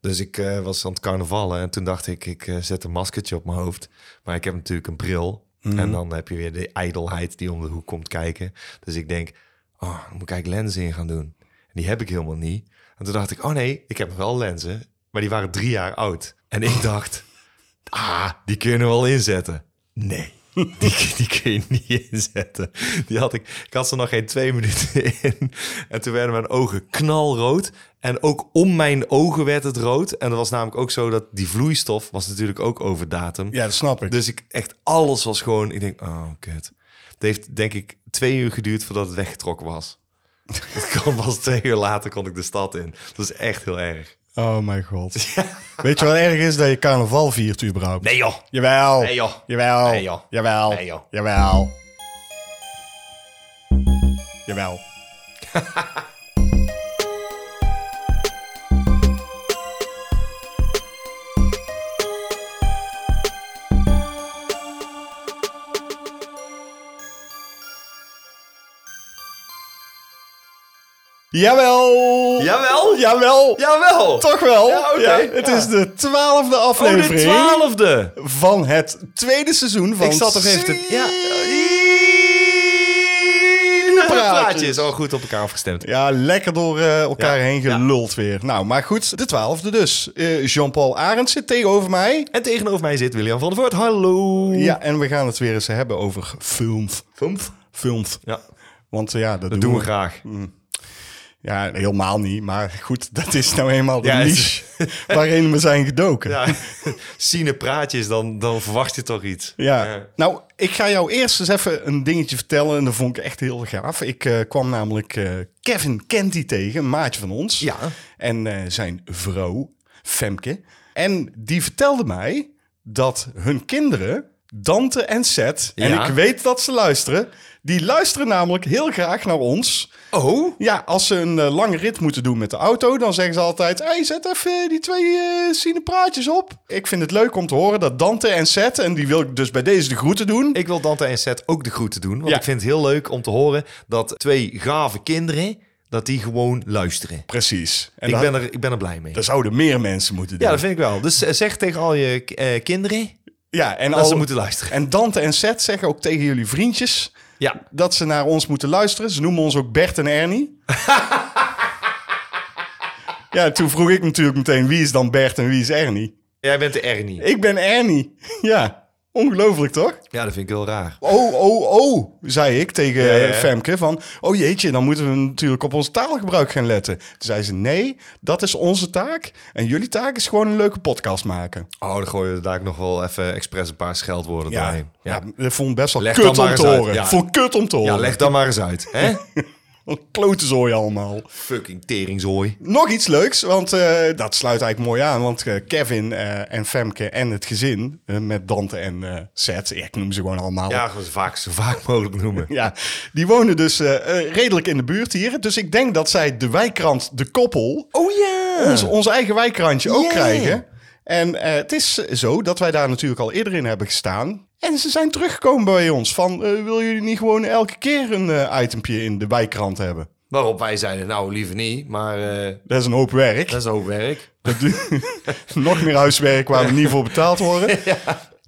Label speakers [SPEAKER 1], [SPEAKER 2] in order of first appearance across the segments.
[SPEAKER 1] Dus ik eh, was aan het carnavallen en toen dacht ik, ik eh, zet een maskertje op mijn hoofd. Maar ik heb natuurlijk een bril. En dan heb je weer de ijdelheid die om de hoek komt kijken. Dus ik denk, oh, dan moet ik eigenlijk lenzen in gaan doen. En die heb ik helemaal niet. En toen dacht ik, oh nee, ik heb wel lenzen. Maar die waren drie jaar oud. En ik dacht, ah, die kun je er wel inzetten. Nee. Die, die kun je niet inzetten. Die had ik, ik had ze nog geen twee minuten in. En toen werden mijn ogen knalrood. En ook om mijn ogen werd het rood. En dat was namelijk ook zo dat die vloeistof was natuurlijk ook over datum.
[SPEAKER 2] Ja, dat snap ik.
[SPEAKER 1] Dus ik echt alles was gewoon. Ik denk, oh kut. Het heeft denk ik twee uur geduurd voordat het weggetrokken was. Het kwam pas twee uur later kon ik de stad in. Dat is echt heel erg.
[SPEAKER 2] Oh mijn god. Weet je wat erg is? Dat je carnaval viert überhaupt.
[SPEAKER 1] Nee joh.
[SPEAKER 2] Jawel.
[SPEAKER 1] Nee, joh.
[SPEAKER 2] Jawel.
[SPEAKER 1] Nee, joh.
[SPEAKER 2] Jawel.
[SPEAKER 1] Nee, joh.
[SPEAKER 2] Jawel. Jawel. Jawel.
[SPEAKER 1] Jawel.
[SPEAKER 2] Jawel.
[SPEAKER 1] Jawel.
[SPEAKER 2] Toch wel?
[SPEAKER 1] Ja, oké.
[SPEAKER 2] het
[SPEAKER 1] Ja.
[SPEAKER 2] is de twaalfde
[SPEAKER 1] Oh, de
[SPEAKER 2] aflevering
[SPEAKER 1] twaalfde.
[SPEAKER 2] van het tweede seizoen van
[SPEAKER 1] Ik zat toch even te... Ja. Praatjes. Oh, goed op elkaar afgestemd.
[SPEAKER 2] Ja, lekker door eh, elkaar
[SPEAKER 1] Ja,
[SPEAKER 2] heen
[SPEAKER 1] ja.
[SPEAKER 2] geluld weer. Nou, maar goed, de twaalfde dus. Eh, Jean-Paul Arends zit tegenover mij.
[SPEAKER 1] En tegenover mij zit William van der Voort. Hallo.
[SPEAKER 2] Ja, en we gaan het weer eens hebben over films. Films? Films.
[SPEAKER 1] Ja,
[SPEAKER 2] Want eh, ja, dat,
[SPEAKER 1] dat doen we graag.
[SPEAKER 2] Ja, helemaal niet. Maar goed, dat is nou eenmaal de
[SPEAKER 1] Ja, het
[SPEAKER 2] niche waarin we zijn gedoken.
[SPEAKER 1] Ja, Sine praatjes, dan, dan verwacht je toch iets.
[SPEAKER 2] Ja. nou, ik ga jou eerst eens even een dingetje vertellen. En dat vond ik echt heel gaaf. Ik eh, kwam namelijk eh, Kevin Kenty tegen, een maatje van ons.
[SPEAKER 1] Ja.
[SPEAKER 2] En eh, zijn vrouw, Femke. En die vertelde mij dat hun kinderen, Dante en Seth... en
[SPEAKER 1] Ja.
[SPEAKER 2] ik weet dat ze luisteren... die luisteren namelijk heel graag naar ons...
[SPEAKER 1] Oh?
[SPEAKER 2] Ja, als ze een eh, lange rit moeten doen met de auto, dan zeggen ze altijd: hey, zet even die twee eh cinepraatjes op. Ik vind het leuk om te horen dat Dante en Seth, en die wil ik dus bij deze de groeten doen.
[SPEAKER 1] Ik wil Dante en Seth ook de groeten doen. Want
[SPEAKER 2] Ja.
[SPEAKER 1] ik vind het heel leuk om te horen dat twee gave kinderen, dat die gewoon luisteren.
[SPEAKER 2] Precies. En
[SPEAKER 1] ik,
[SPEAKER 2] dat,
[SPEAKER 1] ben er, ik ben er blij mee.
[SPEAKER 2] dat zouden meer mensen moeten doen.
[SPEAKER 1] Ja, dat vind ik wel. Dus eh, zeg tegen al je eh, kinderen
[SPEAKER 2] Ja, en,
[SPEAKER 1] dat
[SPEAKER 2] al-
[SPEAKER 1] ze moeten luisteren.
[SPEAKER 2] en Dante en Seth zeggen ook tegen jullie vriendjes
[SPEAKER 1] Ja.
[SPEAKER 2] dat ze naar ons moeten luisteren. Ze noemen ons ook Bert en Ernie. ja, toen vroeg ik natuurlijk meteen: wie is dan Bert en wie is Ernie?
[SPEAKER 1] Jij bent de Ernie.
[SPEAKER 2] Ik ben Ernie. ja, ongelooflijk toch?
[SPEAKER 1] Ja, dat vind ik heel raar.
[SPEAKER 2] Oh, oh, oh, zei ik tegen
[SPEAKER 1] Ja, ja, ja.
[SPEAKER 2] eh, Femke van... Oh jeetje, dan moeten we natuurlijk op ons taalgebruik gaan letten. Toen zei ze, nee, dat is onze taak. En jullie taak is gewoon een leuke podcast maken.
[SPEAKER 1] Oh, dan gooien we daar ook nog wel even expres een paar scheldwoorden doorheen.
[SPEAKER 2] ja.
[SPEAKER 1] Ja.
[SPEAKER 2] dat vond ik best wel
[SPEAKER 1] Leg
[SPEAKER 2] kut
[SPEAKER 1] dan maar
[SPEAKER 2] om te
[SPEAKER 1] eens uit,
[SPEAKER 2] horen.
[SPEAKER 1] ja.
[SPEAKER 2] Vond ik kut om te horen.
[SPEAKER 1] ja, leg dat maar eens uit. Hè?
[SPEAKER 2] Wat klotezooi allemaal.
[SPEAKER 1] Fucking teringzooi.
[SPEAKER 2] Nog iets leuks, want eh, dat sluit eigenlijk mooi aan. Want eh, Kevin eh, en Femke en het gezin eh, met Dante en eh Seth... ja, Ik noem ze gewoon allemaal.
[SPEAKER 1] Ja, gewoon zo vaak, zo vaak mogelijk noemen.
[SPEAKER 2] Ja, die wonen dus eh, eh, redelijk in de buurt hier. Dus ik denk dat zij de wijkkrant De Koppel,
[SPEAKER 1] Oh ja!
[SPEAKER 2] ons, ons eigen wijkkrantje, ook
[SPEAKER 1] Ja.
[SPEAKER 2] krijgen. En eh, het is zo dat wij daar natuurlijk al eerder in hebben gestaan. En ze zijn teruggekomen bij ons van, eh wil jullie niet gewoon elke keer een eh, itempje in de wijkkrant hebben?
[SPEAKER 1] Waarop wij zeiden, nou liever niet, maar eh,
[SPEAKER 2] Dat is een hoop werk.
[SPEAKER 1] dat is ook werk.
[SPEAKER 2] Dat du- Nog meer huiswerk waar we niet voor betaald worden.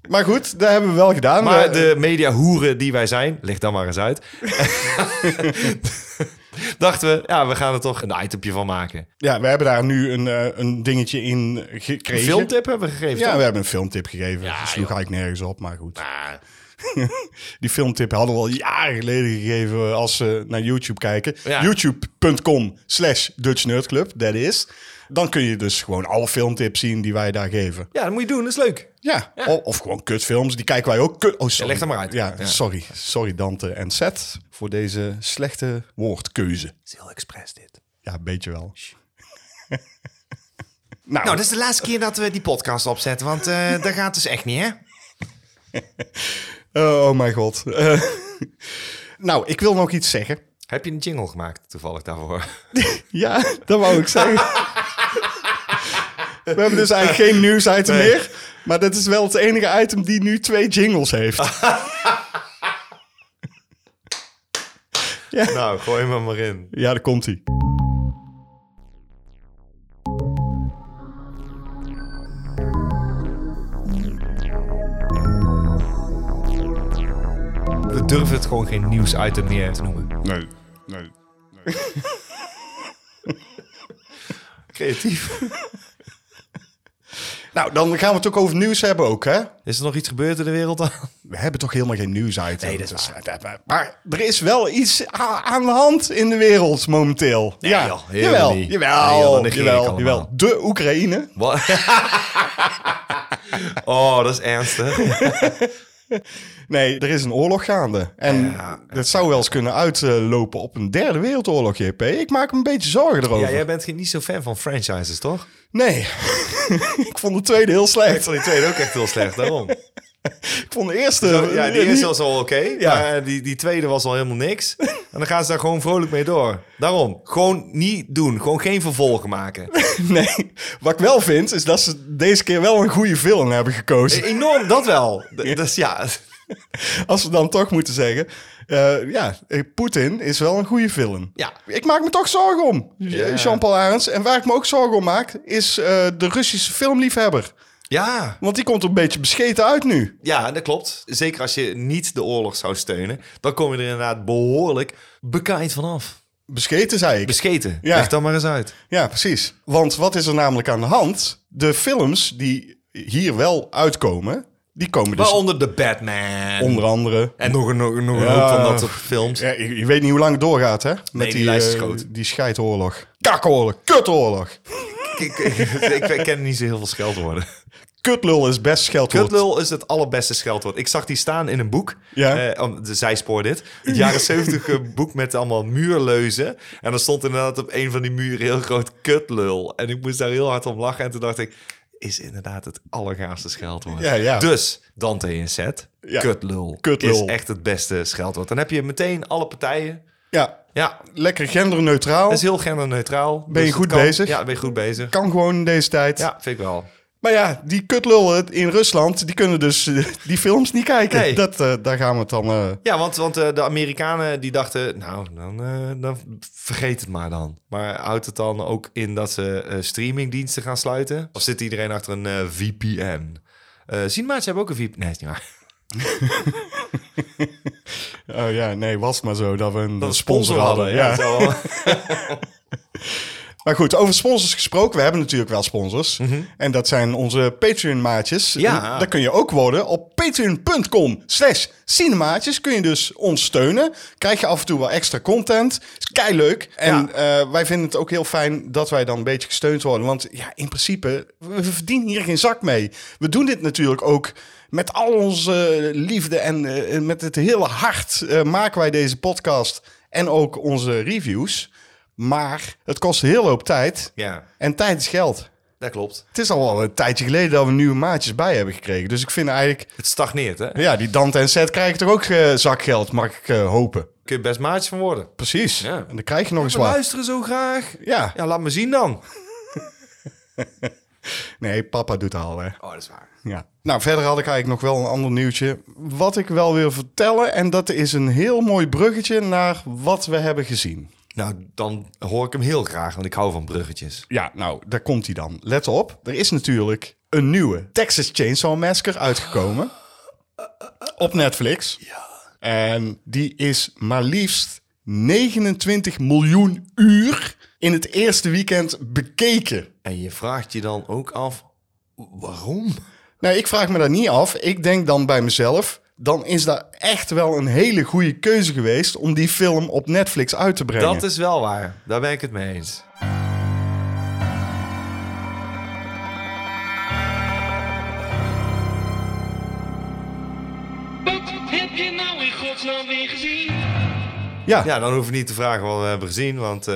[SPEAKER 2] Maar goed, dat hebben we wel gedaan.
[SPEAKER 1] Maar
[SPEAKER 2] We-
[SPEAKER 1] de mediahoeren die wij zijn, leg dat maar eens uit. Dachten we, ja, we gaan er toch een itempje van maken.
[SPEAKER 2] Ja, we hebben daar nu een, eh, een dingetje in
[SPEAKER 1] Een
[SPEAKER 2] gekregen.
[SPEAKER 1] filmtip hebben we gegeven.
[SPEAKER 2] Ja,
[SPEAKER 1] toch?
[SPEAKER 2] we hebben een filmtip gegeven. dus
[SPEAKER 1] Ja,
[SPEAKER 2] Dat sloeg
[SPEAKER 1] joh.
[SPEAKER 2] eigenlijk nergens op, maar goed.
[SPEAKER 1] Ah,
[SPEAKER 2] Die filmtip hadden we al jaren geleden gegeven als ze naar YouTube kijken.
[SPEAKER 1] Ja.
[SPEAKER 2] YouTube.com slash Dutch Nerd Club, that is. Dan kun je dus gewoon alle filmtips zien die wij daar geven.
[SPEAKER 1] ja, dat moet je doen, dat is leuk.
[SPEAKER 2] Ja, o- Of, gewoon kutfilms, die kijken wij ook. Kut- oh, sorry.
[SPEAKER 1] Ja, leg dat maar uit.
[SPEAKER 2] Ja,
[SPEAKER 1] Ja.
[SPEAKER 2] sorry. Sorry Dante en Seth voor deze slechte woordkeuze.
[SPEAKER 1] Het is heel expres dit.
[SPEAKER 2] Ja, een beetje wel. nou,
[SPEAKER 1] Nou, dat is de laatste keer dat we die podcast opzetten, want eh dat gaat dus echt niet, hè?
[SPEAKER 2] oh mijn god. Eh, nou, ik wil nog iets zeggen.
[SPEAKER 1] Heb je een jingle gemaakt toevallig daarvoor?
[SPEAKER 2] Ja, dat wou ik zeggen. We hebben dus eigenlijk geen nieuwsitem
[SPEAKER 1] Nee.
[SPEAKER 2] meer. Maar dat is wel het enige item die nu twee jingles
[SPEAKER 1] Ah.
[SPEAKER 2] heeft.
[SPEAKER 1] nou, gooi hem er maar in.
[SPEAKER 2] Ja, daar komt hij.
[SPEAKER 1] durven het gewoon geen nieuwsitem meer te noemen.
[SPEAKER 2] Nee, nee.
[SPEAKER 1] Creatief.
[SPEAKER 2] Nou, dan gaan we het ook over nieuws hebben ook, hè?
[SPEAKER 1] Is er nog iets gebeurd in de wereld aan?
[SPEAKER 2] We hebben toch helemaal geen nieuws uit.
[SPEAKER 1] Nee, dat is waar.
[SPEAKER 2] maar, eh, maar er is wel iets a- aan de hand in de wereld momenteel. ja,
[SPEAKER 1] joh, helemaal
[SPEAKER 2] jawel,
[SPEAKER 1] niet.
[SPEAKER 2] jawel,
[SPEAKER 1] Nee, joh, dat negeer ik
[SPEAKER 2] jawel,
[SPEAKER 1] allemaal.
[SPEAKER 2] jawel. De Oekraïne.
[SPEAKER 1] Wat? oh, dat is ernstig.
[SPEAKER 2] Nee, er is een oorlog gaande. En dat zou wel eens kunnen uitlopen op een derde wereldoorlog, JP. Ik maak me een beetje zorgen erover.
[SPEAKER 1] Ja, jij bent geen- niet zo fan van franchises, toch?
[SPEAKER 2] Nee, ik vond de tweede heel
[SPEAKER 1] Ik
[SPEAKER 2] slecht.
[SPEAKER 1] vond die tweede ook echt heel slecht, daarom.
[SPEAKER 2] Ik vond de eerste...
[SPEAKER 1] Ja, die eerste was al oké,
[SPEAKER 2] Ja.
[SPEAKER 1] maar eh, die, die tweede was al helemaal niks. En dan gaan ze daar gewoon vrolijk mee door. Daarom, gewoon niet doen. Gewoon geen vervolgen maken. Eh,
[SPEAKER 2] Nee, wat ik wel vind, is dat ze deze keer wel een goede film hebben gekozen.
[SPEAKER 1] Enorm, dat wel. D- Dat is ja...
[SPEAKER 2] Als we dan toch moeten zeggen, eh, ja, eh, Poetin is wel een goede film.
[SPEAKER 1] Ja.
[SPEAKER 2] Ik maak me toch zorgen om, eh, Jean-Paul Arends. En waar ik me ook zorgen om maak, is eh, de Russische filmliefhebber.
[SPEAKER 1] Ja,
[SPEAKER 2] Want die komt er een beetje bescheten uit nu.
[SPEAKER 1] ja, dat klopt. Zeker als je niet de oorlog zou steunen, dan kom je er inderdaad behoorlijk bekaaid vanaf.
[SPEAKER 2] Bescheten, zei ik.
[SPEAKER 1] Bescheten.
[SPEAKER 2] Ja.
[SPEAKER 1] Leg dat maar eens uit.
[SPEAKER 2] Ja, precies. Want wat is er namelijk aan de hand? De films die hier wel uitkomen, die komen dus
[SPEAKER 1] Waaronder de Batman.
[SPEAKER 2] onder andere...
[SPEAKER 1] En nog een, nog een nog een
[SPEAKER 2] Ja.
[SPEAKER 1] hoop van dat soort films.
[SPEAKER 2] Ja, je, je weet niet hoe lang het doorgaat, hè? Met
[SPEAKER 1] die lijst is
[SPEAKER 2] eh,
[SPEAKER 1] groot.
[SPEAKER 2] die scheidoorlog. Kakoorlog. Kutoorlog.
[SPEAKER 1] Ik, ik, ik ken niet zo heel veel scheldwoorden.
[SPEAKER 2] Kutlul is best scheldwoord.
[SPEAKER 1] Kutlul is het allerbeste scheldwoord. Ik zag die staan in een boek.
[SPEAKER 2] Ja.
[SPEAKER 1] Eh, om- de zijspoor dit. Het jaren 70 een boek met allemaal muurleuzen. En er stond inderdaad op een van die muren heel groot kutlul. En ik moest daar heel hard om lachen. En toen dacht ik, is inderdaad het allergaafste scheldwoord.
[SPEAKER 2] Ja, ja.
[SPEAKER 1] Dus, Dante in set.
[SPEAKER 2] Ja.
[SPEAKER 1] Kutlul,
[SPEAKER 2] Kutlul.
[SPEAKER 1] is echt het beste scheldwoord. Dan heb je meteen alle partijen.
[SPEAKER 2] Ja,
[SPEAKER 1] Ja, dat
[SPEAKER 2] lekker genderneutraal.
[SPEAKER 1] is heel genderneutraal.
[SPEAKER 2] Ben je
[SPEAKER 1] het
[SPEAKER 2] goed
[SPEAKER 1] kan-
[SPEAKER 2] bezig?
[SPEAKER 1] Ja, ben je goed bezig.
[SPEAKER 2] Kan gewoon in deze tijd.
[SPEAKER 1] Ja, vind ik wel.
[SPEAKER 2] Maar ja, die kutlullen in Rusland, die kunnen dus eh, die films niet kijken.
[SPEAKER 1] Nee.
[SPEAKER 2] Dat, eh, daar gaan we het dan... eh,
[SPEAKER 1] Ja, want, want eh, de Amerikanen die dachten, nou, dan, eh, dan vergeet het maar dan. Maar houdt het dan ook in dat ze eh, streamingdiensten gaan sluiten? Of zit iedereen achter een eh, VPN? Eh Cinemaatjes hebben ook een VPN. Nee, is niet waar.
[SPEAKER 2] Oh ja, nee, was maar zo dat we een
[SPEAKER 1] Dat we
[SPEAKER 2] sponsor hadden. Ja.
[SPEAKER 1] zo.
[SPEAKER 2] Maar goed, over sponsors gesproken. We hebben natuurlijk wel sponsors. En dat zijn onze Patreon-maatjes.
[SPEAKER 1] Ja.
[SPEAKER 2] Dat kun je ook worden op patreon.com slash cinemaatjes. Kun je dus ons steunen. Krijg je af en toe wel extra content. Is kei leuk. En eh, wij vinden het ook heel fijn dat wij dan een beetje gesteund worden. Want ja, in principe, we we verdienen hier geen zak mee. We doen dit natuurlijk ook... Met al onze eh, liefde en eh, met het hele hart eh, maken wij deze podcast en ook onze reviews. Maar het kost een hele hoop tijd.
[SPEAKER 1] ja,
[SPEAKER 2] En tijd is geld.
[SPEAKER 1] dat klopt.
[SPEAKER 2] Het is al wel een tijdje geleden dat we nieuwe maatjes bij hebben gekregen. Dus ik vind eigenlijk...
[SPEAKER 1] Het stagneert, hè?
[SPEAKER 2] Ja, die Dante en Seth krijgen toch ook eh, zakgeld, mag ik eh, hopen.
[SPEAKER 1] Kun je best maatjes van worden.
[SPEAKER 2] Precies.
[SPEAKER 1] Ja.
[SPEAKER 2] En dan krijg je nog eens
[SPEAKER 1] We
[SPEAKER 2] wat.
[SPEAKER 1] luisteren zo graag.
[SPEAKER 2] Ja.
[SPEAKER 1] Ja, laat me zien dan.
[SPEAKER 2] Nee, papa doet het al, hè.
[SPEAKER 1] Oh, dat is waar.
[SPEAKER 2] Ja. Nou, verder had ik eigenlijk nog wel een ander nieuwtje. Wat ik wel wil vertellen, en dat is een heel mooi bruggetje naar wat we hebben gezien.
[SPEAKER 1] Nou, dan hoor ik hem heel graag, want ik hou van bruggetjes.
[SPEAKER 2] Ja, nou, daar komt hij dan. Let op, er is natuurlijk een nieuwe Texas Chainsaw Massacre uitgekomen op Netflix. Ja. En die is maar liefst 29 miljoen uur in het eerste weekend bekeken.
[SPEAKER 1] En je vraagt je dan ook af, waarom?
[SPEAKER 2] Nou, ik vraag me dat niet af. Ik denk dan bij mezelf, dan is dat echt wel een hele goede keuze geweest om die film op Netflix uit te brengen.
[SPEAKER 1] Dat is wel waar. Daar ben ik het mee eens.
[SPEAKER 3] Wat heb je nou in godsnaam weer gezien?
[SPEAKER 2] Ja.
[SPEAKER 1] Ja, dan hoef je niet te vragen wat we hebben gezien, want... eh,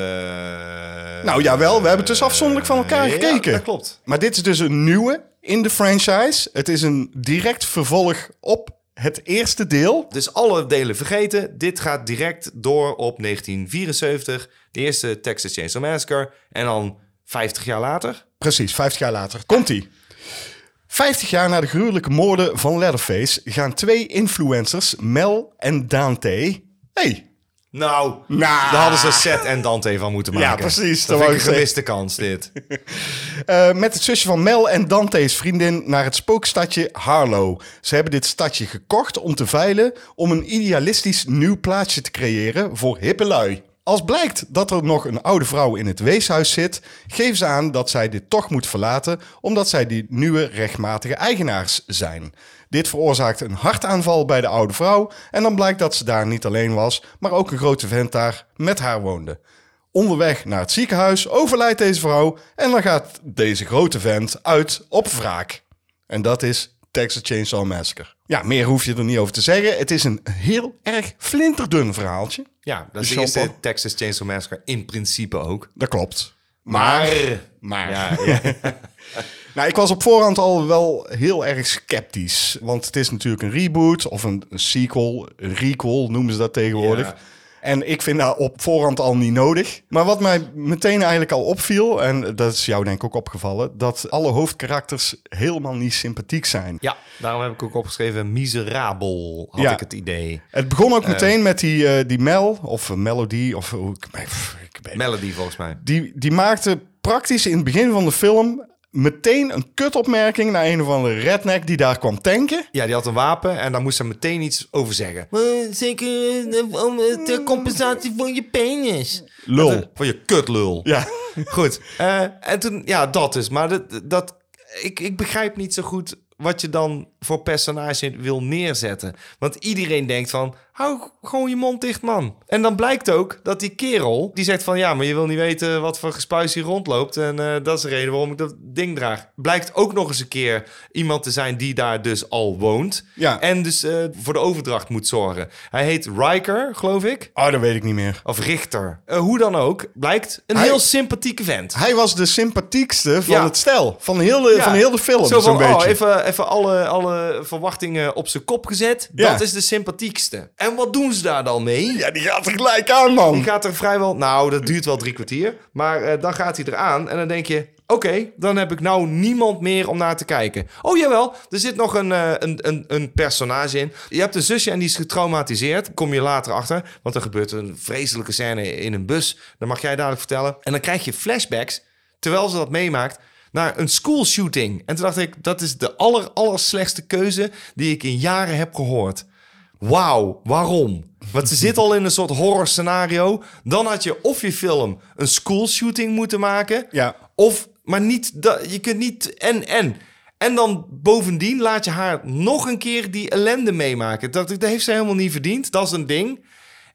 [SPEAKER 2] Nou jawel, we hebben het dus afzonderlijk van elkaar
[SPEAKER 1] ja,
[SPEAKER 2] gekeken.
[SPEAKER 1] dat klopt.
[SPEAKER 2] Maar dit is dus een nieuwe in de franchise. Het is een direct vervolg op het eerste deel.
[SPEAKER 1] Dus alle delen vergeten. Dit gaat direct door op 1974. De eerste Texas Chainsaw Massacre. En dan 50 jaar later.
[SPEAKER 2] Precies, 50 jaar later. Komt-ie. 50 jaar na de gruwelijke moorden van Leatherface gaan twee influencers, Mel en Dante. hey,
[SPEAKER 1] Nou,
[SPEAKER 2] Nou.
[SPEAKER 1] daar hadden ze Seth en Dante van moeten
[SPEAKER 2] Ja,
[SPEAKER 1] maken.
[SPEAKER 2] precies, dat
[SPEAKER 1] Dat
[SPEAKER 2] wou
[SPEAKER 1] vind ik
[SPEAKER 2] ik
[SPEAKER 1] een gemiste kans, dit.
[SPEAKER 2] Eh, met het zusje van Mel en Dante's vriendin naar het spookstadje Harlow. Ze hebben dit stadje gekocht om te veilen om een idealistisch nieuw plaatsje te creëren voor hippe lui. Als blijkt dat er nog een oude vrouw in het weeshuis zit, geven ze aan dat zij dit toch moet verlaten omdat zij die nieuwe rechtmatige eigenaars zijn. Dit veroorzaakt een hartaanval bij de oude vrouw en dan blijkt dat ze daar niet alleen was, maar ook een grote vent daar met haar woonde. Onderweg naar het ziekenhuis overlijdt deze vrouw en dan gaat deze grote vent uit op wraak. En dat is Texas Chainsaw Massacre. Ja, meer hoef je er niet over te zeggen. Het is een heel erg flinterdun verhaaltje.
[SPEAKER 1] Ja, dat
[SPEAKER 2] Dus
[SPEAKER 1] is de
[SPEAKER 2] Sean
[SPEAKER 1] eerste
[SPEAKER 2] Paul-
[SPEAKER 1] Texas Chainsaw Massacre in principe ook.
[SPEAKER 2] Dat klopt. Maar, maar.
[SPEAKER 1] Ja, ja.
[SPEAKER 2] Nou, ik was op voorhand al wel heel erg sceptisch. Want het is natuurlijk een reboot of een een sequel, een recall noemen ze dat tegenwoordig.
[SPEAKER 1] Ja.
[SPEAKER 2] En ik vind dat op voorhand al niet nodig. Maar wat mij meteen eigenlijk al opviel, en dat is jou denk ik ook opgevallen, dat alle hoofdkarakters helemaal niet sympathiek zijn.
[SPEAKER 1] ja, daarom heb ik ook opgeschreven miserabel, had
[SPEAKER 2] Ja.
[SPEAKER 1] ik het idee.
[SPEAKER 2] Het begon ook meteen met die, eh, die Mel, of Melody, of hoe ik, pff, ik weet-
[SPEAKER 1] Melody volgens mij.
[SPEAKER 2] die, die maakte praktisch in het begin van de film meteen een kutopmerking naar een of andere redneck die daar kwam tanken.
[SPEAKER 1] Ja, die had een wapen en daar moest ze meteen iets over zeggen.
[SPEAKER 4] Zeker eh, om eh, ter compensatie voor je penis.
[SPEAKER 2] Lul.
[SPEAKER 1] Van je kutlul.
[SPEAKER 2] Ja.
[SPEAKER 1] Goed. eh, en toen, ja, dat is. Maar dat, dat, ik, ik begrijp niet zo goed wat je dan voor personage wil neerzetten. Want iedereen denkt van, hou gewoon je mond dicht, man. En dan blijkt ook dat die kerel, die zegt van... ja, maar je wil niet weten wat voor gespuis hier rondloopt... en eh, dat is de reden waarom ik dat ding draag. Blijkt ook nog eens een keer iemand te zijn die daar dus al woont...
[SPEAKER 2] Ja.
[SPEAKER 1] en dus eh, voor de overdracht moet zorgen. Hij heet Riker, geloof ik.
[SPEAKER 2] Oh, dat weet ik niet meer.
[SPEAKER 1] Of Richter. Eh, hoe dan ook, blijkt een
[SPEAKER 2] Hij-
[SPEAKER 1] heel sympathieke vent.
[SPEAKER 2] Hij was de sympathiekste van
[SPEAKER 1] Ja.
[SPEAKER 2] het stel. Van heel de,
[SPEAKER 1] Ja.
[SPEAKER 2] van heel de film,
[SPEAKER 1] Zo
[SPEAKER 2] zo'n
[SPEAKER 1] van,
[SPEAKER 2] beetje.
[SPEAKER 1] oh, even, even alle, alle verwachtingen op zijn kop gezet.
[SPEAKER 2] Ja.
[SPEAKER 1] Dat is de sympathiekste. En wat doen ze daar dan mee?
[SPEAKER 2] Ja, die gaat er gelijk aan, man.
[SPEAKER 1] Die gaat er vrijwel... Nou, dat duurt wel drie kwartier. Maar eh, dan gaat hij eraan en dan denk je... Oké, dan heb ik nou niemand meer om naar te kijken. Oh jawel, er zit nog een, eh, een, een, een personage in. Je hebt een zusje en die is getraumatiseerd. Kom je later achter, want er gebeurt een vreselijke scène in een bus. Dat mag jij dadelijk vertellen. En dan krijg je flashbacks, terwijl ze dat meemaakt, naar een school shooting. En toen dacht ik, dat is de aller, aller slechtste keuze die ik in jaren heb gehoord. Wauw, waarom? Want ze zit al in een soort horror scenario. Dan had je of je film een school shooting moeten maken.
[SPEAKER 2] Ja.
[SPEAKER 1] Of, maar niet, dat, je kunt niet en en. En dan bovendien laat je haar nog een keer die ellende meemaken. Dat, dat heeft ze helemaal niet verdiend. Dat is een ding.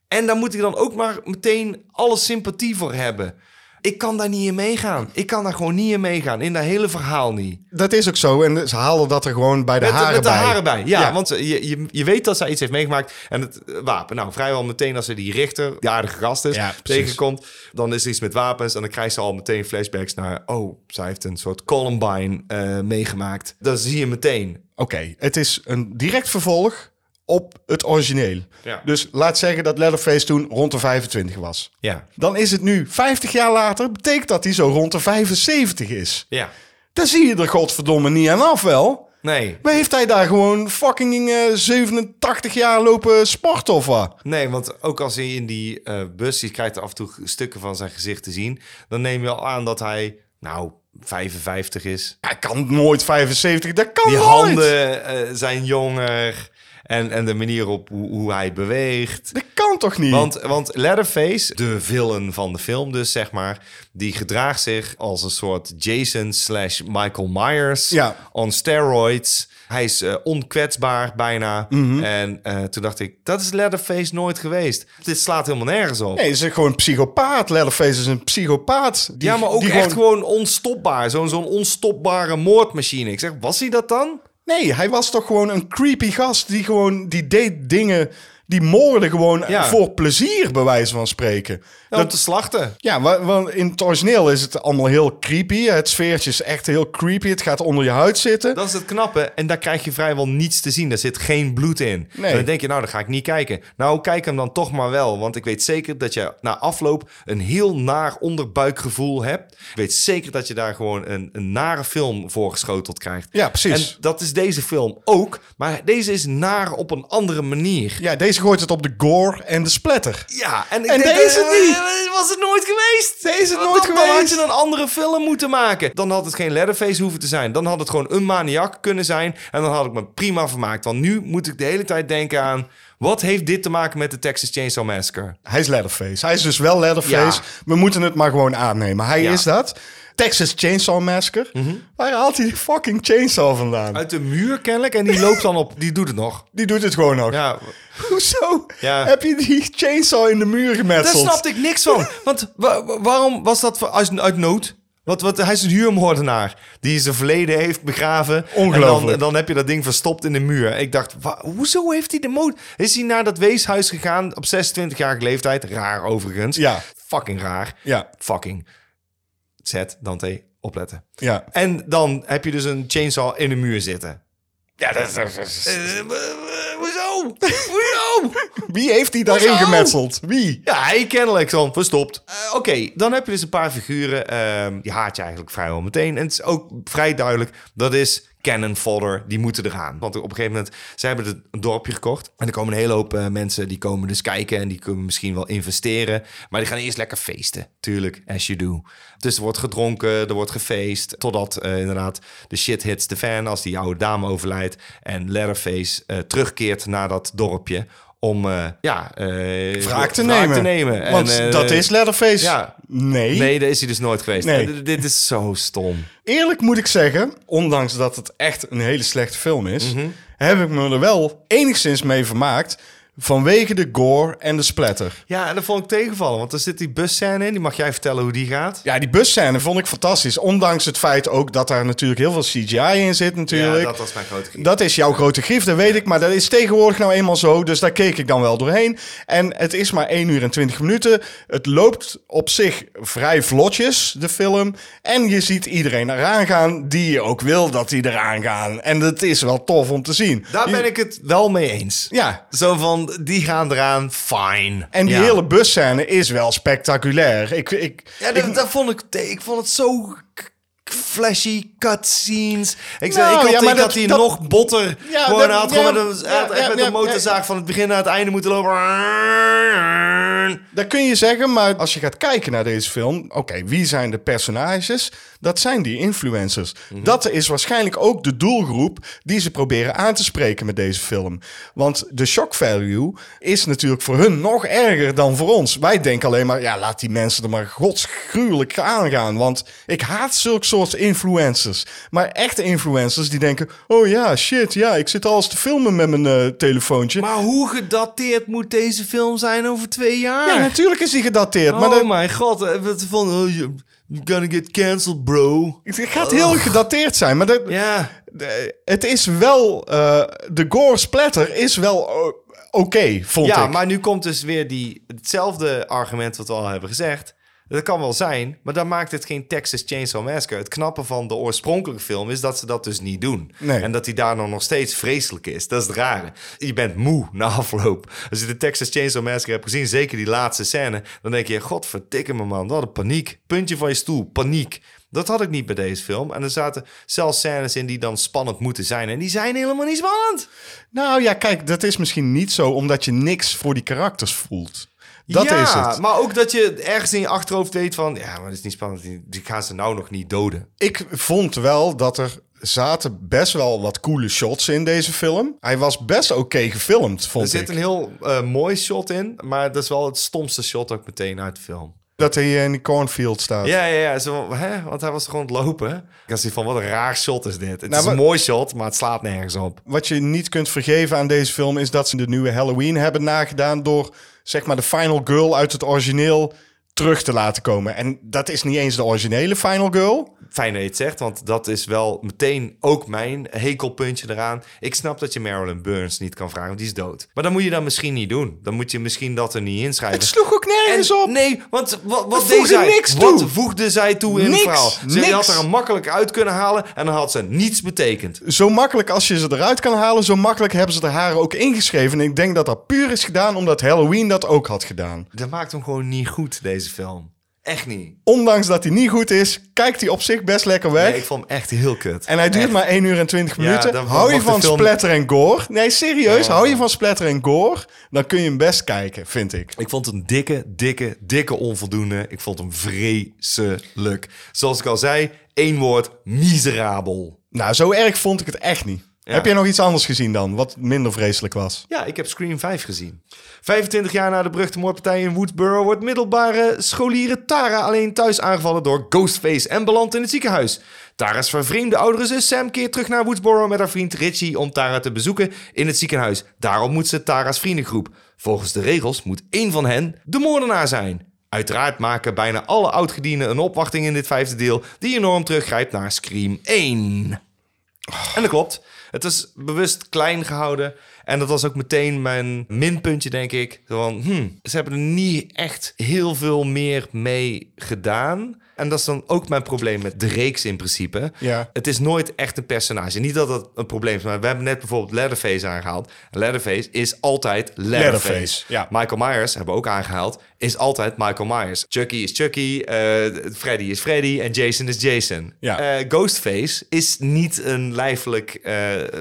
[SPEAKER 1] En daar moet ik dan ook maar meteen alle sympathie voor hebben. Ik kan daar niet in meegaan. Ik kan daar gewoon niet in meegaan. In dat hele verhaal niet.
[SPEAKER 2] Dat is ook zo. En ze halen dat er gewoon bij de
[SPEAKER 1] Met,
[SPEAKER 2] haren
[SPEAKER 1] met de
[SPEAKER 2] bij.
[SPEAKER 1] haren bij. Ja,
[SPEAKER 2] Ja.
[SPEAKER 1] want eh, je, je, je weet dat zij iets heeft meegemaakt. En het eh, wapen. Nou, vrijwel meteen als ze die richter, die aardige gast is,
[SPEAKER 2] Ja, precies.
[SPEAKER 1] tegenkomt. Dan is er iets met wapens. En dan krijgt ze al meteen flashbacks naar... Oh, zij heeft een soort Columbine eh, meegemaakt. Dat zie je meteen.
[SPEAKER 2] Oké, het is een direct vervolg op het origineel.
[SPEAKER 1] Ja.
[SPEAKER 2] Dus laat zeggen dat Leatherface toen rond de 25 was.
[SPEAKER 1] Ja.
[SPEAKER 2] Dan is het nu 50 jaar later, betekent dat hij zo rond de 75 is.
[SPEAKER 1] Ja.
[SPEAKER 2] Daar zie je er godverdomme niet aan af wel.
[SPEAKER 1] Nee.
[SPEAKER 2] Maar heeft hij daar gewoon fucking eh, 87 jaar lopen sporten of wat?
[SPEAKER 1] Nee, want ook als hij in die eh, bus... Je krijgt af en toe stukken van zijn gezicht te zien. Dan neem je al aan dat hij... Nou, 55 is.
[SPEAKER 2] Hij kan nooit 75, dat kan
[SPEAKER 1] Die
[SPEAKER 2] nooit.
[SPEAKER 1] handen eh, zijn jonger. En, en de manier op hoe, hoe hij beweegt.
[SPEAKER 2] Dat kan toch niet?
[SPEAKER 1] Want, want Leatherface, de villain van de film dus, zeg maar... die gedraagt zich als een soort Jason slash Michael Myers
[SPEAKER 2] Ja.
[SPEAKER 1] on steroids. Hij is eh, onkwetsbaar bijna.
[SPEAKER 2] Mhm.
[SPEAKER 1] En eh, toen dacht ik, dat is Leatherface nooit geweest. Dit slaat helemaal nergens op.
[SPEAKER 2] nee, ze is gewoon een psychopaat. Leatherface is een psychopaat. Die,
[SPEAKER 1] ja, maar ook
[SPEAKER 2] die
[SPEAKER 1] echt gewoon, onstopbaar. Zo'n zo'n onstopbare moordmachine. Ik zeg, was hij dat dan?
[SPEAKER 2] Nee, hij was toch gewoon een creepy gast die gewoon... Die deed dingen, die moorden gewoon
[SPEAKER 1] Ja.
[SPEAKER 2] voor plezier, bij wijze van spreken.
[SPEAKER 1] Ja, om te slachten.
[SPEAKER 2] Ja, wa- want in het origineel is het allemaal heel creepy. Het sfeertje is echt heel creepy. Het gaat onder je huid zitten.
[SPEAKER 1] Dat is het knappe. En daar krijg je vrijwel niets te zien. Daar zit geen bloed in.
[SPEAKER 2] Nee.
[SPEAKER 1] En dan denk je, nou, dan ga ik niet kijken. Nou, kijk hem dan toch maar wel. Want ik weet zeker dat je na afloop een heel naar onderbuikgevoel hebt. Ik weet zeker dat je daar gewoon een, een nare film voor geschoteld krijgt.
[SPEAKER 2] Ja, precies.
[SPEAKER 1] En dat is deze film ook. Maar deze is naar op een andere manier.
[SPEAKER 2] Ja, deze gooit het op de gore en de splatter.
[SPEAKER 1] Ja, en, ik
[SPEAKER 2] En
[SPEAKER 1] denk,
[SPEAKER 2] deze
[SPEAKER 1] eh,
[SPEAKER 2] niet.
[SPEAKER 1] eh, Was het nooit geweest?
[SPEAKER 2] Deze is het
[SPEAKER 1] Dan-
[SPEAKER 2] nooit
[SPEAKER 1] dan,
[SPEAKER 2] geweest.
[SPEAKER 1] had je een andere film moeten maken. Dan had het geen Leatherface hoeven te zijn. Dan had het gewoon een maniak kunnen zijn. En dan had ik me prima vermaakt. Want nu moet ik de hele tijd denken aan... Wat heeft dit te maken met de Texas Chainsaw Massacre?
[SPEAKER 2] Hij is Leatherface. Hij is dus wel Leatherface.
[SPEAKER 1] Ja.
[SPEAKER 2] We moeten het maar gewoon aannemen. Hij
[SPEAKER 1] Ja. Mhm.
[SPEAKER 2] is dat. Texas Chainsaw Massacre. Waar haalt hij die fucking chainsaw vandaan?
[SPEAKER 1] Uit de muur kennelijk. En die loopt dan op... Die doet het nog.
[SPEAKER 2] Die doet het gewoon nog.
[SPEAKER 1] Ja,
[SPEAKER 2] Hoezo
[SPEAKER 1] Ja.
[SPEAKER 2] heb je die chainsaw in de muur
[SPEAKER 1] daar
[SPEAKER 2] gemetseld?
[SPEAKER 1] snapte ik niks van. Want wa- wa- waarom was dat voor- uit, uit nood? Want, want hij is een huurmoordenaar die zijn verleden heeft begraven. En
[SPEAKER 2] Ongelooflijk.
[SPEAKER 1] dan, dan heb je dat ding verstopt in de muur. Ik dacht, wa- hoezo heeft hij de moed? Is hij naar dat weeshuis gegaan op 26-jarige leeftijd? Raar overigens.
[SPEAKER 2] Ja.
[SPEAKER 1] Fucking raar.
[SPEAKER 2] Ja.
[SPEAKER 1] Fucking. Zet, Dante, opletten.
[SPEAKER 2] Ja.
[SPEAKER 1] En dan heb je dus een chainsaw in de muur zitten.
[SPEAKER 2] Ja, dat, dat- dat-
[SPEAKER 1] Eh, eh, hoezo? Hoezo?
[SPEAKER 2] Wie heeft die daarin
[SPEAKER 1] Hoezo?
[SPEAKER 2] gemetseld? Wie?
[SPEAKER 1] Ja, hij kennelijk dan verstopt. Eh, Oké, dan heb je dus een paar figuren. ehm, die haat je eigenlijk vrijwel meteen. En het is ook vrij duidelijk, dat is cannon fodder. Die moeten eraan. Want op een gegeven moment, ze hebben het een dorpje gekocht. En er komen een hele hoop eh, mensen, die komen dus kijken. En die kunnen misschien wel investeren. Maar die gaan eerst lekker feesten. Tuurlijk, as you do. Dus er wordt gedronken, er wordt gefeest. Totdat eh, inderdaad de shit hits the fan. Als die oude dame overlijdt. En Leatherface eh, terugkeert naar dat dorpje. Om, eh, ja... eh,
[SPEAKER 2] Wraak te nemen.
[SPEAKER 1] te nemen.
[SPEAKER 2] Want
[SPEAKER 1] En, eh,
[SPEAKER 2] dat is Leatherface.
[SPEAKER 1] ja.
[SPEAKER 2] Nee.
[SPEAKER 1] Nee, daar is hij dus nooit geweest.
[SPEAKER 2] Nee.
[SPEAKER 1] En d- dit is zo stom.
[SPEAKER 2] Eerlijk moet ik zeggen, ondanks dat het echt een hele slechte film is,
[SPEAKER 1] Mhm.
[SPEAKER 2] heb ik me er wel enigszins mee vermaakt vanwege de gore en de splatter.
[SPEAKER 1] Ja, en dat vond ik tegenvallen. Want er zit die busscène in. Die mag jij vertellen hoe die gaat.
[SPEAKER 2] Ja, die busscène vond ik fantastisch. Ondanks het feit ook dat daar natuurlijk heel veel CGI in zit natuurlijk.
[SPEAKER 1] Ja, dat was mijn grote
[SPEAKER 2] Dat is jouw grote grief, dat weet ik. Maar dat is tegenwoordig nou eenmaal zo. Dus daar keek ik dan wel doorheen. En het is maar 1 uur en 20 minuten. Het loopt op zich vrij vlotjes, de film. En je ziet iedereen eraan gaan die je ook wil dat die eraan gaan. En dat is wel tof om te zien.
[SPEAKER 1] Daar ben ik het wel mee eens.
[SPEAKER 2] Ja.
[SPEAKER 1] Zo van, die gaan eraan, fine.
[SPEAKER 2] En die
[SPEAKER 1] Ja.
[SPEAKER 2] hele busscène is wel spectaculair. Ik, ik,
[SPEAKER 1] Ja,
[SPEAKER 2] ik-
[SPEAKER 1] dat, dat vond ik... te- Ik vond het zo k- k- flashy cutscenes. Ik, zei,
[SPEAKER 2] Nou,
[SPEAKER 1] ik had,
[SPEAKER 2] ja, maar
[SPEAKER 1] ik had
[SPEAKER 2] dat-
[SPEAKER 1] die
[SPEAKER 2] dat-
[SPEAKER 1] nog botter.
[SPEAKER 2] Ja,
[SPEAKER 1] gewoon,
[SPEAKER 2] dat-
[SPEAKER 1] hij had
[SPEAKER 2] ja,
[SPEAKER 1] gewoon met een, hij had
[SPEAKER 2] ja,
[SPEAKER 1] echt
[SPEAKER 2] ja,
[SPEAKER 1] met
[SPEAKER 2] ja,
[SPEAKER 1] een motorzaag van het begin naar het einde moeten lopen.
[SPEAKER 2] Dat kun je zeggen, maar als je gaat kijken naar deze film, oké, wie zijn de personages? Dat zijn die influencers.
[SPEAKER 1] Mhm.
[SPEAKER 2] Dat is waarschijnlijk ook de doelgroep die ze proberen aan te spreken met deze film. Want de shock value is natuurlijk voor hun nog erger dan voor ons. Wij denken alleen maar, ja, laat die mensen er maar godsgruwelijk aangaan, want ik haat zulke soort influencers. Maar echte influencers die denken, oh ja, shit, ja, ik zit alles te filmen met mijn eh, telefoontje.
[SPEAKER 1] Maar hoe gedateerd moet deze film zijn over twee jaar?
[SPEAKER 2] ja, natuurlijk is die gedateerd, maar
[SPEAKER 1] oh
[SPEAKER 2] dat,
[SPEAKER 1] mijn god, eh, wat van... Oh, you- you're gonna get cancelled, bro. Oh.
[SPEAKER 2] Het gaat heel gedateerd zijn, maar dat,
[SPEAKER 1] Ja,
[SPEAKER 2] de- het is wel... eh, de gore splatter is wel o- oké, vond
[SPEAKER 1] ja
[SPEAKER 2] ik.
[SPEAKER 1] maar nu komt dus weer die, hetzelfde argument wat we al hebben gezegd. Dat kan wel zijn, maar dan maakt het geen Texas Chainsaw Massacre. Het knappe van de oorspronkelijke film is dat ze dat dus niet doen.
[SPEAKER 2] Nee.
[SPEAKER 1] En dat die daar dan nog steeds vreselijk is. Dat is het rare. Je bent moe na afloop. Als je de Texas Chainsaw Massacre hebt gezien, zeker die laatste scène... dan denk je, godverdikke me man, wat een paniek. Puntje van je stoel, paniek. Dat had ik niet bij deze film. En er zaten zelfs scènes in die dan spannend moeten zijn. En die zijn helemaal niet spannend.
[SPEAKER 2] Nou ja, kijk, dat is misschien niet zo omdat je niks voor die karakters voelt. Dat
[SPEAKER 1] ja,
[SPEAKER 2] is het.
[SPEAKER 1] maar ook dat je ergens in je achterhoofd weet van... ja, maar dat is niet spannend, die, die gaan ze nou nog niet doden.
[SPEAKER 2] Ik vond wel dat er zaten best wel wat coole shots in deze film. Hij was best oké gefilmd,
[SPEAKER 1] Er
[SPEAKER 2] vond
[SPEAKER 1] zit
[SPEAKER 2] ik.
[SPEAKER 1] een heel eh, mooi shot in, maar dat is wel het stomste shot ook meteen uit de film.
[SPEAKER 2] Dat hij in die cornfield staat.
[SPEAKER 1] Ja, ja, ja, zo, van, hè? want hij was gewoon aan het lopen. Ik had zoiets van, wat een raar shot is dit. Het is
[SPEAKER 2] maar-
[SPEAKER 1] een mooi shot, maar het slaat nergens op.
[SPEAKER 2] Wat je niet kunt vergeven aan deze film is dat ze de nieuwe Halloween hebben nagedaan door zeg maar de Final Girl uit het origineel terug te laten komen. En dat is niet eens de originele Final Girl.
[SPEAKER 1] Fijn dat je het zegt, want dat is wel meteen ook mijn hekelpuntje eraan. Ik snap dat je Marilyn Burns niet kan vragen, want die is dood. Maar dan moet je dat misschien niet doen. Dan moet je misschien dat er niet inschrijven.
[SPEAKER 2] Het sloeg ook nergens
[SPEAKER 1] En-
[SPEAKER 2] op.
[SPEAKER 1] Nee, want wat, wat
[SPEAKER 2] Het
[SPEAKER 1] deed
[SPEAKER 2] voegde
[SPEAKER 1] zij?
[SPEAKER 2] niks
[SPEAKER 1] wat
[SPEAKER 2] toe.
[SPEAKER 1] voegde zij toe in
[SPEAKER 2] Niks,
[SPEAKER 1] het verhaal? Ze
[SPEAKER 2] niks.
[SPEAKER 1] had er een makkelijk uit kunnen halen en dan had ze niets betekend.
[SPEAKER 2] Zo makkelijk als je ze eruit kan halen, zo makkelijk hebben ze er haar ook ingeschreven. En ik denk dat dat puur is gedaan omdat Halloween dat ook had gedaan.
[SPEAKER 1] Dat maakt hem gewoon niet goed, deze film. Echt niet.
[SPEAKER 2] Ondanks dat hij niet goed is, kijkt hij op zich best lekker weg.
[SPEAKER 1] Nee, ik vond hem echt heel kut.
[SPEAKER 2] En hij duurt maar 1 uur en 20 minuten.
[SPEAKER 1] dan
[SPEAKER 2] hou je
[SPEAKER 1] mag de
[SPEAKER 2] van
[SPEAKER 1] film-
[SPEAKER 2] splatter en gore? Nee, serieus. Hou je van splatter en gore? Dan kun je hem best kijken, vind ik.
[SPEAKER 1] Ik vond het een dikke, dikke, dikke onvoldoende. Ik vond hem vreselijk. Zoals ik al zei, één woord, miserabel.
[SPEAKER 2] Nou, zo erg vond ik het echt niet.
[SPEAKER 1] Ja.
[SPEAKER 2] Heb jij nog iets anders gezien dan, wat minder vreselijk was?
[SPEAKER 1] Ja, ik heb Scream 5 gezien. 25 jaar na de beruchte moordpartij in Woodsboro wordt middelbare scholieren Tara alleen thuis aangevallen door Ghostface en belandt in het ziekenhuis. Tara's vervreemde oudere zus Sam keert terug naar Woodsboro met haar vriend Richie om Tara te bezoeken in het ziekenhuis. Daarom moet ze Tara's vriendengroep. Volgens de regels moet één van hen de moordenaar zijn. Uiteraard maken bijna alle oudgedienden een opwachting in dit vijfde deel die enorm teruggrijpt naar Scream 1. En dat klopt. Het is bewust klein gehouden. En dat was ook meteen mijn minpuntje, denk ik. Zo Van, hm, ze hebben er niet echt heel veel meer mee gedaan. En dat is dan ook mijn probleem met de reeks in principe.
[SPEAKER 2] Ja.
[SPEAKER 1] Het is nooit echt een personage. Niet dat dat een probleem is, maar we hebben net bijvoorbeeld Leatherface aangehaald. En Leatherface is altijd Leatherface.
[SPEAKER 2] Leatherface, ja.
[SPEAKER 1] Michael Myers, hebben we ook aangehaald, is altijd Michael Myers. Chucky is Chucky, eh, Freddy is Freddy en Jason is Jason.
[SPEAKER 2] Ja.
[SPEAKER 1] Eh, eh, Ghostface is niet een lijfelijk eh,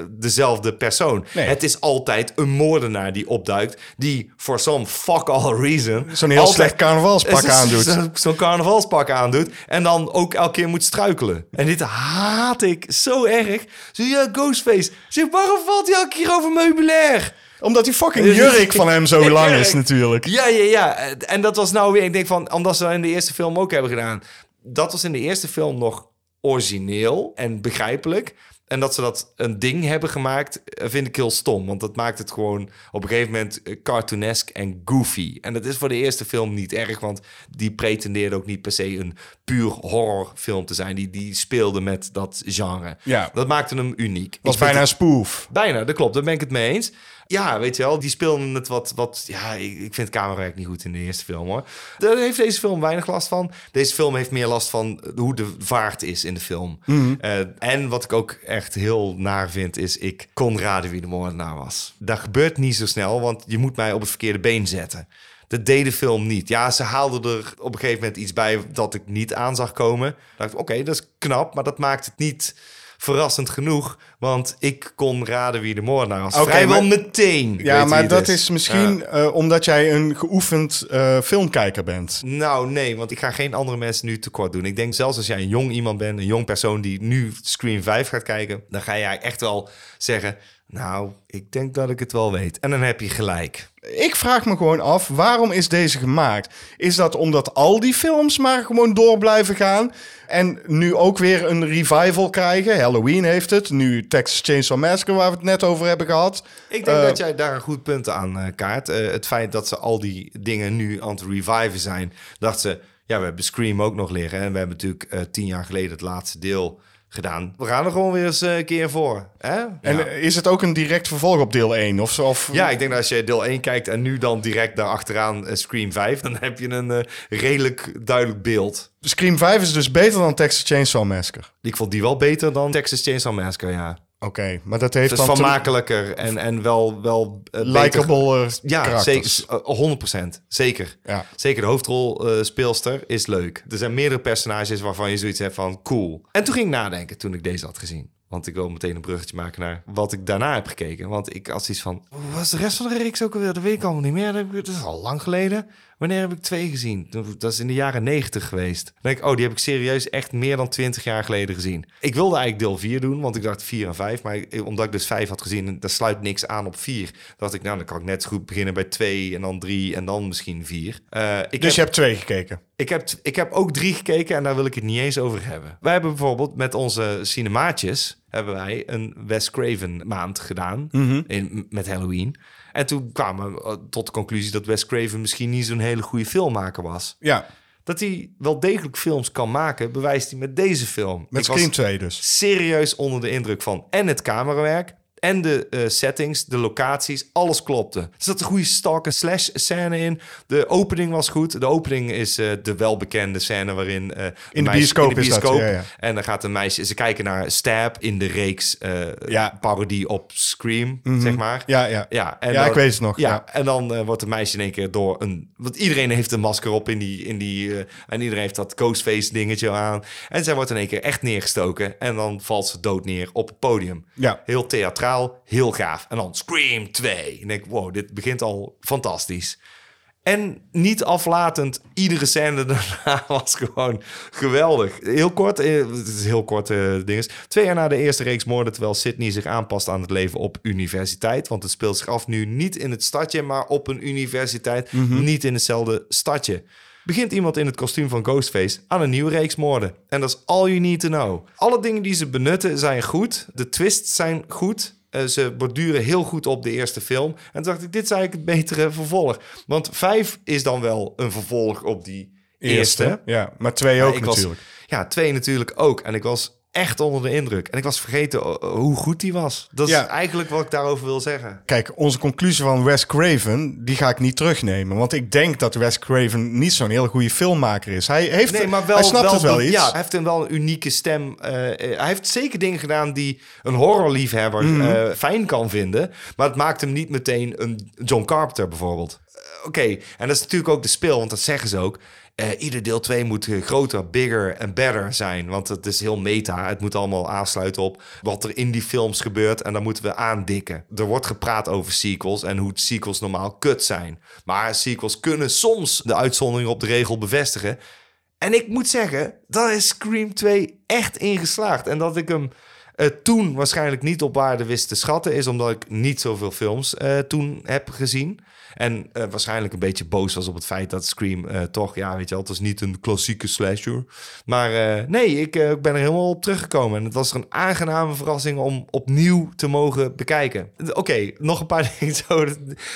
[SPEAKER 1] dezelfde persoon.
[SPEAKER 2] Nee.
[SPEAKER 1] Het is altijd een moordenaar die opduikt, die for some fuck all reason
[SPEAKER 2] Zo'n heel
[SPEAKER 1] altijd-
[SPEAKER 2] slecht carnavalspak
[SPEAKER 1] Zo-
[SPEAKER 2] aandoet.
[SPEAKER 1] zo- Zo'n carnavalspak aandoet en dan ook elke keer moet struikelen. En dit haat ik zo erg. Zo ja, Ghostface. Zeg, waarom valt hij elke keer over meubilair?
[SPEAKER 2] Omdat die fucking jurk van hem zo
[SPEAKER 1] Ik
[SPEAKER 2] lang
[SPEAKER 1] jurk.
[SPEAKER 2] is natuurlijk.
[SPEAKER 1] Ja, ja, ja. En dat was nou weer, ik denk van, omdat ze dat in de eerste film ook hebben gedaan. Dat was in de eerste film nog origineel en begrijpelijk. En dat ze dat een ding hebben gemaakt, eh, vind ik heel stom. Want dat maakt het gewoon op een gegeven moment eh, cartoonesk en goofy. En dat is voor de eerste film niet erg, want die pretendeerde ook niet per se een puur horrorfilm te zijn. Die, die speelde met dat genre.
[SPEAKER 2] Ja.
[SPEAKER 1] Dat maakte hem uniek.
[SPEAKER 2] Was
[SPEAKER 1] Ik vind
[SPEAKER 2] bijna een spoof.
[SPEAKER 1] Bijna, dat klopt. Daar ben ik het mee eens. Ja, weet je wel, die speelden het wat... wat ja, ik, ik vind camerawerk niet goed in de eerste film, hoor. Daar heeft deze film weinig last van. Deze film heeft meer last van hoe de vaart is in de film. Eh, en wat ik ook echt heel naar vind, is ik kon raden wie de moordenaar was. Dat gebeurt niet zo snel, want je moet mij op het verkeerde been zetten. Dat deed de film niet. Ja, ze haalden er op een gegeven moment iets bij dat ik niet aan zag komen. Ik dacht, oké, dat is knap, maar dat maakt het niet verrassend genoeg, want ik kon raden wie de moordenaar was.
[SPEAKER 2] Oké,
[SPEAKER 1] Vrijwel
[SPEAKER 2] maar-
[SPEAKER 1] meteen. Ik
[SPEAKER 2] Ja,
[SPEAKER 1] weet dus.
[SPEAKER 2] maar
[SPEAKER 1] wie het
[SPEAKER 2] dat is, misschien eh, omdat jij een geoefend eh, filmkijker bent.
[SPEAKER 1] Nou, nee, want ik ga geen andere mensen nu tekort doen. Ik denk zelfs als jij een jong iemand bent, een jong persoon die nu Screen 5 gaat kijken, dan ga jij echt wel zeggen, nou, ik denk dat ik het wel weet. En dan heb je gelijk.
[SPEAKER 2] Ik vraag me gewoon af, waarom is deze gemaakt? Is dat omdat al die films maar gewoon door blijven gaan? En nu ook weer een revival krijgen? Halloween heeft het, nu Texas Chainsaw Massacre, waar we het net over hebben gehad.
[SPEAKER 1] Ik denk
[SPEAKER 2] Eh,
[SPEAKER 1] dat jij daar een goed punt aan eh, kaart. Eh, het feit dat ze al die dingen nu aan het reviven zijn, dacht ze, ja, we hebben Scream ook nog liggen. En we hebben natuurlijk eh, tien jaar geleden het laatste deel gedaan. We gaan er gewoon weer eens eh, een keer voor. Hè?
[SPEAKER 2] En eh,
[SPEAKER 1] ja.
[SPEAKER 2] is het ook een direct vervolg op deel 1? Of, zo? of,
[SPEAKER 1] Ja, ik denk dat als je deel 1 kijkt en nu dan direct daarachteraan eh, Scream 5, dan heb je een eh, redelijk duidelijk beeld.
[SPEAKER 2] Scream 5 is dus beter dan Texas Chainsaw Massacre.
[SPEAKER 1] Ik vond die wel beter dan Texas Chainsaw Massacre, ja.
[SPEAKER 2] Oké, maar dat heeft
[SPEAKER 1] Het is
[SPEAKER 2] dan te-
[SPEAKER 1] vermakelijker en, en wel, wel eh, Dus beter-
[SPEAKER 2] likeable eh,
[SPEAKER 1] Ja, zeker,
[SPEAKER 2] karakters.
[SPEAKER 1] eh, 100%. Zeker.
[SPEAKER 2] Ja.
[SPEAKER 1] Zeker de hoofdrolspeelster is leuk. Er zijn meerdere personages waarvan je zoiets hebt van cool. En toen ging ik nadenken toen ik deze had gezien. Want ik wil meteen een bruggetje maken naar wat ik daarna heb gekeken. Want ik had iets van, wat is de rest van de reeks ook alweer? Dat weet ik allemaal niet meer. Dat heb ik- dat is al lang geleden. Wanneer heb ik twee gezien? Dat is in de jaren negentig geweest. Dan denk ik, oh, die heb ik serieus echt meer dan twintig jaar geleden gezien. Ik wilde eigenlijk deel 4 doen, want ik dacht 4 en 5. Maar ik- omdat ik dus 5 had gezien, en daar sluit niks aan op 4. Dacht ik, nou, dan kan ik net zo goed beginnen bij 2 en dan 3 en dan misschien 4. ik heb-
[SPEAKER 2] Dus je hebt twee gekeken.
[SPEAKER 1] ik heb, ik heb ook drie gekeken en daar wil ik het niet eens over hebben. Wij hebben bijvoorbeeld met onze cinemaatjes... hebben wij een Wes Craven maand gedaan
[SPEAKER 2] Mhm.
[SPEAKER 1] in, met Halloween. En toen kwamen we eh, tot de conclusie dat Wes Craven... misschien niet zo'n hele goede filmmaker was.
[SPEAKER 2] Ja,
[SPEAKER 1] Dat hij wel degelijk films kan maken, bewijst hij met deze film.
[SPEAKER 2] met
[SPEAKER 1] Ik was
[SPEAKER 2] Scream 2 dus.
[SPEAKER 1] serieus onder de indruk van en het camerawerk... en de eh, settings, de locaties, alles klopte. Er zat een goede stalk en slash scène in. De opening was goed. De opening is eh, de welbekende scène waarin... eh, een meisje-
[SPEAKER 2] bioscoop
[SPEAKER 1] in de
[SPEAKER 2] is dat,
[SPEAKER 1] bioscoop.
[SPEAKER 2] ja, ja.
[SPEAKER 1] En dan gaat een meisje... Ze kijken naar Stab in de reeks eh,
[SPEAKER 2] Ja. Mhm.
[SPEAKER 1] parodie op Scream, zeg maar.
[SPEAKER 2] Ja, ja.
[SPEAKER 1] Ja, en
[SPEAKER 2] Ja, ik weet het nog,
[SPEAKER 1] Ja,
[SPEAKER 2] ja.
[SPEAKER 1] en dan eh, wordt een meisje in één keer door een... Want iedereen heeft een masker op in die... In die eh, en iedereen heeft dat Ghostface dingetje aan. En zij wordt in één keer echt neergestoken. En dan valt ze dood neer op het podium.
[SPEAKER 2] Ja.
[SPEAKER 1] Heel theatraal, heel gaaf. En dan Scream 2. En ik denk, wow, dit begint al fantastisch. En niet aflatend, iedere scène daarna was gewoon geweldig. Heel kort, eh, het is heel kort eh dinges. Twee jaar na de eerste reeks moorden, terwijl Sydney zich aanpast aan het leven op universiteit. Want het speelt zich af nu niet in het stadje, maar op een universiteit. Niet in hetzelfde stadje. Begint iemand in het kostuum van Ghostface aan een nieuwe reeks moorden. En dat is all you need to know. Alle dingen die ze benutten zijn goed. De twists zijn goed. Eh, ze borduren heel goed op de eerste film. En toen dacht ik, dit is eigenlijk het betere vervolg. Want vijf is dan wel een vervolg op die eerste.
[SPEAKER 2] Ja, maar twee ook
[SPEAKER 1] Maar ik was-
[SPEAKER 2] natuurlijk.
[SPEAKER 1] ja, twee natuurlijk ook. En ik was echt onder de indruk. En ik was vergeten eh, hoe goed die was. Dat is
[SPEAKER 2] Ja.
[SPEAKER 1] eigenlijk wat ik daarover wil zeggen.
[SPEAKER 2] Kijk, onze conclusie van Wes Craven, die ga ik niet terugnemen. Want ik denk dat Wes Craven niet zo'n heel goede filmmaker is. Hij, heeft,
[SPEAKER 1] Nee, maar wel,
[SPEAKER 2] hij snapt
[SPEAKER 1] wel,
[SPEAKER 2] het wel
[SPEAKER 1] de-
[SPEAKER 2] iets.
[SPEAKER 1] Ja, hij heeft een wel een unieke stem. Eh, eh, hij heeft zeker dingen gedaan die een horrorliefhebber
[SPEAKER 2] Mhm.
[SPEAKER 1] eh, fijn kan vinden. Maar het maakt hem niet meteen een John Carpenter bijvoorbeeld. Eh, Oké, en dat is natuurlijk ook de speel, want dat zeggen ze ook. Eh, ieder deel 2 moet eh, groter, bigger en better zijn. Want het is heel meta. Het moet allemaal aansluiten op wat er in die films gebeurt. En daar moeten we aandikken. Er wordt gepraat over sequels en hoe sequels normaal kut zijn. Maar sequels kunnen soms de uitzondering op de regel bevestigen. En ik moet zeggen, daar is Scream 2 echt ingeslaagd. En dat ik hem eh, toen waarschijnlijk niet op waarde wist te schatten, is omdat ik niet zoveel films eh, toen heb gezien. En eh, waarschijnlijk een beetje boos was op het feit dat Scream eh, toch, ja, weet je wel, het is niet een klassieke slasher. Maar eh, nee, ik eh, ik ben er helemaal op teruggekomen. En het was een aangename verrassing om opnieuw te mogen bekijken. Oké, nog een paar dingen zo.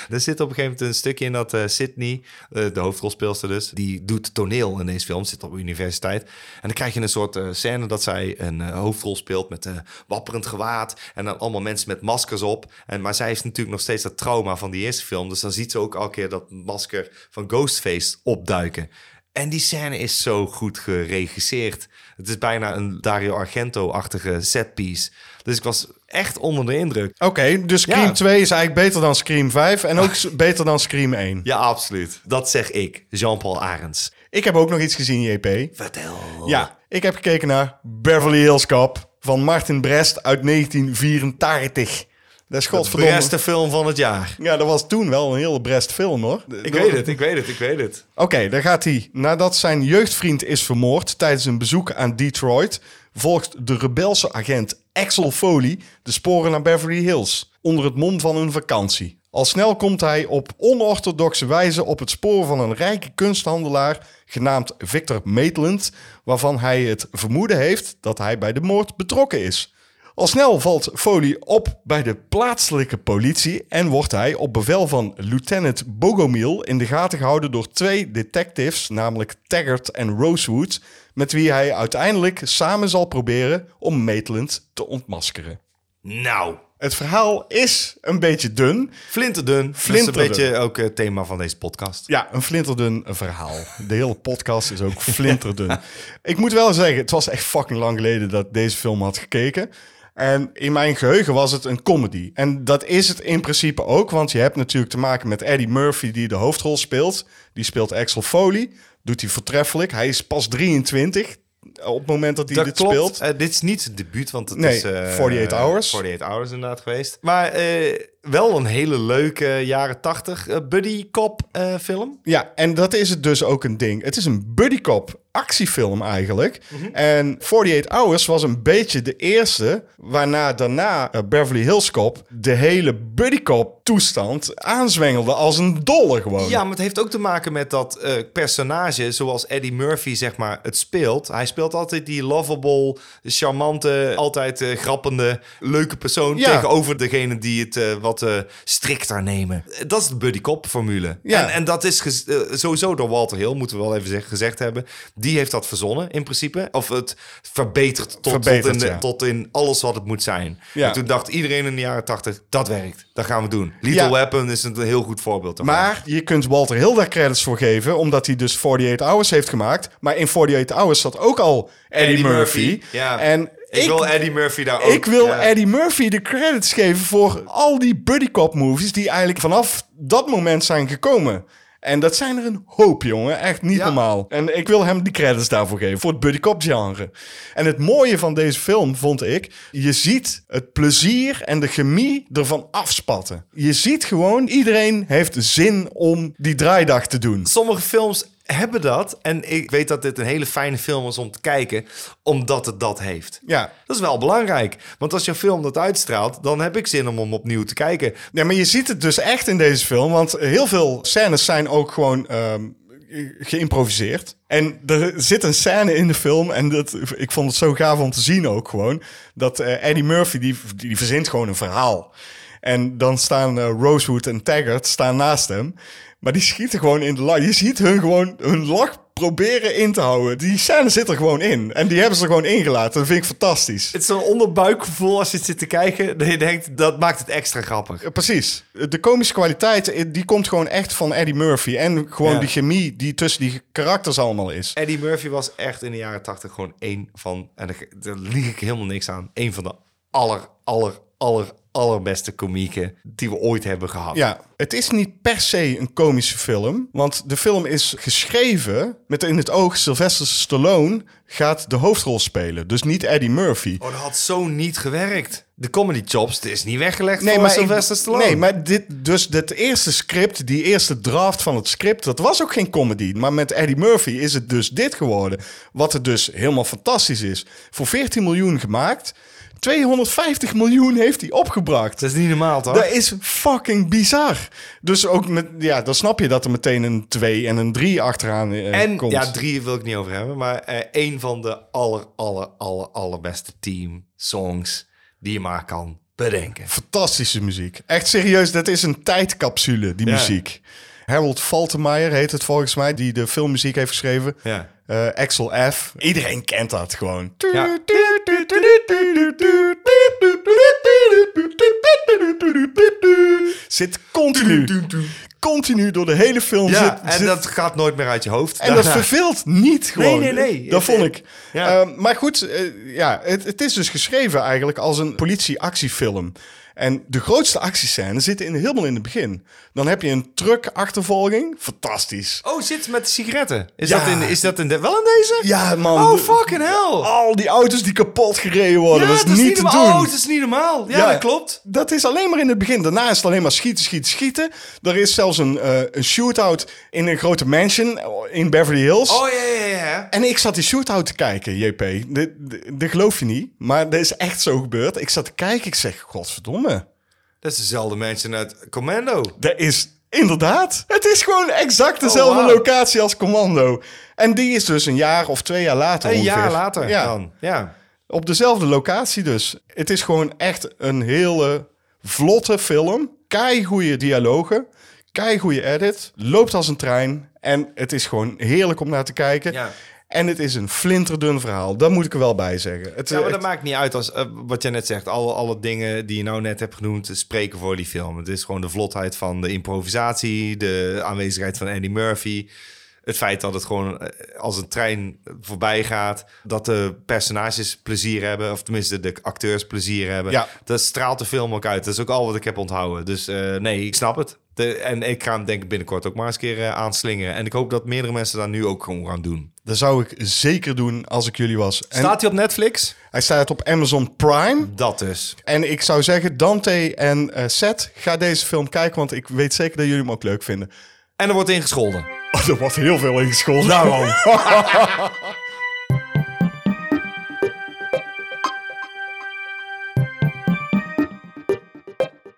[SPEAKER 1] Er zit op een gegeven moment een stukje in dat eh, Sydney, eh, de hoofdrolspeelster dus, die doet toneel in deze film, zit op universiteit. En dan krijg je een soort eh, scène dat zij een eh, hoofdrol speelt met eh, wapperend gewaad en dan allemaal mensen met maskers op. En, maar zij heeft natuurlijk nog steeds dat trauma van die eerste film, dus dan ziet ze ook elke keer dat masker van Ghostface opduiken. En die scène is zo goed geregisseerd. Het is bijna een Dario Argento-achtige setpiece. Dus ik was echt onder de indruk.
[SPEAKER 2] Oké, dus Scream
[SPEAKER 1] Ja.
[SPEAKER 2] 2 is eigenlijk beter dan Scream 5 en ook s- beter dan Scream 1.
[SPEAKER 1] Ja, absoluut. Dat zeg ik, Jean-Paul Arends.
[SPEAKER 2] Ik heb ook nog iets gezien, JP.
[SPEAKER 1] Vertel.
[SPEAKER 2] Ja, ik heb gekeken naar Beverly Hills Cop van Martin Brest uit 1984. Dat is
[SPEAKER 1] De
[SPEAKER 2] godverdomme.
[SPEAKER 1] beste film van het jaar.
[SPEAKER 2] Ja, dat was toen wel een hele Brest film hoor.
[SPEAKER 1] Ik weet het, ik weet het, ik weet het.
[SPEAKER 2] Oké, daar gaat hij. Nadat zijn jeugdvriend is vermoord tijdens een bezoek aan Detroit, volgt de rebelse agent Axel Foley de sporen naar Beverly Hills onder het mom van een vakantie. Al snel komt hij op onorthodoxe wijze op het spoor van een rijke kunsthandelaar genaamd Victor Maitland, waarvan hij het vermoeden heeft dat hij bij de moord betrokken is. Al snel valt Foley op bij de plaatselijke politie en wordt hij op bevel van lieutenant Bogomiel in de gaten gehouden door twee detectives, namelijk Taggart en Rosewood, met wie hij uiteindelijk samen zal proberen om Maitland te ontmaskeren.
[SPEAKER 1] Nou,
[SPEAKER 2] Het verhaal is een beetje dun.
[SPEAKER 1] flinterdun. Dat is
[SPEAKER 2] Flinterdun.
[SPEAKER 1] een beetje ook het thema van deze podcast.
[SPEAKER 2] Ja, een flinterdun verhaal. De hele podcast is ook flinterdun. Ik moet wel zeggen, het was echt fucking lang geleden dat ik deze film had gekeken. En in mijn geheugen was het een comedy. En dat is het in principe ook, want je hebt natuurlijk te maken met Eddie Murphy die de hoofdrol speelt. Die speelt Axel Foley, doet hij voortreffelijk. Hij is pas 23 op het moment dat hij dit speelt.
[SPEAKER 1] Eh, dit is niet het debuut, want het
[SPEAKER 2] Nee,
[SPEAKER 1] is... eh,
[SPEAKER 2] 48 Hours.
[SPEAKER 1] 48 Hours inderdaad geweest. Maar eh, wel een hele leuke jaren 80 eh, buddy cop eh, film.
[SPEAKER 2] Ja, en dat is het dus ook een ding. Het is een buddycop actiefilm eigenlijk.
[SPEAKER 1] Mhm.
[SPEAKER 2] En 48 Hours was een beetje de eerste... waarna daarna eh, Beverly Hills Cop... de hele buddycop toestand aanzwengelde als een dolle gewoon.
[SPEAKER 1] Ja, maar het heeft ook te maken met dat eh, personage, zoals Eddie Murphy zeg maar het speelt. Hij speelt altijd die lovable, charmante, altijd eh, grappende, leuke persoon
[SPEAKER 2] Ja.
[SPEAKER 1] tegenover degene die het eh, wat eh, strikter nemen. Dat is de buddy cop formule.
[SPEAKER 2] Ja.
[SPEAKER 1] En, en dat is gez- eh, sowieso door Walter Hill, moeten we wel even zeg- gezegd hebben. Die die heeft dat verzonnen in principe. Of het verbeterd tot,
[SPEAKER 2] Verbeterd,
[SPEAKER 1] tot, in,
[SPEAKER 2] ja.
[SPEAKER 1] tot in alles wat het moet zijn.
[SPEAKER 2] Ja.
[SPEAKER 1] En toen dacht iedereen in de jaren tachtig, dat werkt. Dat gaan we doen. Little
[SPEAKER 2] Ja.
[SPEAKER 1] Weapon is een heel goed voorbeeld daarvan.
[SPEAKER 2] Maar je kunt Walter Hill daar credits voor geven, omdat hij dus 48 Hours heeft gemaakt. Maar in 48 Hours zat ook al Eddie,
[SPEAKER 1] Eddie
[SPEAKER 2] Murphy.
[SPEAKER 1] Murphy. Ja.
[SPEAKER 2] En
[SPEAKER 1] ik, wil Eddie Murphy daar ook.
[SPEAKER 2] Ik wil
[SPEAKER 1] ja.
[SPEAKER 2] Eddie Murphy de credits geven voor al die buddy cop movies die eigenlijk vanaf dat moment zijn gekomen. En dat zijn er een hoop, jongen. Echt niet
[SPEAKER 1] Ja.
[SPEAKER 2] normaal. En ik wil hem die credits daarvoor geven. Voor het buddy cop genre. En het mooie van deze film, vond ik... Je ziet het plezier en de chemie ervan afspatten. Je ziet gewoon, iedereen heeft zin om die draaidag te doen.
[SPEAKER 1] Sommige films hebben dat. En ik weet dat dit een hele fijne film is om te kijken, omdat het dat heeft.
[SPEAKER 2] Ja.
[SPEAKER 1] Dat is wel belangrijk. Want als jouw film dat uitstraalt, dan heb ik zin om hem opnieuw te kijken.
[SPEAKER 2] Ja, maar je ziet het dus echt in deze film. Want heel veel scènes zijn ook gewoon ehm, geïmproviseerd. En er zit een scène in de film. En dat, ik vond het zo gaaf om te zien ook gewoon. Dat eh, Eddie Murphy, die, die verzint gewoon een verhaal. En dan staan eh, Rosewood en Taggart staan naast hem. Maar die schieten gewoon in de lach. Je ziet hun gewoon hun lach proberen in te houden. Die scène zit er gewoon in. En die hebben ze er gewoon ingelaten. Dat vind ik fantastisch.
[SPEAKER 1] Het is zo'n onderbuikgevoel als je het zit te kijken. Dat je denkt, dat maakt het extra grappig.
[SPEAKER 2] Eh, Precies. De komische kwaliteit, eh, die komt gewoon echt van Eddie Murphy. En gewoon
[SPEAKER 1] Ja.
[SPEAKER 2] die chemie die tussen die karakters allemaal is.
[SPEAKER 1] Eddie Murphy was echt in de jaren tachtig gewoon één van... En daar, daar lieg ik helemaal niks aan. Een van de aller, aller, aller, allerbeste komieken die we ooit hebben gehad.
[SPEAKER 2] Ja, het is niet per se een komische film. Want de film is geschreven met in het oog Sylvester Stallone gaat de hoofdrol spelen. Dus niet Eddie Murphy.
[SPEAKER 1] Oh, dat had zo niet gewerkt. De comedy chops, het is niet weggelegd nee, voor maar
[SPEAKER 2] ik-
[SPEAKER 1] Sylvester Stallone.
[SPEAKER 2] Nee, maar dit, dus dat eerste script, die eerste draft van het script, dat was ook geen comedy. Maar met Eddie Murphy is het dus dit geworden. Wat het dus helemaal fantastisch is. Voor 14 miljoen gemaakt, 250 miljoen heeft hij opgebracht.
[SPEAKER 1] Dat is niet normaal, toch?
[SPEAKER 2] Dat is fucking bizar. Dus ook met, ja, dan snap je dat er meteen een 2 en een 3 achteraan eh,
[SPEAKER 1] En
[SPEAKER 2] komt.
[SPEAKER 1] ja, drie wil ik niet over hebben, maar eh één van de aller, aller, aller, allerbeste team songs die je maar kan bedenken.
[SPEAKER 2] Fantastische muziek. Echt serieus, dat is een tijdcapsule, die
[SPEAKER 1] Ja.
[SPEAKER 2] muziek. Harold Faltermeyer heet het volgens mij, die de filmmuziek heeft geschreven.
[SPEAKER 1] Ja.
[SPEAKER 2] Eh, Axel F. Iedereen kent dat gewoon.
[SPEAKER 1] Ja.
[SPEAKER 2] Zit continu, continu door de hele film.
[SPEAKER 1] Ja,
[SPEAKER 2] zit,
[SPEAKER 1] en
[SPEAKER 2] zit-
[SPEAKER 1] dat gaat nooit meer uit je hoofd.
[SPEAKER 2] en dat
[SPEAKER 1] Daarna.
[SPEAKER 2] verveelt niet gewoon.
[SPEAKER 1] nee, nee.
[SPEAKER 2] Dat
[SPEAKER 1] Het-
[SPEAKER 2] vond ik.
[SPEAKER 1] Ja.
[SPEAKER 2] Eh, maar goed, eh, ja, het, het is dus geschreven eigenlijk als een politieactiefilm. En de grootste actiescènes zitten in, helemaal in het begin. Dan heb je een truck-achtervolging. Fantastisch.
[SPEAKER 1] Oh, zit ze met de sigaretten? Is,
[SPEAKER 2] Ja.
[SPEAKER 1] dat, in, is dat in de, wel in deze?
[SPEAKER 2] Ja, man.
[SPEAKER 1] Oh,
[SPEAKER 2] De-
[SPEAKER 1] fucking hell.
[SPEAKER 2] Al die auto's die kapot gereden
[SPEAKER 1] ja,
[SPEAKER 2] worden. dat is niet te doen.
[SPEAKER 1] normaal. Oh, dat is niet normaal. Ja, dat klopt.
[SPEAKER 2] Dat is alleen maar in het begin. Daarna is het alleen maar schieten, schieten, schieten. Er is zelfs een, eh een shootout in een grote mansion in Beverly Hills.
[SPEAKER 1] Oh, ja, ja, ja, ja.
[SPEAKER 2] En ik zat die shootout te kijken, JP. Dit dit- dit geloof je niet, maar dat is echt zo gebeurd. Ik zat te kijken, ik zeg, godverdomme.
[SPEAKER 1] Dat is dezelfde mensen uit Commando.
[SPEAKER 2] Dat is inderdaad. Het is gewoon exact dezelfde
[SPEAKER 1] Oh, wauw.
[SPEAKER 2] locatie als Commando. En die is dus een jaar of twee jaar later
[SPEAKER 1] Een
[SPEAKER 2] ongeveer.
[SPEAKER 1] jaar later
[SPEAKER 2] Ja,
[SPEAKER 1] dan. Ja.
[SPEAKER 2] op dezelfde locatie dus. Het is gewoon echt een hele vlotte film. Keigoede dialogen, keigoede edit. Loopt als een trein en het is gewoon heerlijk om naar te kijken.
[SPEAKER 1] Ja.
[SPEAKER 2] En het is een flinterdun verhaal. Dat moet ik er wel bij zeggen. Het,
[SPEAKER 1] Ja, maar dat
[SPEAKER 2] het-
[SPEAKER 1] maakt niet uit als eh, wat jij net zegt. Alle, alle dingen die je nou net hebt genoemd eh, spreken voor die film. Het is gewoon de vlotheid van de improvisatie, de aanwezigheid van Andy Murphy. Het feit dat het gewoon eh, als een trein voorbij gaat. Dat de personages plezier hebben. Of tenminste, de acteurs plezier hebben.
[SPEAKER 2] Ja.
[SPEAKER 1] Dat straalt de film ook uit. Dat is ook al wat ik heb onthouden. Dus eh, nee, ik snap het. De- en ik ga hem denk ik binnenkort ook maar eens een keer eh, aanslingeren. En ik hoop dat meerdere mensen daar nu ook gewoon gaan doen.
[SPEAKER 2] dat zou ik zeker doen als ik jullie was. En
[SPEAKER 1] Staat hij op Netflix?
[SPEAKER 2] Hij staat op Amazon Prime.
[SPEAKER 1] Dat dus.
[SPEAKER 2] En ik zou zeggen, Dante en eh, Seth, ga deze film kijken. Want ik weet zeker dat jullie hem ook leuk vinden.
[SPEAKER 1] En er wordt ingescholden.
[SPEAKER 2] Oh, er wordt heel veel ingescholden.
[SPEAKER 1] Nou,
[SPEAKER 2] Daarom.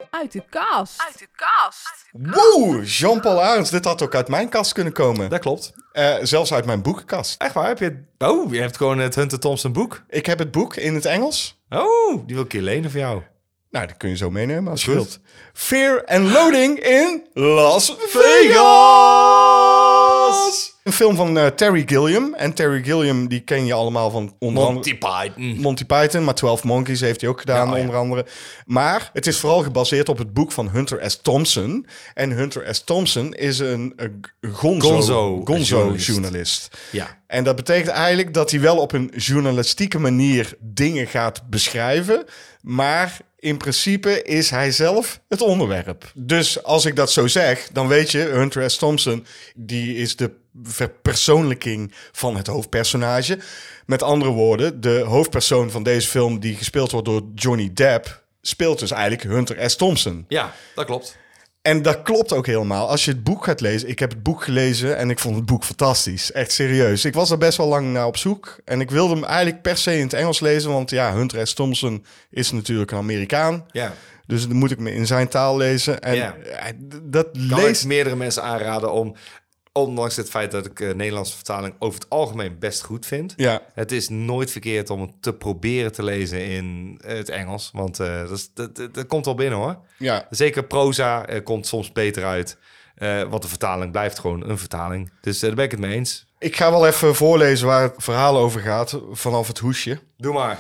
[SPEAKER 5] Uit de kast. Uit de kast.
[SPEAKER 2] Woe, Jean-Paul Arends. Dit had ook uit mijn kast kunnen komen.
[SPEAKER 1] Dat klopt.
[SPEAKER 2] Eh, zelfs uit mijn boekenkast.
[SPEAKER 1] Echt waar? Heb je... Oh, je hebt gewoon het Hunter Thompson boek.
[SPEAKER 2] Ik heb het boek in het Engels.
[SPEAKER 1] Oh, die wil ik hier lenen voor jou.
[SPEAKER 2] Nou, dat kun je zo meenemen als je
[SPEAKER 1] Goed.
[SPEAKER 2] wilt. Fear and Loading in Las Vegas. Een film van eh, Terry Gilliam. En Terry Gilliam, die ken je allemaal van onder andere...
[SPEAKER 1] Monty Python.
[SPEAKER 2] Monty Python, maar 12 Monkeys heeft hij ook gedaan,
[SPEAKER 1] Ja, ja.
[SPEAKER 2] onder andere. Maar het is vooral gebaseerd op het boek van Hunter S. Thompson. En Hunter S. Thompson is een, eh, g- gonzo,
[SPEAKER 1] Gonzo-
[SPEAKER 2] gonzo-journalist.
[SPEAKER 1] journalist. Ja.
[SPEAKER 2] En dat betekent eigenlijk dat hij wel op een journalistieke manier dingen gaat beschrijven. Maar in principe is hij zelf het onderwerp. Dus als ik dat zo zeg, dan weet je, Hunter S. Thompson, die is de verpersoonlijking van het hoofdpersonage. Met andere woorden, de hoofdpersoon van deze film, die gespeeld wordt door Johnny Depp, speelt dus eigenlijk Hunter S. Thompson.
[SPEAKER 1] Ja, dat klopt.
[SPEAKER 2] En dat klopt ook helemaal. Als je het boek gaat lezen. Ik heb het boek gelezen en ik vond het boek fantastisch. Echt serieus. Ik was er best wel lang naar op zoek. En ik wilde hem eigenlijk per se in het Engels lezen. Want ja, Hunter S. Thompson is natuurlijk een Amerikaan.
[SPEAKER 1] Ja.
[SPEAKER 2] Dus dan moet ik me in zijn taal lezen. En
[SPEAKER 1] Ja.
[SPEAKER 2] eh, d- dat
[SPEAKER 1] Kan
[SPEAKER 2] leest...
[SPEAKER 1] ik meerdere mensen aanraden om, ondanks het feit dat ik eh, Nederlandse vertaling over het algemeen best goed vind.
[SPEAKER 2] Ja.
[SPEAKER 1] Het is nooit verkeerd om het te proberen te lezen in eh, het Engels. Want eh, dat, is- dat, dat, dat komt wel binnen hoor.
[SPEAKER 2] Ja.
[SPEAKER 1] Zeker proza eh, komt soms beter uit. eh, want de vertaling blijft gewoon een vertaling. Dus eh, daar ben ik het mee eens.
[SPEAKER 2] Ik ga wel even voorlezen waar het verhaal over gaat. Vanaf het hoesje.
[SPEAKER 1] Doe maar.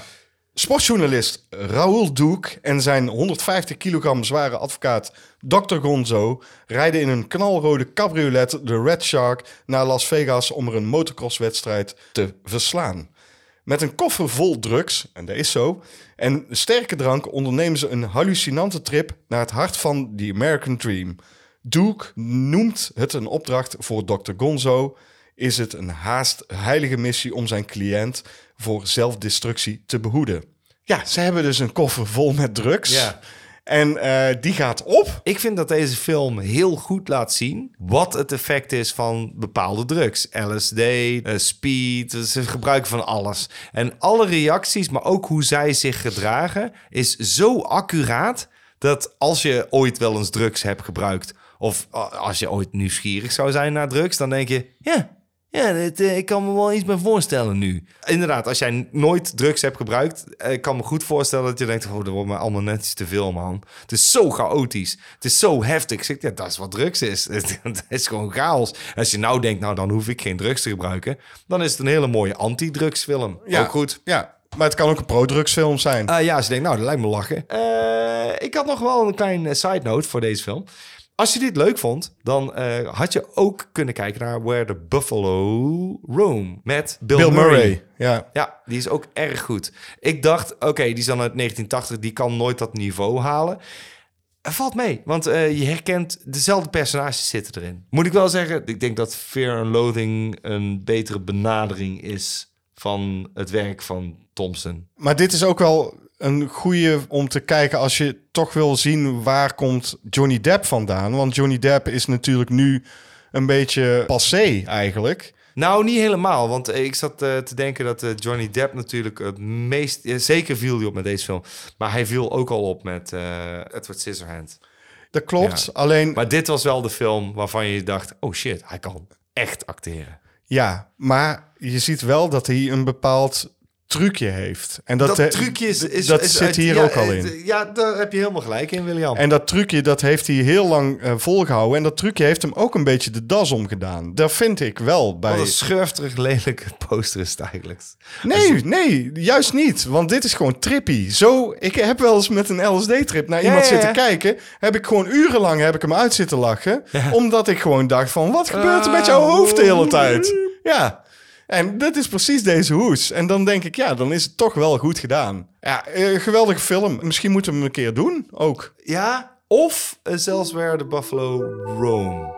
[SPEAKER 2] Sportjournalist Raoul Doek en zijn 150 kilogram zware advocaat Dr. Gonzo rijden in een knalrode cabriolet de Red Shark naar Las Vegas om er een motocrosswedstrijd te verslaan. Met een koffer vol drugs, en dat is zo, en sterke drank ondernemen ze een hallucinante trip naar het hart van The American Dream. Duke noemt het een opdracht voor Dr. Gonzo. Is het een haast heilige missie om zijn cliënt voor zelfdestructie te behoeden? Ja, ze hebben dus een koffer vol met drugs.
[SPEAKER 1] Ja.
[SPEAKER 2] En eh, die gaat op.
[SPEAKER 1] Ik vind dat deze film heel goed laat zien wat het effect is van bepaalde drugs. LSD, eh, speed, ze gebruiken van alles. En alle reacties, maar ook hoe zij zich gedragen, is zo accuraat dat als je ooit wel eens drugs hebt gebruikt, of a- als je ooit nieuwsgierig zou zijn naar drugs, dan denk je, ja. Ja, dit, eh, ik kan me wel iets bij voorstellen nu. Inderdaad, als jij nooit drugs hebt gebruikt, eh, ik kan me goed voorstellen dat je denkt: Oh, dat wordt me allemaal net iets te veel, man. Het is zo chaotisch. Het is zo heftig. Ik zeg, ja, dat is wat drugs is. Het is gewoon chaos. Als je nou denkt: Nou, dan hoef ik geen drugs te gebruiken, dan is het een hele mooie anti-drugsfilm.
[SPEAKER 2] Ja,
[SPEAKER 1] Ook goed.
[SPEAKER 2] Ja, maar het kan ook een pro-drugsfilm zijn.
[SPEAKER 1] Eh, ja, ze denkt, nou, dat lijkt me lachen. Eh, ik had nog wel een klein eh, side note voor deze film. Als je dit leuk vond, dan eh, had je ook kunnen kijken naar Where the Buffalo Roam met Bill,
[SPEAKER 2] Bill
[SPEAKER 1] Murray.
[SPEAKER 2] Murray. Ja.
[SPEAKER 1] Ja, die is ook erg goed. Ik dacht, oké, die is dan uit 1980, die kan nooit dat niveau halen. Eh, Valt mee, want eh, je herkent dezelfde personages zitten erin. Moet ik wel zeggen, ik denk dat Fear and Loathing een betere benadering is van het werk van Thompson.
[SPEAKER 2] Maar dit is ook wel een goede om te kijken als je toch wil zien waar komt Johnny Depp vandaan. Want Johnny Depp is natuurlijk nu een beetje passé eigenlijk.
[SPEAKER 1] Nou, niet helemaal. Want eh, ik zat eh, te denken dat eh, Johnny Depp natuurlijk het meest... eh, zeker viel hij op met deze film. Maar hij viel ook al op met eh, Edward Scissorhand.
[SPEAKER 2] Dat klopt.
[SPEAKER 1] Ja.
[SPEAKER 2] Alleen
[SPEAKER 1] Maar dit was wel de film waarvan je dacht... Oh shit, hij kan echt acteren.
[SPEAKER 2] ja, maar je ziet wel dat hij een bepaald trucje heeft. En dat,
[SPEAKER 1] Dat,
[SPEAKER 2] eh,
[SPEAKER 1] trucje is... is
[SPEAKER 2] dat
[SPEAKER 1] is
[SPEAKER 2] zit
[SPEAKER 1] uit-
[SPEAKER 2] hier
[SPEAKER 1] ja,
[SPEAKER 2] ook al in.
[SPEAKER 1] eh, Ja, daar heb je helemaal gelijk in, William.
[SPEAKER 2] En dat trucje, dat heeft hij heel lang eh, volgehouden. En dat trucje heeft hem ook een beetje de das omgedaan. Dat vind ik wel bij...
[SPEAKER 1] Wat een schurfterig lelijke poster is het eigenlijk.
[SPEAKER 2] Nee, nee, juist niet. Want dit is gewoon trippy. Zo, ik heb wel eens met een LSD-trip naar iemand
[SPEAKER 1] ja, ja.
[SPEAKER 2] zitten kijken. Heb ik gewoon urenlang heb ik hem uit zitten lachen. Omdat ik gewoon dacht van, wat gebeurt er met jouw
[SPEAKER 1] Oh.
[SPEAKER 2] hoofd de hele tijd? Ja. En dat is precies deze hoes. En dan denk ik, ja, dan is het toch wel goed gedaan. Ja, eh, geweldige film. Misschien moeten we hem een keer doen ook.
[SPEAKER 1] Ja, of eh, zelfs Where the Buffalo Roam.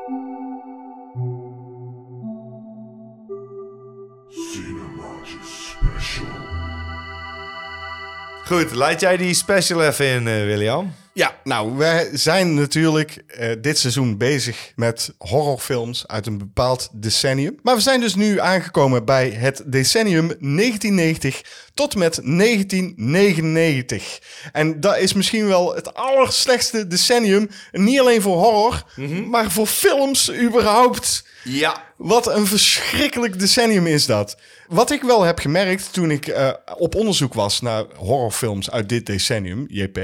[SPEAKER 1] Goed, laat jij die special even in, eh, William.
[SPEAKER 2] Ja, nou, wij zijn natuurlijk eh, dit seizoen bezig met horrorfilms uit een bepaald decennium. Maar we zijn dus nu aangekomen bij het decennium 1990 tot en met 1999. En dat is misschien wel het allerslechtste decennium. Niet alleen voor horror, maar voor films überhaupt.
[SPEAKER 1] Ja.
[SPEAKER 2] Wat een verschrikkelijk decennium is dat. Wat ik wel heb gemerkt toen ik eh, op onderzoek was naar horrorfilms uit dit decennium, JP.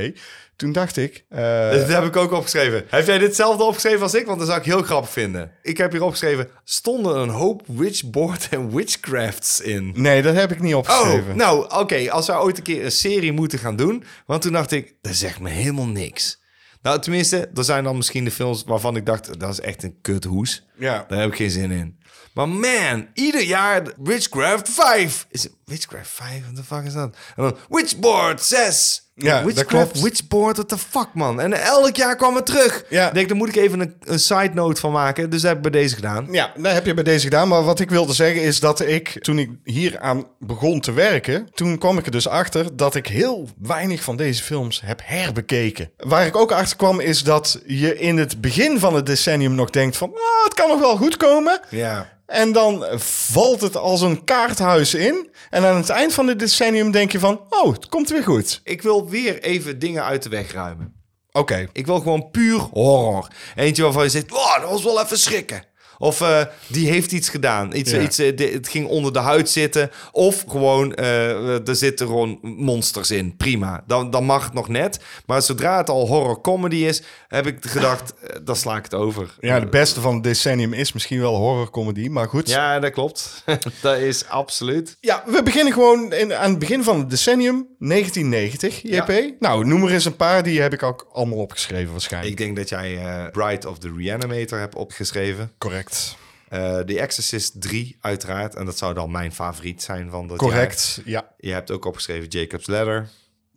[SPEAKER 2] Toen dacht ik, eh,
[SPEAKER 1] Dat heb ik ook opgeschreven. Heb jij ditzelfde opgeschreven als ik? Want dat zou ik heel grappig vinden. Ik heb hier opgeschreven, stonden een hoop witchboard en witchcrafts in.
[SPEAKER 2] nee, dat heb ik niet opgeschreven.
[SPEAKER 1] Oh, nou, oké. Als we ooit een keer een serie moeten gaan doen. Want toen dacht ik, dat zegt me helemaal niks. Nou, tenminste, er zijn dan misschien de films waarvan ik dacht, dat is echt een kuthoes.
[SPEAKER 2] Ja.
[SPEAKER 1] Daar heb ik geen zin in. Maar man, ieder jaar Witchcraft 5. Is het Witchcraft 5? What the fuck is dat? En dan Witchboard 6.
[SPEAKER 2] Ja, dat
[SPEAKER 1] Witchcraft,
[SPEAKER 2] klopt.
[SPEAKER 1] Witchboard, what the fuck, man. En elk jaar kwam het terug.
[SPEAKER 2] Ja.
[SPEAKER 1] Ik denk, daar moet ik even een, een side note van maken. Dus dat heb ik bij deze gedaan.
[SPEAKER 2] Ja, dat heb je bij deze gedaan. Maar wat ik wilde zeggen is dat ik, toen ik hier aan begon te werken, toen kwam ik er dus achter dat ik heel weinig van deze films heb herbekeken. Waar ik ook achter kwam is dat je in het begin van het decennium nog denkt van, ah, het kan nog wel goed komen.
[SPEAKER 1] Ja.
[SPEAKER 2] En dan valt het als een kaarthuis in. En aan het eind van het decennium denk je van, oh, het komt weer goed.
[SPEAKER 1] Ik wil weer even dingen uit de weg ruimen.
[SPEAKER 2] Oké.
[SPEAKER 1] Ik wil gewoon puur horror. Eentje waarvan je zegt, wow, dat was wel even schrikken. Of eh, die heeft iets gedaan. Iets,
[SPEAKER 2] Ja.
[SPEAKER 1] iets, eh, di- het ging onder de huid zitten. Of gewoon, eh, er zitten gewoon monsters in. Prima. Dan, dan mag het nog net. Maar zodra het al horror comedy is, heb ik gedacht, eh, dan sla ik het over.
[SPEAKER 2] Ja, de beste van het decennium is misschien wel horrorcomedy, maar goed.
[SPEAKER 1] Ja, dat klopt. dat is absoluut.
[SPEAKER 2] Ja, we beginnen gewoon in, aan het begin van het decennium, 1990, JP. Nou, noem er eens een paar, die heb ik ook allemaal opgeschreven waarschijnlijk.
[SPEAKER 1] Ik denk dat jij eh, Bride of the Reanimator hebt opgeschreven.
[SPEAKER 2] Correct.
[SPEAKER 1] Eh The Exorcist 3, uiteraard. En dat zou dan mijn favoriet zijn van dat jaar.
[SPEAKER 2] Correct, ja.
[SPEAKER 1] Je hebt ook opgeschreven Jacob's Ladder.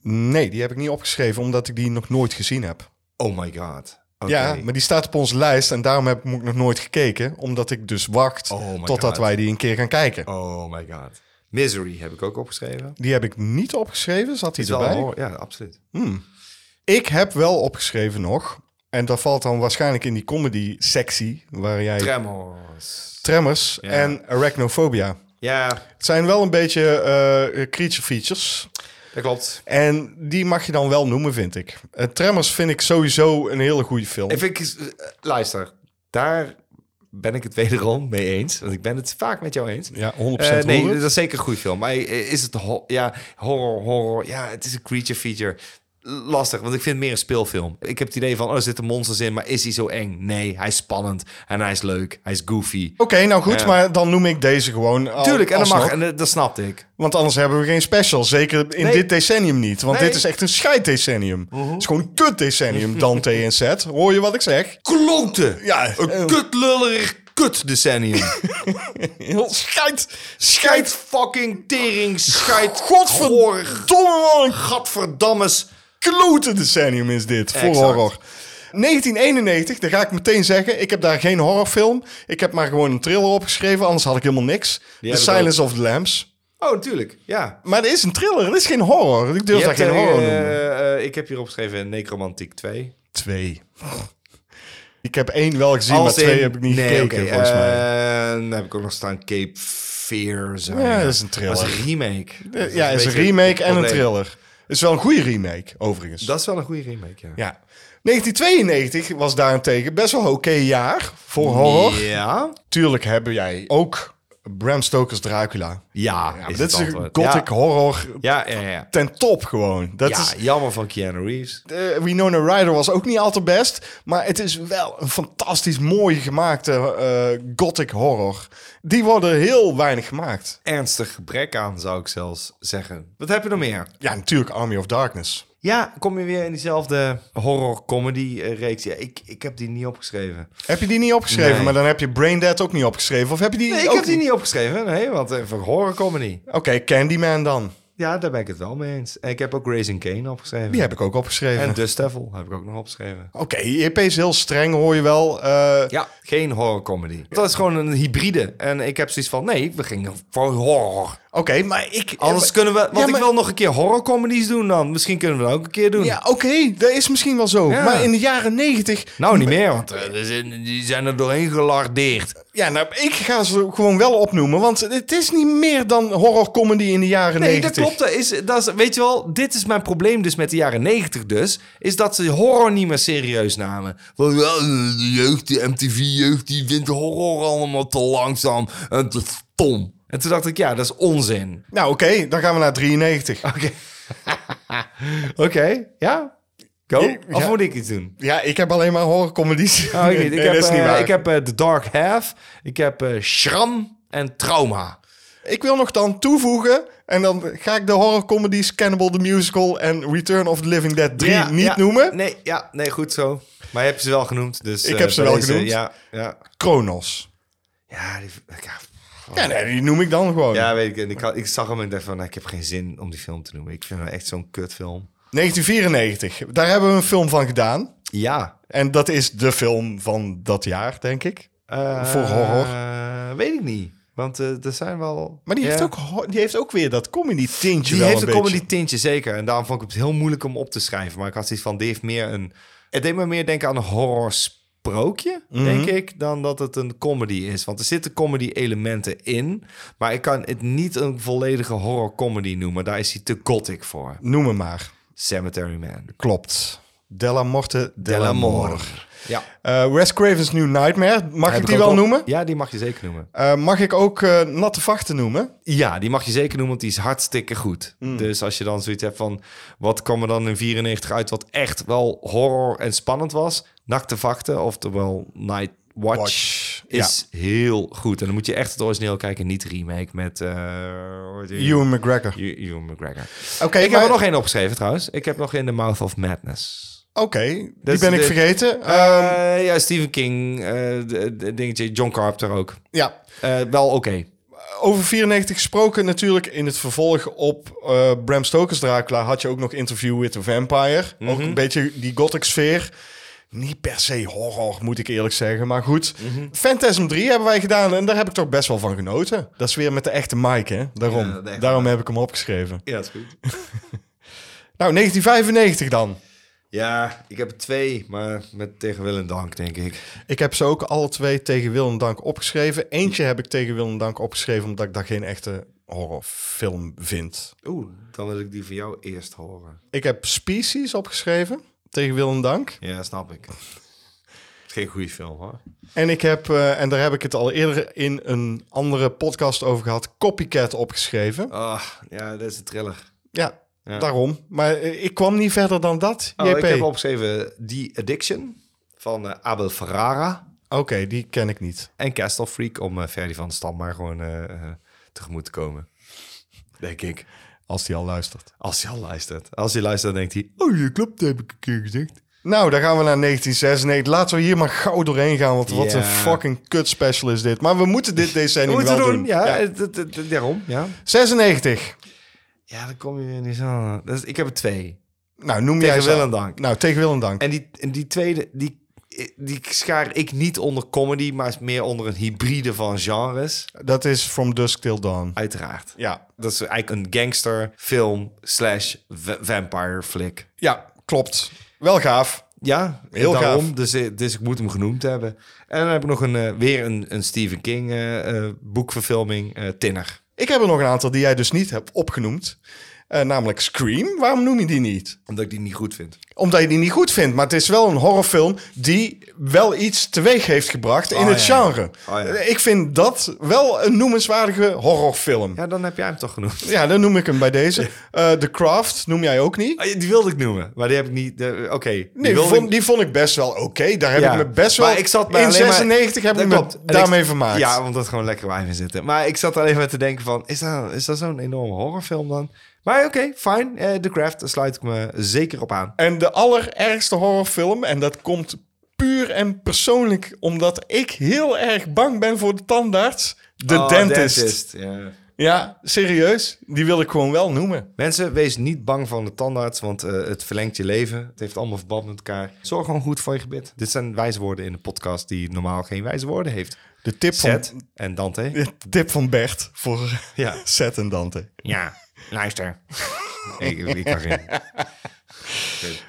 [SPEAKER 2] Nee, die heb ik niet opgeschreven, omdat ik die nog nooit gezien heb.
[SPEAKER 1] Oh my god. Oké.
[SPEAKER 2] Ja, maar die staat op onze lijst en daarom heb ik nog nooit gekeken. Omdat ik dus wacht
[SPEAKER 1] Oh my
[SPEAKER 2] totdat
[SPEAKER 1] God.
[SPEAKER 2] wij die een keer gaan kijken.
[SPEAKER 1] Oh my god. Misery heb ik ook opgeschreven.
[SPEAKER 2] Die heb ik niet opgeschreven, zat die
[SPEAKER 1] Is wel
[SPEAKER 2] erbij?
[SPEAKER 1] horror. Ja, absoluut.
[SPEAKER 2] Ik heb wel opgeschreven nog, en dat valt dan waarschijnlijk in die comedy-sectie, waar jij...
[SPEAKER 1] Tremors.
[SPEAKER 2] Tremors en Arachnophobia.
[SPEAKER 1] Ja,
[SPEAKER 2] Het zijn wel een beetje eh, creature features.
[SPEAKER 1] dat klopt.
[SPEAKER 2] En die mag je dan wel noemen, vind ik. Eh, Tremors vind ik sowieso een hele goede film.
[SPEAKER 1] Even, ik- eh, luister, daar ben ik het wederom mee eens. Want ik ben het vaak met jou eens.
[SPEAKER 2] Ja, 100%
[SPEAKER 1] Eh, nee,
[SPEAKER 2] roerend.
[SPEAKER 1] dat is zeker een goede film. Maar eh, is het ho- ja, horror, horror? Ja, het is een creature feature. Lastig, want ik vind het meer een speelfilm. Ik heb het idee van, oh, er zitten monsters in, maar is hij zo eng? Nee, hij is spannend en hij is leuk. Hij is goofy.
[SPEAKER 2] Oké, nou goed, maar dan noem ik deze gewoon. al-
[SPEAKER 1] Tuurlijk, en dat mag.
[SPEAKER 2] alsnog.
[SPEAKER 1] En eh, dat snapte ik.
[SPEAKER 2] Want anders hebben we geen special. Zeker in
[SPEAKER 1] Nee.
[SPEAKER 2] dit decennium niet. Want
[SPEAKER 1] Nee. Mhm.
[SPEAKER 2] dit is echt een scheiddecennium. Het is gewoon een kutdecennium, Dante en Seth. Hoor je wat ik zeg?
[SPEAKER 1] Kloten!
[SPEAKER 2] Ja,
[SPEAKER 1] Een
[SPEAKER 2] eh,
[SPEAKER 1] kutlullerig kutdecennium.
[SPEAKER 2] heel scheid.
[SPEAKER 1] Scheid fucking tering, scheid gorig,
[SPEAKER 2] Godverdomme, wat een
[SPEAKER 1] gadverdammes.
[SPEAKER 2] klote decennium is dit voor
[SPEAKER 1] Exact.
[SPEAKER 2] horror. 1991, daar ga ik meteen zeggen. Ik heb daar geen horrorfilm. Ik heb maar gewoon een thriller opgeschreven, anders had ik helemaal niks.
[SPEAKER 1] Die
[SPEAKER 2] the
[SPEAKER 1] heb ik
[SPEAKER 2] Silence of the Lambs.
[SPEAKER 1] Oh, natuurlijk, ja.
[SPEAKER 2] Maar het is een thriller, het is geen horror. Ik durf
[SPEAKER 1] Je
[SPEAKER 2] daar geen
[SPEAKER 1] hebt, eh,
[SPEAKER 2] horror noemen.
[SPEAKER 1] eh, eh, ik heb hier opgeschreven Necromantiek 2.
[SPEAKER 2] Twee. Ik heb één wel gezien, maar
[SPEAKER 1] Als
[SPEAKER 2] twee
[SPEAKER 1] in-
[SPEAKER 2] heb ik niet
[SPEAKER 1] nee,
[SPEAKER 2] gekeken,
[SPEAKER 1] oké,
[SPEAKER 2] volgens mij.
[SPEAKER 1] eh, Dan heb ik ook nog staan Cape Fear. Zo.
[SPEAKER 2] Ja, dat is een thriller.
[SPEAKER 1] Dat is een remake. Dat een
[SPEAKER 2] ja, het is een
[SPEAKER 1] beetje het
[SPEAKER 2] remake en een
[SPEAKER 1] probleem.
[SPEAKER 2] thriller. Het is wel een goede remake, overigens.
[SPEAKER 1] Dat is wel een goede remake, ja.
[SPEAKER 2] Ja. 1992 was daarentegen best wel een oké jaar voor horror.
[SPEAKER 1] Ja?
[SPEAKER 2] Tuurlijk hebben jij ook Bram Stoker's Dracula.
[SPEAKER 1] Ja,
[SPEAKER 2] Ja,
[SPEAKER 1] is
[SPEAKER 2] dit is
[SPEAKER 1] het
[SPEAKER 2] een
[SPEAKER 1] antwoord.
[SPEAKER 2] gothic
[SPEAKER 1] Ja.
[SPEAKER 2] horror
[SPEAKER 1] Ja, ja, ja.
[SPEAKER 2] ten top gewoon. Dat
[SPEAKER 1] Ja,
[SPEAKER 2] is,
[SPEAKER 1] jammer van Keanu Reeves.
[SPEAKER 2] eh, Winona Ryder was ook niet al te best. Maar het is wel een fantastisch mooi gemaakte eh, gothic horror. Die worden heel weinig gemaakt.
[SPEAKER 1] Ernstig gebrek aan, zou ik zelfs zeggen. Wat heb je nog meer?
[SPEAKER 2] Ja, natuurlijk Army of Darkness.
[SPEAKER 1] Ja, kom je weer in diezelfde horror-comedy-reeks? Ja, ik, ik heb die niet opgeschreven.
[SPEAKER 2] Heb je die niet opgeschreven?
[SPEAKER 1] Nee.
[SPEAKER 2] Maar dan heb je Braindead ook niet opgeschreven. Of heb je die
[SPEAKER 1] Nee, ik
[SPEAKER 2] ook
[SPEAKER 1] heb die niet opgeschreven. Nee, want eh, voor horror-comedy.
[SPEAKER 2] Oké, Candyman dan.
[SPEAKER 1] Ja, daar ben ik het wel mee eens. En ik heb ook Raising Kane opgeschreven.
[SPEAKER 2] Die heb ik ook opgeschreven.
[SPEAKER 1] En Dust Devil heb ik ook nog opgeschreven.
[SPEAKER 2] Oké, JP is heel streng, hoor je wel. Eh,
[SPEAKER 1] Ja, geen horrorcomedy. Dat is gewoon een hybride. En ik heb zoiets van, nee, we gingen voor horror.
[SPEAKER 2] Oké, maar ik...
[SPEAKER 1] Anders
[SPEAKER 2] eh,
[SPEAKER 1] kunnen we... Want
[SPEAKER 2] ja,
[SPEAKER 1] ik
[SPEAKER 2] maar-
[SPEAKER 1] wil nog een keer horrorcomedies doen dan. Misschien kunnen we dat ook een keer doen.
[SPEAKER 2] Ja, oké, dat is misschien wel zo.
[SPEAKER 1] Ja.
[SPEAKER 2] Maar in de jaren negentig...
[SPEAKER 1] Nou, niet meer, want eh, er zijn- die zijn er doorheen gelardeerd.
[SPEAKER 2] Ja, nou, ik ga ze gewoon wel opnoemen. Want het is niet meer dan horrorcomedy in de jaren
[SPEAKER 1] Nee, dat
[SPEAKER 2] negentig.
[SPEAKER 1] klopt. Dat is, dat is, weet je wel, dit is mijn probleem dus met de jaren negentig dus. Is dat ze horror niet meer serieus namen. Want ja, de jeugd, die MTV jeugd, die vindt horror allemaal te langzaam en te stom. En toen dacht ik, ja, dat is onzin.
[SPEAKER 2] Nou, oké, dan gaan we naar 93.
[SPEAKER 1] Oké. Oké, ja? Go?
[SPEAKER 2] Ja.
[SPEAKER 1] Of moet ik iets doen?
[SPEAKER 2] Ja, ik heb alleen maar horrorcomedies.
[SPEAKER 1] Oh, ik,
[SPEAKER 2] Nee,
[SPEAKER 1] niet. ik
[SPEAKER 2] dat
[SPEAKER 1] heb,
[SPEAKER 2] is niet
[SPEAKER 1] eh,
[SPEAKER 2] waar.
[SPEAKER 1] ik heb eh, The Dark Half, ik heb eh, Shram en Trauma.
[SPEAKER 2] Ik wil nog dan toevoegen. En dan ga ik de horrorcomedies Cannibal the Musical en Return of the Living Dead 3
[SPEAKER 1] Ja,
[SPEAKER 2] niet
[SPEAKER 1] ja.
[SPEAKER 2] noemen.
[SPEAKER 1] Nee, ja, nee, goed zo. Maar je hebt ze wel genoemd. Dus,
[SPEAKER 2] Ik
[SPEAKER 1] eh,
[SPEAKER 2] heb ze
[SPEAKER 1] bij
[SPEAKER 2] wel
[SPEAKER 1] deze,
[SPEAKER 2] genoemd.
[SPEAKER 1] Ja, ja.
[SPEAKER 2] Kronos.
[SPEAKER 1] Ja, die, ja,
[SPEAKER 2] Ja, nee, die noem ik dan gewoon.
[SPEAKER 1] ja, weet ik. En ik, had- ik zag hem en ik dacht van, nou, ik heb geen zin om die film te noemen. Ik vind hem echt zo'n kutfilm.
[SPEAKER 2] 1994. Daar hebben we een film van gedaan.
[SPEAKER 1] Ja.
[SPEAKER 2] En dat is de film van dat jaar, denk ik.
[SPEAKER 1] Eh,
[SPEAKER 2] Voor horror.
[SPEAKER 1] eh, weet ik niet. Want eh, er zijn wel...
[SPEAKER 2] Maar die,
[SPEAKER 1] Ja.
[SPEAKER 2] heeft, ook, ho- die heeft ook weer dat comedy tintje
[SPEAKER 1] Die
[SPEAKER 2] wel
[SPEAKER 1] heeft
[SPEAKER 2] een
[SPEAKER 1] een
[SPEAKER 2] beetje.
[SPEAKER 1] comedy tintje, zeker. En daarom vond ik het heel moeilijk om op te schrijven. Maar ik had zoiets van, die heeft meer een... Het deed me meer denken aan een horror sprookje, denk ik, dan dat het een comedy is. Want er zitten comedy elementen in, maar ik kan het niet een volledige horror comedy noemen. Daar is hij te gothic voor.
[SPEAKER 2] Noem hem maar.
[SPEAKER 1] Cemetery Man.
[SPEAKER 2] Klopt. Della Morte, Della Mor.
[SPEAKER 1] Ja.
[SPEAKER 2] Eh, Wes Craven's New Nightmare. Mag
[SPEAKER 1] Heb
[SPEAKER 2] ik die
[SPEAKER 1] ook
[SPEAKER 2] wel
[SPEAKER 1] al-
[SPEAKER 2] noemen?
[SPEAKER 1] Ja, die mag je zeker noemen.
[SPEAKER 2] Eh, mag ik ook eh, Natte Vachten noemen?
[SPEAKER 1] Ja, die mag je zeker noemen, want die is hartstikke goed.
[SPEAKER 2] Mm.
[SPEAKER 1] Dus als je dan zoiets hebt van... wat kwam er dan in 94 uit wat echt wel horror en spannend was? Nakte Vachten, oftewel Night Watch,
[SPEAKER 2] Watch,
[SPEAKER 1] is heel goed. En dan moet je echt het origineel kijken, niet de remake met... eh, hoe heet die?
[SPEAKER 2] Ewan McGregor.
[SPEAKER 1] Ew- Ewan McGregor.
[SPEAKER 2] Oké,
[SPEAKER 1] ik
[SPEAKER 2] maar-
[SPEAKER 1] heb er nog één opgeschreven trouwens. Ik heb nog in The Mouth of Madness.
[SPEAKER 2] Oké, die
[SPEAKER 1] is
[SPEAKER 2] ben ik
[SPEAKER 1] de-
[SPEAKER 2] vergeten. Ehm,
[SPEAKER 1] Eh, ja, Stephen King, eh, de- de- dingetje, John Carpenter ook.
[SPEAKER 2] ja,
[SPEAKER 1] Eh, wel oké.
[SPEAKER 2] over 94 gesproken natuurlijk. In het vervolg op eh, Bram Stoker's Dracula had je ook nog Interview with the Vampire.
[SPEAKER 1] Mhm.
[SPEAKER 2] Ook een beetje die gothic sfeer. Niet per se horror, moet ik eerlijk zeggen. Maar goed,
[SPEAKER 1] Mhm.
[SPEAKER 2] Phantasm 3 hebben wij gedaan en daar heb ik toch best wel van genoten. Dat is weer met de echte Mike, hè? Daarom,
[SPEAKER 1] Ja, de echte
[SPEAKER 2] daarom heb ik hem opgeschreven.
[SPEAKER 1] Ja, is goed.
[SPEAKER 2] Nou, 1995 dan.
[SPEAKER 1] Ja, ik heb er twee, maar met tegen wil en dank, denk ik.
[SPEAKER 2] Ik heb ze ook alle twee tegen Willem Dank opgeschreven. Eentje heb ik tegen Willem Dank opgeschreven omdat ik daar geen echte horrorfilm vind.
[SPEAKER 1] Oeh, dan wil ik die van jou eerst horen.
[SPEAKER 2] Ik heb Species opgeschreven tegen Willem Dank.
[SPEAKER 1] Ja, snap ik. Het is geen goede film, hoor.
[SPEAKER 2] En ik heb, eh, en daar heb ik het al eerder in een andere podcast over gehad, Copycat opgeschreven.
[SPEAKER 1] Ah, ja, dat is een thriller.
[SPEAKER 2] Ja,
[SPEAKER 1] Ja.
[SPEAKER 2] daarom. Maar eh, ik kwam niet verder dan dat,
[SPEAKER 1] Oh,
[SPEAKER 2] JP.
[SPEAKER 1] ik heb opgeschreven The Addiction van eh, Abel Ferrara
[SPEAKER 2] Oké, die ken ik niet.
[SPEAKER 1] en Castle Freak om eh Ferdy van Stam maar gewoon eh, eh, tegemoet te komen. Denk ik.
[SPEAKER 2] Als die al luistert.
[SPEAKER 1] Als hij al luistert. Als hij luistert, dan denkt hij... Oh, je klopt, dat heb ik een keer gezegd.
[SPEAKER 2] Nou, dan gaan we naar 1996. Laten we hier maar gauw doorheen gaan, want wat
[SPEAKER 1] Ja.
[SPEAKER 2] een fucking kut special is dit. Maar we moeten dit decennium
[SPEAKER 1] Moet je
[SPEAKER 2] wel
[SPEAKER 1] doen.
[SPEAKER 2] doen.
[SPEAKER 1] Ja, het- het- het- daarom. Ja.
[SPEAKER 2] 96.
[SPEAKER 1] Ja, dan kom je weer niet zo aan. Dus ik heb er twee.
[SPEAKER 2] Nou, noem
[SPEAKER 1] Tegen
[SPEAKER 2] jij ze
[SPEAKER 1] wil
[SPEAKER 2] al.
[SPEAKER 1] en dank.
[SPEAKER 2] Nou, tegen wil en dank.
[SPEAKER 1] En die, en die tweede, die, die schaar ik niet onder comedy, maar is meer onder een hybride van genres.
[SPEAKER 2] Dat is From Dusk Till Dawn.
[SPEAKER 1] Uiteraard.
[SPEAKER 2] Ja,
[SPEAKER 1] Dat is eigenlijk een gangsterfilm slash va- vampire flick.
[SPEAKER 2] ja klopt. Wel gaaf.
[SPEAKER 1] Ja,
[SPEAKER 2] Heel
[SPEAKER 1] daarom.
[SPEAKER 2] gaaf.
[SPEAKER 1] Dus, eh, dus ik moet hem genoemd hebben. En dan heb ik nog een, eh, weer een, een Stephen King eh, eh, boekverfilming, eh, Tinner.
[SPEAKER 2] Ik heb er nog een aantal die jij dus niet hebt opgenoemd. Eh, namelijk Scream. Waarom noem je die niet?
[SPEAKER 1] Omdat ik die niet goed vind.
[SPEAKER 2] Omdat je die niet goed vindt. Maar het is wel een horrorfilm die wel iets teweeg heeft gebracht in
[SPEAKER 1] Oh,
[SPEAKER 2] het
[SPEAKER 1] ja, ja.
[SPEAKER 2] genre.
[SPEAKER 1] Oh, ja.
[SPEAKER 2] Ik vind dat wel een noemenswaardige horrorfilm. Ja,
[SPEAKER 1] Ja, dan heb jij hem toch genoemd.
[SPEAKER 2] dan noem ik hem bij deze. Eh, The Craft noem jij ook niet.
[SPEAKER 1] Ah, Die wilde ik noemen, maar die heb ik niet. eh, Oké.
[SPEAKER 2] Nee, die
[SPEAKER 1] wilde
[SPEAKER 2] vond,
[SPEAKER 1] ik-
[SPEAKER 2] die vond ik best wel oké. Daar heb
[SPEAKER 1] Ja.
[SPEAKER 2] ik me best wel...
[SPEAKER 1] Maar ik zat maar
[SPEAKER 2] in
[SPEAKER 1] alleen maar-
[SPEAKER 2] 96 heb
[SPEAKER 1] Dat
[SPEAKER 2] ik me
[SPEAKER 1] klopt. En ik-
[SPEAKER 2] daarmee vermaakt.
[SPEAKER 1] Ja, want dat gewoon lekker wijn in zitten. Maar ik zat er alleen maar te denken van, is dat, is dat zo'n enorme horrorfilm dan? Maar oké, fijn. Eh, The Craft, daar sluit ik me zeker op aan.
[SPEAKER 2] En de allerergste horrorfilm, en dat komt puur en persoonlijk omdat ik heel erg bang ben voor de tandarts, The
[SPEAKER 1] Oh,
[SPEAKER 2] Dentist.
[SPEAKER 1] Ja.
[SPEAKER 2] Ja, serieus. Die wil ik gewoon wel noemen.
[SPEAKER 1] Mensen, wees niet bang van de tandarts, want eh, het verlengt je leven. Het heeft allemaal verband met elkaar. Zorg gewoon goed voor je gebit. Dit zijn wijze woorden in de podcast die normaal geen wijze woorden heeft.
[SPEAKER 2] De tip van,
[SPEAKER 1] Zet en Dante.
[SPEAKER 2] de tip van Bert voor
[SPEAKER 1] Ja.
[SPEAKER 2] Zet en Dante.
[SPEAKER 1] Ja, luister. ik, ik kan geen...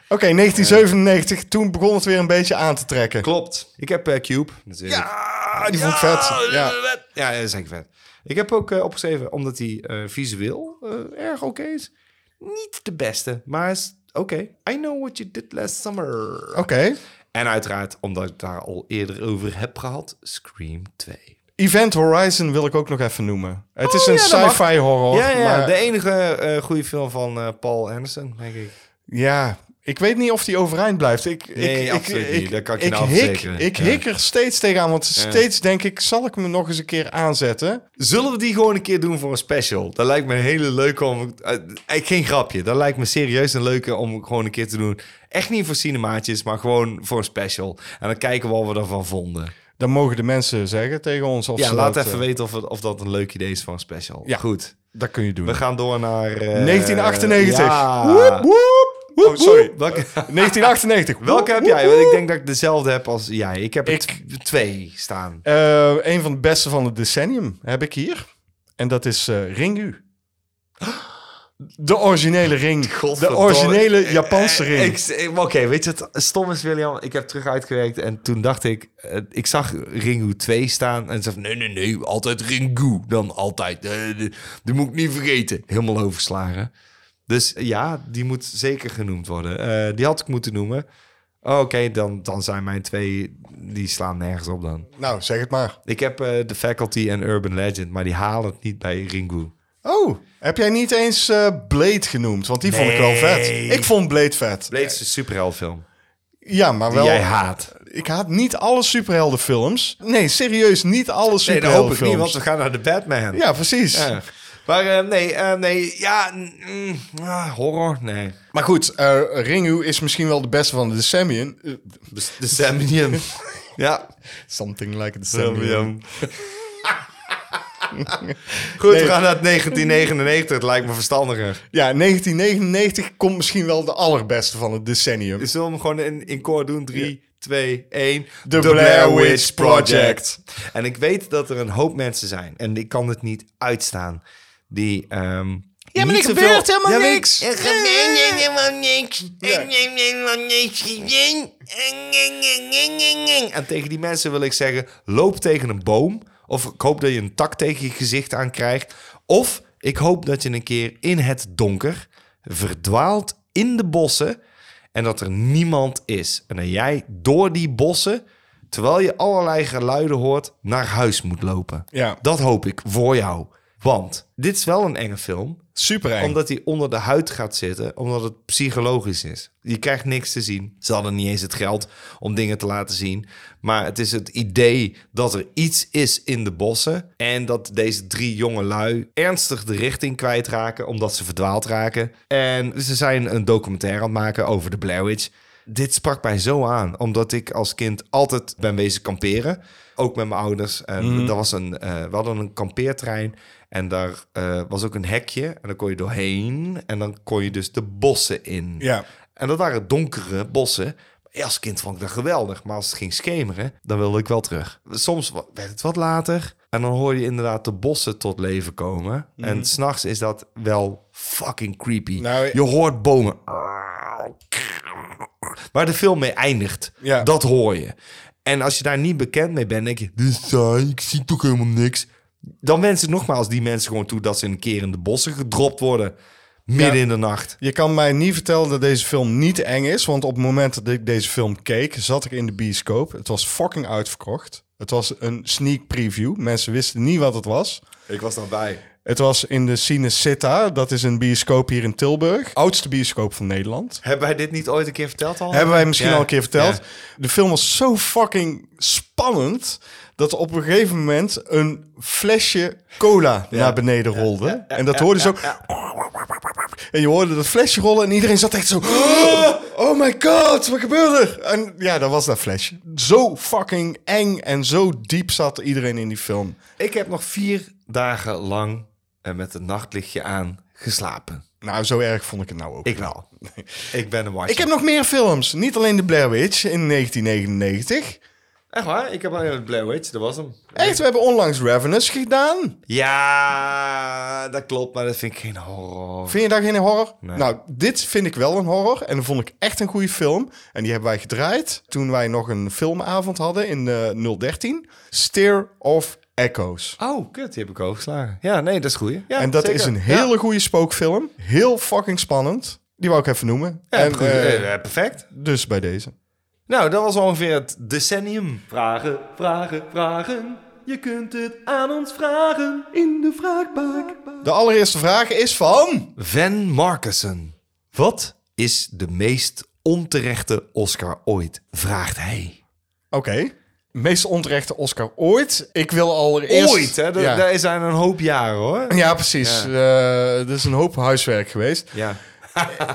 [SPEAKER 2] Oké, 1997. Toen begon het weer een beetje aan te trekken.
[SPEAKER 1] Klopt. Ik heb eh, Cube. natuurlijk.
[SPEAKER 2] Ah, die vond ik vet. Ja.
[SPEAKER 1] Ja, dat is echt vet. Ik heb ook eh, opgeschreven, omdat hij eh, visueel eh, erg oké is. Niet de beste, maar is oké. I know what you did last summer.
[SPEAKER 2] Oké.
[SPEAKER 1] En uiteraard, omdat ik het daar al eerder over heb gehad, Scream 2.
[SPEAKER 2] Event Horizon wil ik ook nog even noemen. Het is een
[SPEAKER 1] Oh, ja, dat
[SPEAKER 2] sci-fi horror.
[SPEAKER 1] ja, ja, ja,
[SPEAKER 2] maar-
[SPEAKER 1] de enige eh, goede film van eh, Paul Anderson, denk ik.
[SPEAKER 2] Ja, ik weet niet of die overeind blijft. Ik,
[SPEAKER 1] Nee,
[SPEAKER 2] ik,
[SPEAKER 1] absoluut
[SPEAKER 2] ik,
[SPEAKER 1] niet. Dat kan ik je
[SPEAKER 2] ik
[SPEAKER 1] nou
[SPEAKER 2] hik,
[SPEAKER 1] verzekeren.
[SPEAKER 2] Ik
[SPEAKER 1] Ja.
[SPEAKER 2] hik er steeds tegenaan, want steeds denk ik, zal ik me nog eens een keer aanzetten?
[SPEAKER 1] Zullen we die gewoon een keer doen voor een special? Dat lijkt me een hele leuke om... eh, eh, geen grapje. Dat lijkt me serieus een leuke om gewoon een keer te doen. Echt niet voor cinemaatjes, maar gewoon voor een special. En dan kijken we wat we ervan vonden.
[SPEAKER 2] Dan mogen de mensen zeggen tegen ons. Of
[SPEAKER 1] ja,
[SPEAKER 2] ze
[SPEAKER 1] laat
[SPEAKER 2] dat,
[SPEAKER 1] even
[SPEAKER 2] eh,
[SPEAKER 1] weten of, het- of dat een leuk idee is voor een special.
[SPEAKER 2] Ja.
[SPEAKER 1] Goed.
[SPEAKER 2] Dat kun je doen.
[SPEAKER 1] We gaan door naar... eh,
[SPEAKER 2] 1998.
[SPEAKER 1] ja.
[SPEAKER 2] Woep, woep, woep,
[SPEAKER 1] Oh, sorry.
[SPEAKER 2] woep.
[SPEAKER 1] Welke,
[SPEAKER 2] 1998.
[SPEAKER 1] welke heb
[SPEAKER 2] Woep,
[SPEAKER 1] jij?
[SPEAKER 2] woep,
[SPEAKER 1] Want ik
[SPEAKER 2] woep.
[SPEAKER 1] denk dat ik dezelfde heb als jij. Ik heb er
[SPEAKER 2] Ik-
[SPEAKER 1] tw- twee staan.
[SPEAKER 2] Eh, een van de beste van het decennium heb ik hier. En dat is eh, Ringu. De originele ring. De
[SPEAKER 1] Godverdomme.
[SPEAKER 2] originele Japanse
[SPEAKER 1] Eh, ik-
[SPEAKER 2] ring.
[SPEAKER 1] eh, maar Oké, weet je wat stom is, William? Ik heb terug uitgewerkt en toen dacht ik... eh, ik zag Ringu 2 staan en zei van... Nee, nee, nee, altijd Ringu. Dan altijd. Eh, de- die moet ik niet vergeten. Helemaal overslagen. Dus eh, ja, die moet zeker genoemd worden. Eh, die had ik moeten noemen. Oh, Oké, dan, dan zijn mijn twee... Die slaan nergens op dan.
[SPEAKER 2] Nou, zeg het maar.
[SPEAKER 1] Ik heb eh The Faculty en Urban Legend, maar die halen het niet bij Ringu.
[SPEAKER 2] Oh, heb jij niet eens eh, Blade genoemd? Want die vond ik wel vet.
[SPEAKER 1] Nee.
[SPEAKER 2] Ik vond Blade vet.
[SPEAKER 1] Blade is een superheldfilm
[SPEAKER 2] Ja, maar
[SPEAKER 1] die
[SPEAKER 2] wel...
[SPEAKER 1] jij haat.
[SPEAKER 2] Ik haat niet alle superheldenfilms. Nee, serieus, niet alle
[SPEAKER 1] Nee, dat hoop
[SPEAKER 2] superheldenfilms.
[SPEAKER 1] ik niet, want we gaan naar de Batman.
[SPEAKER 2] Ja, precies.
[SPEAKER 1] Ja. Maar eh, nee, eh, nee, ja, mm, ah, horror, nee.
[SPEAKER 2] Maar goed, eh, Ringu is misschien wel de beste van de decennium. Eh,
[SPEAKER 1] De, de Samian. ja,
[SPEAKER 2] Something like a decennium.
[SPEAKER 1] Samian. Goed,
[SPEAKER 2] Nee.
[SPEAKER 1] we gaan naar 1999. Het lijkt me verstandiger.
[SPEAKER 2] Ja, 1999 komt misschien wel de allerbeste van het decennium.
[SPEAKER 1] Zullen we hem gewoon in, in koor doen? 3, 2, 1.
[SPEAKER 2] The Blair Witch Project.
[SPEAKER 1] En ik weet dat er een hoop mensen zijn, en ik kan het niet uitstaan, die... ehm ja,
[SPEAKER 2] maar er gebeurt helemaal niks.
[SPEAKER 4] Er gebeurt helemaal niks. Er gebeurt helemaal niks gezien.
[SPEAKER 1] En tegen die mensen wil ik zeggen: loop tegen een boom. Of ik hoop dat je een tak tegen je gezicht aan krijgt. Of ik hoop dat je een keer in het donker verdwaalt in de bossen. En dat er niemand is. En dat jij door die bossen, terwijl je allerlei geluiden hoort, naar huis moet lopen.
[SPEAKER 2] Ja.
[SPEAKER 1] Dat hoop ik voor jou. Want dit is wel een enge film.
[SPEAKER 2] Super eng.
[SPEAKER 1] Omdat hij onder de huid gaat zitten, omdat het psychologisch is. Je krijgt niks te zien. Ze hadden niet eens het geld om dingen te laten zien. Maar het is het idee dat er iets is in de bossen. En dat deze drie jonge lui ernstig de richting kwijtraken, omdat ze verdwaald raken. En ze zijn een documentaire aan het maken over de Blair Witch. Dit sprak mij zo aan, omdat ik als kind altijd ben wezen kamperen. Ook met mijn ouders. En
[SPEAKER 2] Mhm.
[SPEAKER 1] dat was een, eh, we hadden een kampeertrein en daar eh, was ook een hekje. En dan kon je doorheen en dan kon je dus de bossen in.
[SPEAKER 2] Ja.
[SPEAKER 1] En dat waren donkere bossen. Ja, Als kind vond ik dat geweldig, maar als het ging schemeren, dan wilde ik wel terug. Soms wa- werd het wat later en dan hoor je inderdaad de bossen tot leven komen. En s'nachts is dat wel fucking creepy.
[SPEAKER 2] Mhm. Nou,
[SPEAKER 1] je hoort bomen. Waar de film mee eindigt,
[SPEAKER 2] Ja.
[SPEAKER 1] dat hoor je. En als je daar niet bekend mee bent, denk je... Dit is saai, ik zie toch helemaal niks. Dan wens ik nogmaals die mensen gewoon toe dat ze een keer in de bossen gedropt worden. Midden
[SPEAKER 2] Ja.
[SPEAKER 1] in de nacht.
[SPEAKER 2] Je kan mij niet vertellen dat deze film niet eng is. Want op het moment dat ik deze film keek, zat ik in de bioscoop. Het was fucking uitverkocht. Het was een sneak preview. Mensen wisten niet wat het was.
[SPEAKER 1] Ik was daarbij.
[SPEAKER 2] Het was in de Cinecitta. Dat is een bioscoop hier in Tilburg. Oudste bioscoop van Nederland.
[SPEAKER 1] Hebben wij dit niet ooit een keer verteld al?
[SPEAKER 2] Hebben wij misschien
[SPEAKER 1] Ja,
[SPEAKER 2] al een keer verteld.
[SPEAKER 1] ja.
[SPEAKER 2] De film was zo fucking spannend... dat op een gegeven moment een flesje cola naar beneden rolde. en dat hoorde zo... En je hoorde dat flesje rollen en iedereen zat echt zo... "Oh, Oh my god, wat gebeurde er? En ja, dat was dat flesje. Zo fucking eng en zo diep zat iedereen in die film.
[SPEAKER 1] Ik heb nog vier dagen lang en met het nachtlichtje aan geslapen.
[SPEAKER 2] Nou, zo erg vond ik het nou ook.
[SPEAKER 1] Ik wel. Ik ben een watcher.
[SPEAKER 2] Ik heb nog meer films. Niet alleen de Blair Witch in 1999.
[SPEAKER 1] Echt waar? Ik heb alleen het Blair Witch, dat was hem.
[SPEAKER 2] Echt, we hebben onlangs Ravenous gedaan.
[SPEAKER 1] Ja, dat klopt, maar dat vind ik geen horror.
[SPEAKER 2] Vind je dat geen horror?
[SPEAKER 1] Nee.
[SPEAKER 2] Nou, dit vind ik wel een horror. En dat vond ik echt een goede film. En die hebben wij gedraaid toen wij nog een filmavond hadden in eh 013. Steer of Echoes.
[SPEAKER 1] Oh, kut, die heb ik overgeslagen. Ja, nee, dat is goed. Ja,
[SPEAKER 2] en dat
[SPEAKER 1] zeker.
[SPEAKER 2] is een
[SPEAKER 1] Ja.
[SPEAKER 2] hele goede spookfilm. Heel fucking spannend. Die wou ik even noemen.
[SPEAKER 1] Ja,
[SPEAKER 2] en,
[SPEAKER 1] goed,
[SPEAKER 2] eh,
[SPEAKER 1] eh, perfect.
[SPEAKER 2] dus bij deze.
[SPEAKER 1] Nou, dat was ongeveer het decennium. Vragen, vragen, vragen. Je kunt het aan ons vragen in de vraagbak.
[SPEAKER 2] De allereerste vraag is van...
[SPEAKER 1] Van Markussen. Wat is de meest onterechte Oscar ooit? Vraagt hij.
[SPEAKER 2] Oké. Meest onterechte Oscar ooit. Ik wil allereerst...
[SPEAKER 1] Ooit, hè? Dat,
[SPEAKER 2] Ja.
[SPEAKER 1] Daar zijn een hoop jaren, hoor.
[SPEAKER 2] Ja, precies. Eh, Er is een hoop huiswerk geweest.
[SPEAKER 1] Ja.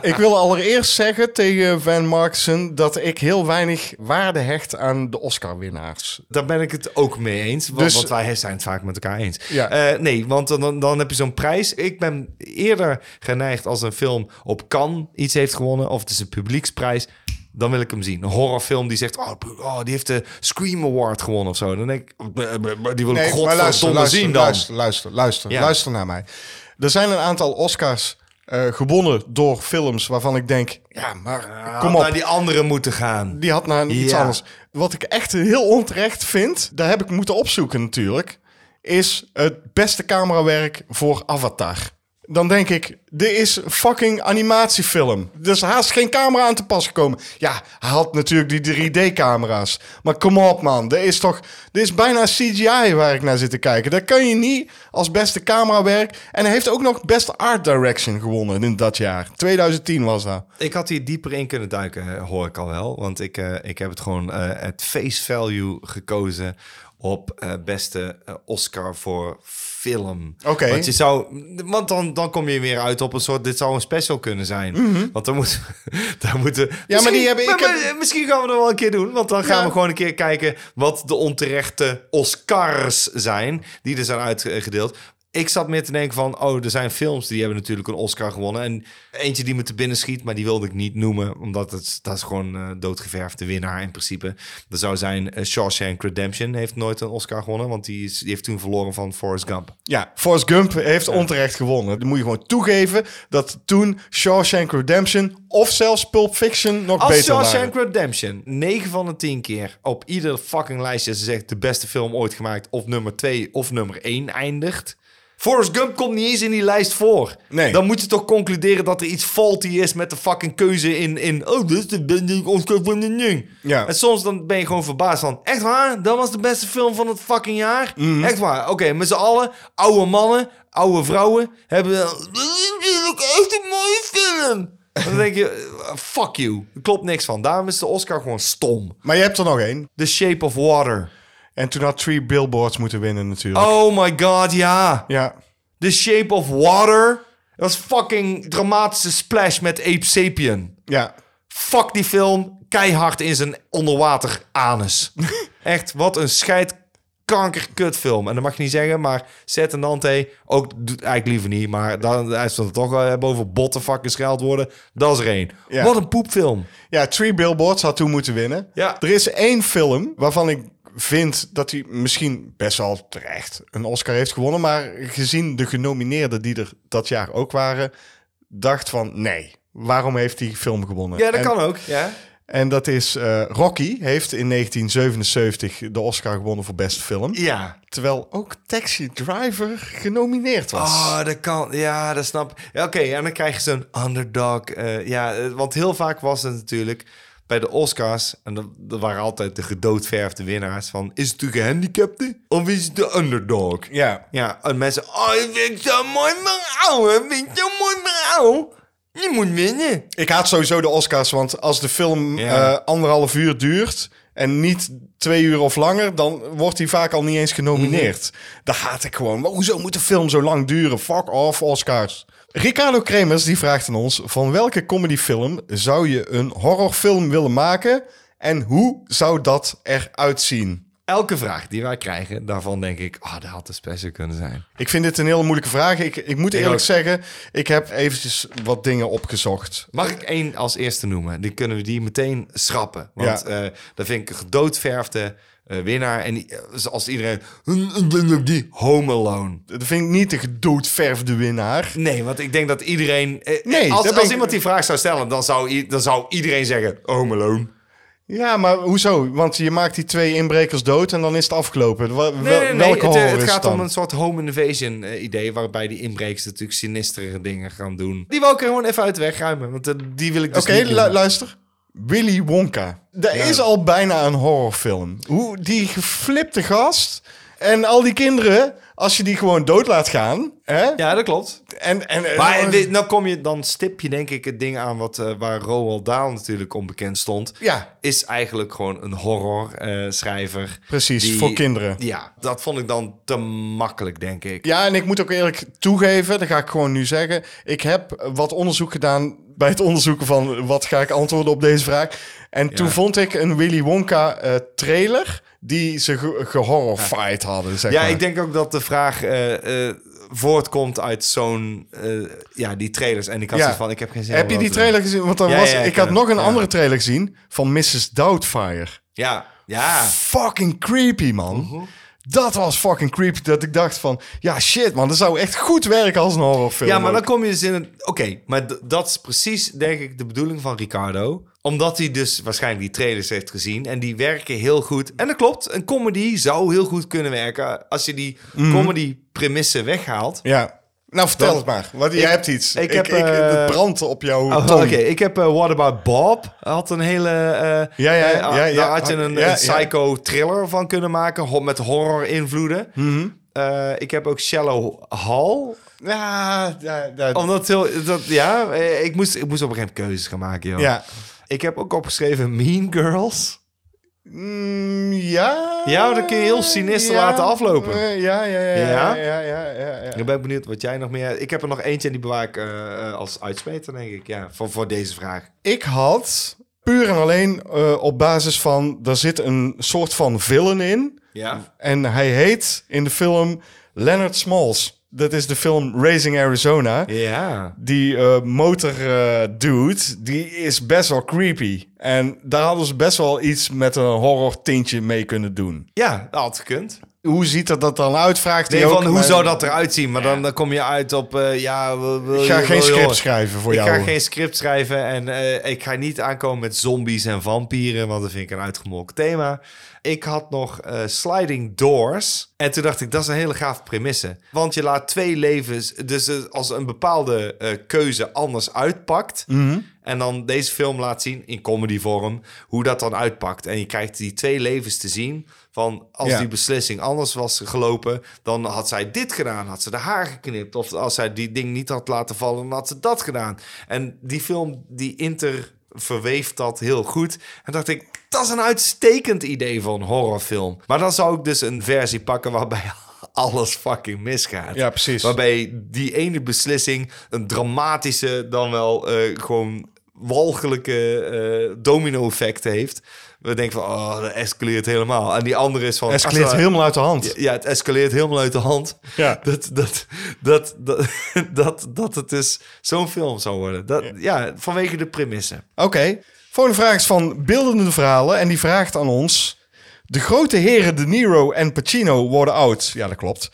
[SPEAKER 2] Ik wil allereerst zeggen tegen Van Marksen dat ik heel weinig waarde hecht aan de Oscar-winnaars.
[SPEAKER 1] Daar ben ik het ook mee eens. Want,
[SPEAKER 2] Dus-
[SPEAKER 1] want wij zijn het vaak met elkaar eens.
[SPEAKER 2] Ja.
[SPEAKER 1] Eh, nee, want dan- dan, dan heb je zo'n prijs. Ik ben eerder geneigd als een film op Cannes iets heeft gewonnen. Of het is een publieksprijs. Dan wil ik hem zien. Een horrorfilm die zegt... Oh, pu- oh, die heeft de Scream Award gewonnen of zo. Dan denk ik... "Eh, eh, eh, Die wil ik godverdomme zien dan.
[SPEAKER 2] luister, luister, luister,
[SPEAKER 1] Ja.
[SPEAKER 2] luister naar mij. Er zijn een aantal Oscars eh, gewonnen door films waarvan ik denk, ja, maar
[SPEAKER 1] Ah,
[SPEAKER 2] kom op.
[SPEAKER 1] Naar die andere moeten gaan.
[SPEAKER 2] Die had naar iets
[SPEAKER 1] Ja.
[SPEAKER 2] anders. Wat ik echt heel onterecht vind, daar heb ik moeten opzoeken natuurlijk, is het beste camerawerk voor Avatar. Dan denk ik, dit is een fucking animatiefilm. Er is haast geen camera aan te pas gekomen. Ja, hij had natuurlijk die 3D-camera's. Maar kom op man, dit is toch... Dit is bijna CGI waar ik naar zit te kijken. Dat kan je niet als beste camerawerk. En hij heeft ook nog beste art direction gewonnen in dat jaar. 2010 was dat.
[SPEAKER 1] Ik had hier dieper in kunnen duiken, eh, hoor ik al wel. Want ik, eh, ik heb het gewoon eh, het face value gekozen op eh, beste eh, Oscar voor film.
[SPEAKER 2] Oké.
[SPEAKER 1] Want, je zou, want dan, dan kom je weer uit op een soort... Dit zou een special kunnen zijn. Want dan moeten, dan moeten
[SPEAKER 2] Mhm. maar
[SPEAKER 1] misschien-
[SPEAKER 2] die hebben- ik
[SPEAKER 1] maar-
[SPEAKER 2] heb-
[SPEAKER 1] maar eh, Misschien gaan we dat wel een keer doen. Want dan gaan
[SPEAKER 2] Ja.
[SPEAKER 1] we gewoon een keer kijken... wat de onterechte Oscars zijn die er zijn uitgedeeld. Ik zat meer te denken van, oh, er zijn films die hebben natuurlijk een Oscar gewonnen. En eentje die me te binnen schiet, maar die wilde ik niet noemen. Omdat het, dat is gewoon eh doodgeverfde winnaar in principe. Er zou zijn eh, Shawshank Redemption heeft nooit een Oscar gewonnen. Want die, is, die heeft toen verloren van Forrest Gump.
[SPEAKER 2] Ja, Forrest Gump heeft onterecht gewonnen. Dan moet je gewoon toegeven dat toen Shawshank Redemption of zelfs Pulp Fiction nog
[SPEAKER 1] Als
[SPEAKER 2] beter
[SPEAKER 1] Shawshank
[SPEAKER 2] waren.
[SPEAKER 1] Redemption 9 van de 10 keer op ieder fucking lijstje ze zegt de beste film ooit gemaakt of nummer 2 of nummer 1 eindigt. Forrest Gump komt niet eens in die lijst voor.
[SPEAKER 2] Nee.
[SPEAKER 1] Dan moet je toch concluderen dat er iets faulty is met de fucking keuze in... in oh, dit is de beste Oscar van de nu.
[SPEAKER 2] Ja.
[SPEAKER 1] En soms dan ben je gewoon verbaasd van... Echt waar? Dat was de beste film van het fucking jaar? Echt waar? Oké, met z'n allen, oude mannen, oude vrouwen... hebben... Dit is natuurlijk echt een mooie film. Dan denk je, eh, fuck you. Er klopt niks van. Daarom is de Oscar gewoon stom.
[SPEAKER 2] Maar je hebt er nog één.
[SPEAKER 1] The Shape of Water.
[SPEAKER 2] En toen had Three Billboards moeten winnen natuurlijk.
[SPEAKER 1] Oh my god, ja.
[SPEAKER 2] Ja.
[SPEAKER 1] The Shape of Water. Dat is fucking dramatische splash met Ape Sapien.
[SPEAKER 2] Ja.
[SPEAKER 1] Fuck die film. Keihard in zijn onderwater anus. Echt, wat een scheidkankerkutfilm. En dat mag je niet zeggen, maar Zet en Dante... Ook doet eigenlijk liever niet, maar dan, hij zal het toch wel eh, hebben over botten fucking scheld worden. Dat is er één.
[SPEAKER 2] Ja.
[SPEAKER 1] Wat een poepfilm.
[SPEAKER 2] ja, Three Billboards had toen moeten winnen.
[SPEAKER 1] Ja.
[SPEAKER 2] Er is één film waarvan ik vind dat hij misschien best wel terecht een Oscar heeft gewonnen. Maar gezien de genomineerden die er dat jaar ook waren, dacht van nee, waarom heeft die film gewonnen?
[SPEAKER 1] Ja, dat
[SPEAKER 2] En-
[SPEAKER 1] kan ook. Ja.
[SPEAKER 2] En dat is eh, Rocky heeft in 1977 de Oscar gewonnen voor beste film.
[SPEAKER 1] ja.
[SPEAKER 2] Terwijl ook Taxi Driver genomineerd was.
[SPEAKER 1] Oh, dat kan. Ja, dat snap ik. Ja, Oké, en dan krijg je zo'n underdog. eh, ja, eh, want heel vaak was het natuurlijk bij de Oscars... en dat, dat waren altijd de gedoodverfde winnaars van... is het de gehandicapte of is het de underdog?
[SPEAKER 2] Ja.
[SPEAKER 1] Ja, en mensen... Oh, ik vind het zo'n mooi verhaal, hè? Vind ik zo'n mooi verhaal? Je moet winnen.
[SPEAKER 2] Ik haat sowieso de Oscars, want als de film
[SPEAKER 1] Ja.
[SPEAKER 2] eh, anderhalf uur duurt en niet twee uur of langer, dan wordt die vaak al niet eens genomineerd. Daar haat ik gewoon. Maar hoezo moet de film zo lang duren? Fuck off, Oscars. Ricardo Kremers die vraagt aan ons: van welke comedyfilm zou je een horrorfilm willen maken en hoe zou dat eruit zien?
[SPEAKER 1] Elke vraag die wij krijgen, daarvan denk ik, ah, dat had de special kunnen zijn.
[SPEAKER 2] Ik vind dit een hele moeilijke vraag. Ik, ik moet eerlijk
[SPEAKER 1] ook.
[SPEAKER 2] zeggen, ik heb eventjes wat dingen opgezocht.
[SPEAKER 1] Mag ik één als eerste noemen? Die kunnen we die meteen schrappen. Want
[SPEAKER 2] Ja.
[SPEAKER 1] eh dat vind ik een gedoodverfde eh, winnaar. En die- eh, als iedereen... "Ik denk dat Die Home Alone.
[SPEAKER 2] Dat vind ik niet de gedoodverfde winnaar.
[SPEAKER 1] Nee, want ik denk dat iedereen... eh,
[SPEAKER 2] Nee,
[SPEAKER 1] als
[SPEAKER 2] daar ben
[SPEAKER 1] als
[SPEAKER 2] ik-
[SPEAKER 1] iemand die vraag zou stellen, dan zou, i- dan zou iedereen zeggen... Home Alone.
[SPEAKER 2] Ja, maar hoezo? Want je maakt die twee inbrekers dood en dan is het afgelopen. Wa- wel-
[SPEAKER 1] Nee, nee, nee.
[SPEAKER 2] welke
[SPEAKER 1] Het, eh,
[SPEAKER 2] horror
[SPEAKER 1] het
[SPEAKER 2] is
[SPEAKER 1] gaat
[SPEAKER 2] dan?
[SPEAKER 1] om een soort home invasion eh, idee... waarbij die inbrekers natuurlijk sinistere dingen gaan doen. Die wil ik er gewoon even uit de weg ruimen. Want eh, die wil ik dus
[SPEAKER 2] Oké,
[SPEAKER 1] niet doen.
[SPEAKER 2] lu- luister. Willy Wonka. Dat is al bijna een horrorfilm. Hoe die geflipte gast en al die kinderen, als je die gewoon dood laat gaan. Hè?
[SPEAKER 1] Ja, dat klopt.
[SPEAKER 2] En, en, en-
[SPEAKER 1] Maar dit- nou kom je, dan stip je denk ik het ding aan wat, eh, waar Roald Dahl natuurlijk onbekend stond.
[SPEAKER 2] Ja.
[SPEAKER 1] Is eigenlijk gewoon een horrorschrijver. schrijver.
[SPEAKER 2] Precies, voor kinderen.
[SPEAKER 1] Ja, dat vond ik dan te makkelijk, denk ik.
[SPEAKER 2] Ja, en ik moet ook eerlijk toegeven, dat ga ik gewoon nu zeggen. Ik heb eh, wat onderzoek gedaan bij het onderzoeken van wat ga ik antwoorden op deze vraag. En toen vond ik een Willy Wonka eh, trailer die ze ge gehorrified hadden, zeg
[SPEAKER 1] Ja,
[SPEAKER 2] maar.
[SPEAKER 1] ik denk ook dat de vraag eh, eh, voortkomt uit zo'n... eh, ja, die trailers. En ik had
[SPEAKER 2] Ja.
[SPEAKER 1] zoiets van, ik heb geen zin
[SPEAKER 2] Heb
[SPEAKER 1] om
[SPEAKER 2] je
[SPEAKER 1] dat
[SPEAKER 2] die
[SPEAKER 1] te
[SPEAKER 2] trailer gezien? Want dan
[SPEAKER 1] Ja,
[SPEAKER 2] was,
[SPEAKER 1] ja, ik
[SPEAKER 2] ik had
[SPEAKER 1] ken
[SPEAKER 2] nog
[SPEAKER 1] hem.
[SPEAKER 2] een
[SPEAKER 1] Ja.
[SPEAKER 2] andere trailer gezien van Mrs. Doubtfire.
[SPEAKER 1] doen. Ja, ja.
[SPEAKER 2] Fucking creepy, man.
[SPEAKER 1] Uh-huh.
[SPEAKER 2] Dat was fucking creepy. Dat ik dacht van, ja shit man, dat zou echt goed werken als een horrorfilm.
[SPEAKER 1] Ja, maar
[SPEAKER 2] ook.
[SPEAKER 1] dan kom je dus in een... Oké, maar d- dat is precies, denk ik, de bedoeling van Ricardo. Omdat hij dus waarschijnlijk die trailers heeft gezien. En die werken heel goed. En dat klopt, een comedy zou heel goed kunnen werken... als je die
[SPEAKER 2] Mhm.
[SPEAKER 1] comedy-premissen weghaalt.
[SPEAKER 2] Ja. Nou, vertel
[SPEAKER 1] Dan-
[SPEAKER 2] het maar. Want jij
[SPEAKER 1] Ik-
[SPEAKER 2] hebt iets.
[SPEAKER 1] ik heb, eh,
[SPEAKER 2] het brandt op jouw
[SPEAKER 1] Oh, Oké,
[SPEAKER 2] tong.
[SPEAKER 1] ik heb eh, What About Bob. Had een hele... eh,
[SPEAKER 2] Ja, ja,
[SPEAKER 1] eh,
[SPEAKER 2] ja, ja.
[SPEAKER 1] Daar had je een,
[SPEAKER 2] Ja, ja.
[SPEAKER 1] een psycho-thriller van kunnen maken. ho- Met horror-invloeden.
[SPEAKER 2] Mhm.
[SPEAKER 1] Eh, ik heb ook Shallow Hall.
[SPEAKER 2] Ja, ja, ja.
[SPEAKER 1] Omdat heel... Dat, ja, eh, ik moest, ik moest op een gegeven moment keuzes gaan maken, joh.
[SPEAKER 2] ja.
[SPEAKER 1] Ik heb ook opgeschreven Mean Girls.
[SPEAKER 2] Mm, ja.
[SPEAKER 1] Ja, dan kun je heel sinister laten aflopen.
[SPEAKER 2] Eh, Ja, ja, ja. Ja,
[SPEAKER 1] Ja?
[SPEAKER 2] ja, ja, ja, ja.
[SPEAKER 1] Ik ben benieuwd wat jij nog meer... Ik heb er nog eentje en die bewaar ik eh, eh, als uitspeter, denk ik. Ja, voor, voor deze vraag.
[SPEAKER 2] Ik had puur en alleen eh, op basis van... Er zit een soort van villain in.
[SPEAKER 1] Ja.
[SPEAKER 2] En hij heet in de film Leonard Smalls. Dat is de film Raising Arizona.
[SPEAKER 1] Ja.
[SPEAKER 2] Die eh, motor eh, dude, die is best wel creepy. En daar hadden ze best wel iets met een horror tintje mee kunnen doen.
[SPEAKER 1] Ja, dat had gekund.
[SPEAKER 2] Hoe ziet er dat dan uit, vraagt
[SPEAKER 1] Nee,
[SPEAKER 2] hij ook.
[SPEAKER 1] van hoe
[SPEAKER 2] maar-
[SPEAKER 1] zou dat eruit zien? Maar dan, dan kom je uit op... eh, ja, wil- wil
[SPEAKER 2] Ik
[SPEAKER 1] je-
[SPEAKER 2] ga
[SPEAKER 1] wil je
[SPEAKER 2] geen script
[SPEAKER 1] horen?
[SPEAKER 2] schrijven voor
[SPEAKER 1] Ik
[SPEAKER 2] jou.
[SPEAKER 1] ga geen script schrijven en eh, ik ga niet aankomen met zombies en vampieren, want dat vind ik een uitgemolken thema. Ik had nog eh, Sliding Doors en toen dacht ik, dat is een hele gaaf premisse. Want je laat twee levens, dus eh, als een bepaalde eh, keuze anders uitpakt...
[SPEAKER 2] Mhm.
[SPEAKER 1] En dan deze film laat zien, in comedyvorm, hoe dat dan uitpakt. En je krijgt die twee levens te zien van als
[SPEAKER 2] Ja.
[SPEAKER 1] die beslissing anders was gelopen, dan had zij dit gedaan, had ze de haar geknipt. Of als zij die ding niet had laten vallen, dan had ze dat gedaan. En die film, die inter verweeft dat heel goed. En dacht ik, dat is een uitstekend idee voor een horrorfilm. Maar dan zou ik dus een versie pakken waarbij alles fucking misgaat.
[SPEAKER 2] Ja, precies.
[SPEAKER 1] Waarbij die ene beslissing een dramatische, dan wel eh, gewoon walgelijke eh, domino-effect heeft. We denken van, oh, dat escaleert helemaal. En die andere is van...
[SPEAKER 2] Escaleert
[SPEAKER 1] ah,
[SPEAKER 2] helemaal uit de hand.
[SPEAKER 1] Ja, het escaleert helemaal uit de hand.
[SPEAKER 2] Ja.
[SPEAKER 1] Dat, dat, dat, dat, dat, dat het dus zo'n film zou worden. Dat, ja, vanwege de premissen.
[SPEAKER 2] Oké. Volgende vraag is van beeldende verhalen. En die vraagt aan ons... De grote heren De Niro en Pacino worden oud. Ja, dat klopt.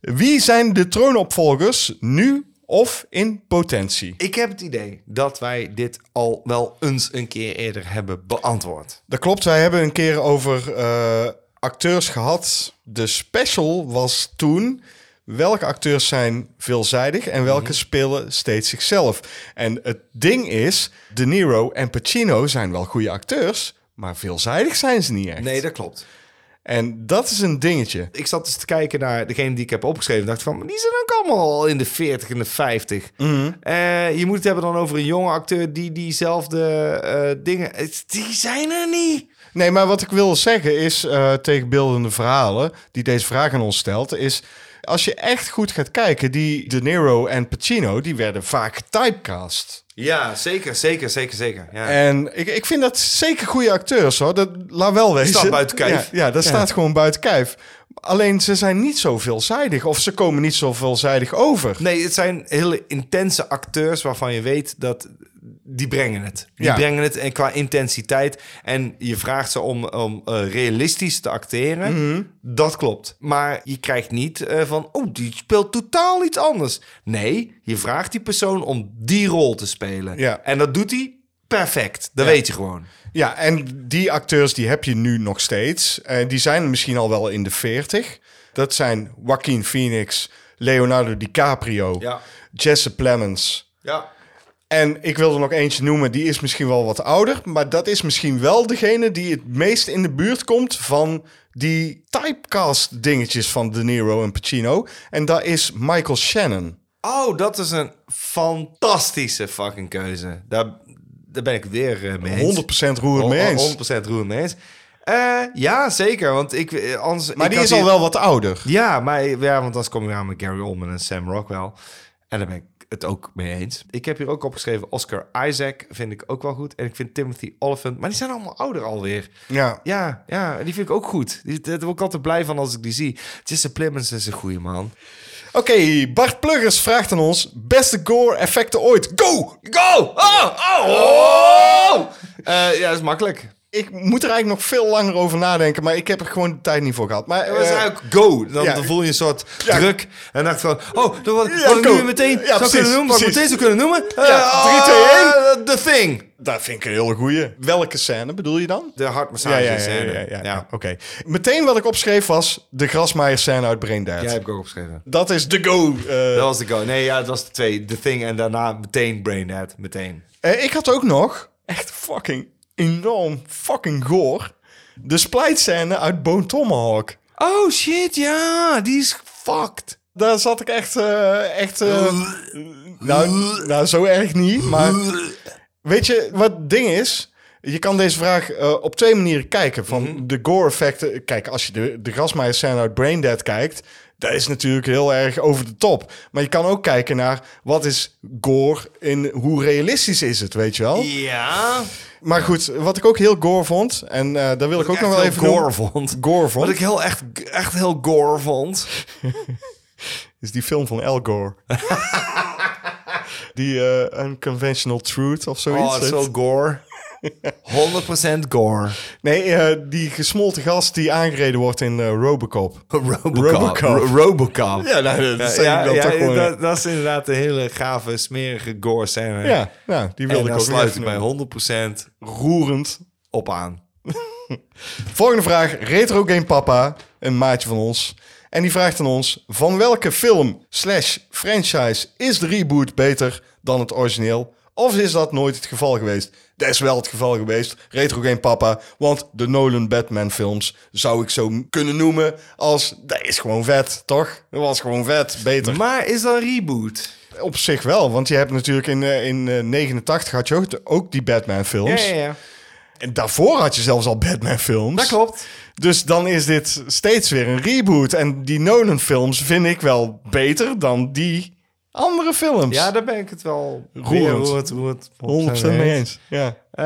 [SPEAKER 2] Wie zijn de troonopvolgers nu of in potentie?
[SPEAKER 1] Ik heb het idee dat wij dit al wel eens een keer eerder hebben beantwoord.
[SPEAKER 2] Dat klopt, wij hebben een keer over eh, acteurs gehad. De special was toen welke acteurs zijn veelzijdig en welke spelen steeds zichzelf. En het ding is, De Niro en Pacino zijn wel goede acteurs, maar veelzijdig zijn ze niet echt.
[SPEAKER 1] Nee, dat klopt.
[SPEAKER 2] En dat is een dingetje.
[SPEAKER 1] Ik zat dus te kijken naar degene die ik heb opgeschreven. dacht van, maar die zijn ook allemaal al in de 40 en de 50. Eh, je moet het hebben dan over een jonge acteur die diezelfde eh, dingen... Het- Die zijn er niet.
[SPEAKER 2] Nee, maar wat ik wil zeggen is eh, tegen beeldende verhalen die deze vraag aan ons stelt, is als je echt goed gaat kijken, die De Niro en Pacino, die werden vaak typecast.
[SPEAKER 1] Ja, zeker, zeker, zeker, zeker. Ja.
[SPEAKER 2] En ik, ik vind dat zeker goede acteurs hoor. Dat laat wel wezen.
[SPEAKER 1] Staat buiten kijf.
[SPEAKER 2] Ja, ja dat staat gewoon buiten kijf. Alleen ze zijn niet zo veelzijdig. Of ze komen niet zo veelzijdig over.
[SPEAKER 1] Nee, het zijn hele intense acteurs waarvan je weet dat die brengen het. Die
[SPEAKER 2] Ja.
[SPEAKER 1] brengen het en qua intensiteit. En je vraagt ze om, om eh, realistisch te acteren.
[SPEAKER 2] Mhm.
[SPEAKER 1] Dat klopt. Maar je krijgt niet eh, van, oh, die speelt totaal iets anders. Nee, je vraagt die persoon om die rol te spelen.
[SPEAKER 2] Ja.
[SPEAKER 1] En dat doet hij perfect. Dat weet je gewoon.
[SPEAKER 2] Ja, en die acteurs die heb je nu nog steeds. En die zijn misschien al wel in de 40. Dat zijn Joaquin Phoenix, Leonardo DiCaprio,
[SPEAKER 1] Ja.
[SPEAKER 2] Jesse Plemons.
[SPEAKER 1] Ja.
[SPEAKER 2] En ik wil er nog eentje noemen, die is misschien wel wat ouder. Maar dat is misschien wel degene die het meest in de buurt komt van die typecast dingetjes van De Niro en Pacino. En dat is Michael Shannon.
[SPEAKER 1] Oh, dat is een fantastische fucking keuze. Daar, daar ben ik weer eh, mee eens. Oh,
[SPEAKER 2] 100% roer het mee eens.
[SPEAKER 1] 100% roer mee eens. Eh, ja, zeker. Want ik, eh, anders,
[SPEAKER 2] Maar
[SPEAKER 1] ik
[SPEAKER 2] die
[SPEAKER 1] had
[SPEAKER 2] is al
[SPEAKER 1] hier-
[SPEAKER 2] wel wat ouder.
[SPEAKER 1] Ja, maar, ja, want anders kom je aan met Gary Oldman en Sam Rockwell. En daar ben ik het ook mee eens. Ik heb hier ook opgeschreven Oscar Isaac. Vind ik ook wel goed. En ik vind Timothy Oliphant. Maar die zijn allemaal ouder alweer.
[SPEAKER 2] Ja.
[SPEAKER 1] Ja, ja die vind ik ook goed. Die- Daar word ik altijd blij van als ik die zie. Jesse Plemons is een goede man.
[SPEAKER 2] Oké, Bart Pluggers vraagt aan ons: beste gore-effecten ooit. Go!
[SPEAKER 1] Go! Oh! Oh! oh! Eh, ja, dat is makkelijk.
[SPEAKER 2] Ik moet er eigenlijk nog veel langer over nadenken, maar ik heb er gewoon de tijd niet voor gehad. Maar,
[SPEAKER 1] Dat was
[SPEAKER 2] eh,
[SPEAKER 1] eigenlijk go. Dan,
[SPEAKER 2] ja.
[SPEAKER 1] dan voel je een soort druk. En dacht van, oh, dat wat,
[SPEAKER 2] Ja,
[SPEAKER 1] wat ik
[SPEAKER 2] go.
[SPEAKER 1] nu meteen
[SPEAKER 2] Ja,
[SPEAKER 1] zou
[SPEAKER 2] precies,
[SPEAKER 1] kunnen noemen. Wat ik
[SPEAKER 2] precies. Oh,
[SPEAKER 1] meteen
[SPEAKER 2] eh,
[SPEAKER 1] zou kunnen noemen. eh, Ja,
[SPEAKER 2] drie, twee,
[SPEAKER 1] The Thing.
[SPEAKER 2] dat vind ik een hele goeie. Welke scène bedoel je dan?
[SPEAKER 1] De
[SPEAKER 2] Ja,
[SPEAKER 1] hartmassage
[SPEAKER 2] ja, ja. ja,
[SPEAKER 1] scène.
[SPEAKER 2] ja, ja. Oké. Meteen wat ik opschreef was de grasmaaier scène uit Brain Dead.
[SPEAKER 1] Jij heb ik ook opgeschreven.
[SPEAKER 2] Dat is de go. eh.
[SPEAKER 1] Dat was de go. Nee, ja, dat was de twee. The Thing en daarna meteen Brainhead. Meteen.
[SPEAKER 2] Eh, ik had ook nog, echt fucking enorm fucking goor, de splijtscène uit Bone Tomahawk.
[SPEAKER 1] Oh shit, ja. Die is fucked.
[SPEAKER 2] Daar zat ik echt, eh, echt. eh, nou, nou, zo erg niet. Maar weet je wat het ding is? Je kan deze vraag eh, op twee manieren kijken. Van
[SPEAKER 1] Mhm.
[SPEAKER 2] de gore-effecten. Kijk, als je de, de grasmaaierscène uit Braindead kijkt. Dat is natuurlijk heel erg over de top. Maar je kan ook kijken naar wat is gore en hoe realistisch is het, weet je wel?
[SPEAKER 1] Ja.
[SPEAKER 2] Maar goed, wat ik ook heel gore vond, en eh daar wil ik ook nog wel
[SPEAKER 1] Echt
[SPEAKER 2] even
[SPEAKER 1] heel gore
[SPEAKER 2] noemen-
[SPEAKER 1] vond.
[SPEAKER 2] Gore vond,
[SPEAKER 1] Wat ik heel echt, echt heel gore vond.
[SPEAKER 2] is die film van Al Gore. die eh, Unconventional Truth of zoiets.
[SPEAKER 1] Oh, het is
[SPEAKER 2] heet.
[SPEAKER 1] zo gore. 100% gore.
[SPEAKER 2] Nee, eh, die gesmolten gast die aangereden wordt in eh, Robocop.
[SPEAKER 1] Robocop.
[SPEAKER 2] Robocop.
[SPEAKER 1] Ro- Robocop.
[SPEAKER 2] Ja, nou, dat zijn dan toch gewoon-
[SPEAKER 1] dat, dat is inderdaad een hele gave, smerige gore scène.
[SPEAKER 2] Ja, nou, die wilde
[SPEAKER 1] en
[SPEAKER 2] ik
[SPEAKER 1] daar
[SPEAKER 2] ook
[SPEAKER 1] sluit
[SPEAKER 2] even
[SPEAKER 1] ik bij 100%
[SPEAKER 2] noemen. Roerend.
[SPEAKER 1] op aan.
[SPEAKER 2] Volgende vraag. Retro Game Papa, een maatje van ons. En die vraagt aan ons, van welke film slash franchise is de reboot beter dan het origineel? Of is dat nooit het geval geweest? Dat is wel het geval geweest, Retro Game Papa. Want de Nolan Batman films zou ik zo m- kunnen noemen als... Dat is gewoon vet, toch? Dat was gewoon vet, beter.
[SPEAKER 1] Maar is dat een reboot?
[SPEAKER 2] Op zich wel, want je hebt natuurlijk in, eh, in eh, 89 had je ook, de- ook die Batman films.
[SPEAKER 1] ja.
[SPEAKER 2] En daarvoor had je zelfs al Batman films.
[SPEAKER 1] Dat klopt.
[SPEAKER 2] Dus dan is dit steeds weer een reboot. En die Nolan-films vind ik wel beter dan die andere films.
[SPEAKER 1] Ja, daar ben ik het wel
[SPEAKER 2] Roerend.
[SPEAKER 1] weer roerend, roerend,
[SPEAKER 2] 100% mee eens. Ja.
[SPEAKER 1] Eh,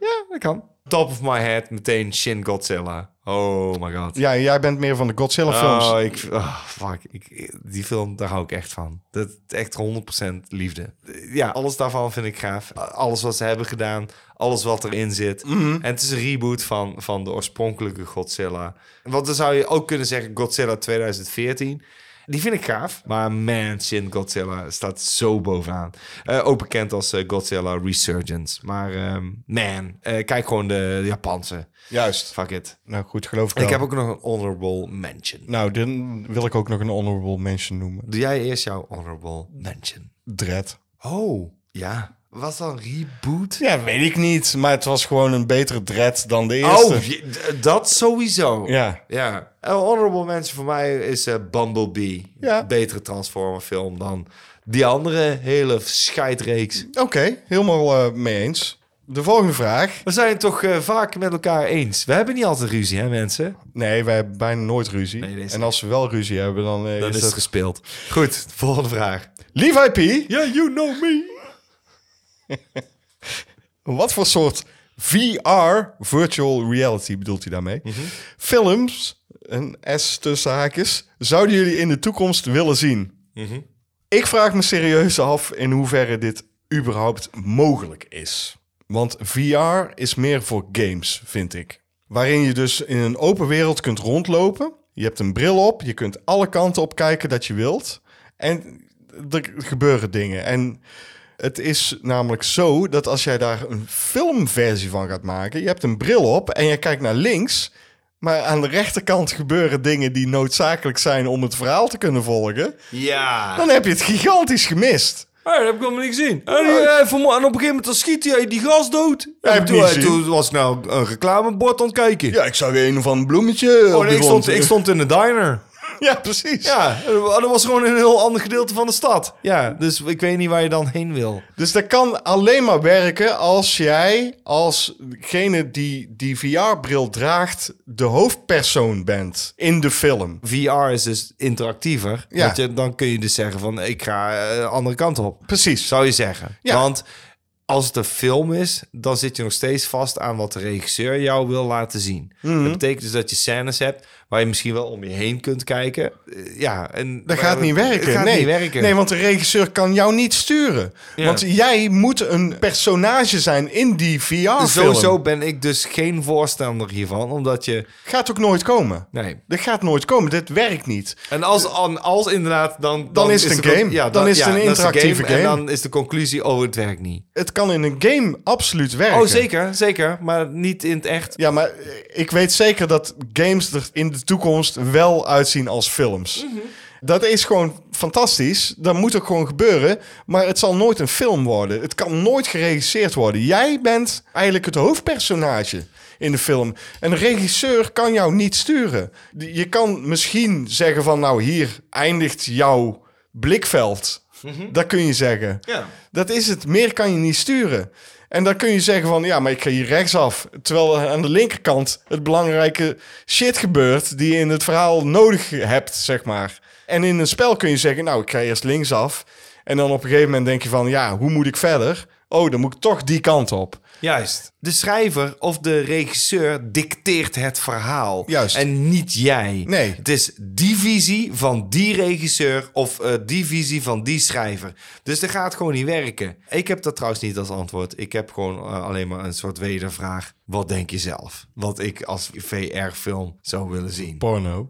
[SPEAKER 1] ja, dat kan. Top of my head, meteen Shin Godzilla. Oh my god.
[SPEAKER 2] ja, en jij bent meer van de Godzilla-films.
[SPEAKER 1] Oh, ik, ah, fuck. Ik, die film, daar hou ik echt van. Dat is echt 100% liefde. Ja, alles daarvan vind ik gaaf. Alles wat ze hebben gedaan, alles wat erin zit. En het is een reboot van, van de oorspronkelijke Godzilla. Want dan zou je ook kunnen zeggen Godzilla 2014. Die vind ik gaaf. Maar man, Shin Godzilla staat zo bovenaan. Eh, ook bekend als eh, Godzilla Resurgence. Maar ehm, man, eh, kijk gewoon de Japanse.
[SPEAKER 2] Juist.
[SPEAKER 1] Fuck it.
[SPEAKER 2] Nou goed, geloof ik
[SPEAKER 1] Ik
[SPEAKER 2] wel.
[SPEAKER 1] heb ook nog een honorable mention.
[SPEAKER 2] Nou, dan wil ik ook nog een honorable mention noemen.
[SPEAKER 1] Doe jij eerst jouw honorable mention?
[SPEAKER 2] Dread.
[SPEAKER 1] Oh, ja. Was dat een reboot?
[SPEAKER 2] Ja, weet ik niet. Maar het was gewoon een betere Dread dan de eerste.
[SPEAKER 1] Oh, je- d- dat sowieso.
[SPEAKER 2] Ja.
[SPEAKER 1] ja. Een honorable mention voor mij is eh, Bumblebee.
[SPEAKER 2] Ja.
[SPEAKER 1] Betere Transformer film dan die andere hele scheidreeks.
[SPEAKER 2] Oké, helemaal eh, mee eens. De volgende vraag.
[SPEAKER 1] We zijn het toch eh, vaak met elkaar eens. We hebben niet altijd ruzie, hè mensen?
[SPEAKER 2] Nee, wij hebben bijna nooit ruzie.
[SPEAKER 1] Nee, deze-
[SPEAKER 2] en als we wel ruzie hebben, dan
[SPEAKER 1] Dan
[SPEAKER 2] eh, is
[SPEAKER 1] is
[SPEAKER 2] dat...
[SPEAKER 1] het gespeeld. Goed, volgende vraag.
[SPEAKER 2] Levi P.
[SPEAKER 1] Ja, you know me.
[SPEAKER 2] Wat voor soort VR, virtual reality, bedoelt hij daarmee? Films, een S tussen haakjes, zouden jullie in de toekomst willen zien? Ik vraag me serieus af in hoeverre dit überhaupt mogelijk is. Want VR is meer voor games, vind ik. Waarin je dus in een open wereld kunt rondlopen. Je hebt een bril op, je kunt alle kanten op kijken dat je wilt. En er gebeuren dingen. En het is namelijk zo dat als jij daar een filmversie van gaat maken, je hebt een bril op en je kijkt naar links, maar aan de rechterkant gebeuren dingen die noodzakelijk zijn om het verhaal te kunnen volgen,
[SPEAKER 1] Ja.
[SPEAKER 2] dan heb je het gigantisch gemist.
[SPEAKER 6] Hey, dat heb ik helemaal niet gezien. Hey, die, eh, vermo- en op een gegeven moment dan schiet hij die gras dood.
[SPEAKER 2] Oh. heb
[SPEAKER 6] En
[SPEAKER 2] ik
[SPEAKER 6] toen,
[SPEAKER 2] niet
[SPEAKER 6] eh,
[SPEAKER 2] gezien.
[SPEAKER 6] toen was ik nou een reclamebord aan het kijken.
[SPEAKER 2] Ja, ik zou weer een of ander bloemetje.
[SPEAKER 1] Oh,
[SPEAKER 2] op
[SPEAKER 1] nee,
[SPEAKER 2] de
[SPEAKER 1] ik,
[SPEAKER 2] grond-
[SPEAKER 1] stond, ik stond in de diner.
[SPEAKER 2] Ja, precies.
[SPEAKER 1] Ja, eh, dat was gewoon een heel ander gedeelte van de stad. Ja, dus ik weet niet waar je dan heen wil.
[SPEAKER 2] Dus dat kan alleen maar werken als jij, als degene die die VR-bril draagt, de hoofdpersoon bent in de film.
[SPEAKER 1] VR is dus interactiever.
[SPEAKER 2] Ja.
[SPEAKER 1] Want je, dan kun je dus zeggen van, ik ga eh, de andere kant op.
[SPEAKER 2] Precies.
[SPEAKER 1] Zou je zeggen.
[SPEAKER 2] Ja.
[SPEAKER 1] Want als het een film is, dan zit je nog steeds vast aan wat de regisseur jou wil laten zien. Dat betekent dus dat je scènes hebt waar je misschien wel om je heen kunt kijken. Eh, Ja, en
[SPEAKER 2] Dat
[SPEAKER 1] maar-
[SPEAKER 2] gaat niet werken.
[SPEAKER 1] Het gaat
[SPEAKER 2] nee.
[SPEAKER 1] niet werken.
[SPEAKER 2] Nee, want de regisseur kan jou niet sturen.
[SPEAKER 1] Ja.
[SPEAKER 2] Want jij moet een personage zijn in die VR-film.
[SPEAKER 1] Dus Sowieso ben ik dus geen voorstander hiervan, omdat je...
[SPEAKER 2] Gaat ook nooit komen.
[SPEAKER 1] Nee.
[SPEAKER 2] Dat gaat nooit komen. Dit werkt niet.
[SPEAKER 1] En als, an- als inderdaad, dan, dan,
[SPEAKER 2] is het een
[SPEAKER 1] de con-
[SPEAKER 2] game. Dan is het een
[SPEAKER 1] dat de
[SPEAKER 2] interactieve
[SPEAKER 1] En
[SPEAKER 2] game.
[SPEAKER 1] dan is de conclusie, oh, het werkt niet.
[SPEAKER 2] Het kan in een game absoluut werken.
[SPEAKER 1] Oh, zeker, zeker. Maar niet in het echt.
[SPEAKER 2] Ja, maar eh, ik weet zeker dat games er in de toekomst wel uitzien als films. Dat is gewoon fantastisch. Dat moet ook gewoon gebeuren. Maar het zal nooit een film worden. Het kan nooit geregisseerd worden. Jij bent eigenlijk het hoofdpersonage in de film. Een regisseur kan jou niet sturen. Die- Je kan misschien zeggen van nou hier eindigt jouw blikveld. Dat kun je zeggen.
[SPEAKER 1] Ja.
[SPEAKER 2] Dat is het. Meer kan je niet sturen. En dan kun je zeggen van, ja, maar ik ga hier rechtsaf. Terwijl aan de linkerkant het belangrijke shit gebeurt die je in het verhaal nodig hebt, zeg maar. En in een spel kun je zeggen, nou, ik ga eerst linksaf. En dan op een gegeven moment denk je van, ja, hoe moet ik verder? Oh, dan moet ik toch die kant op.
[SPEAKER 1] Juist. De schrijver of de regisseur dicteert het verhaal.
[SPEAKER 2] Juist.
[SPEAKER 1] En niet jij.
[SPEAKER 2] Nee.
[SPEAKER 1] Het is die visie van die regisseur of eh, die visie van die schrijver. Dus dat gaat gewoon niet werken. Ik heb dat trouwens niet als antwoord. Ik heb gewoon eh, alleen maar een soort wedervraag. Wat denk je zelf? Wat ik als VR-film zou willen zien.
[SPEAKER 2] Porno.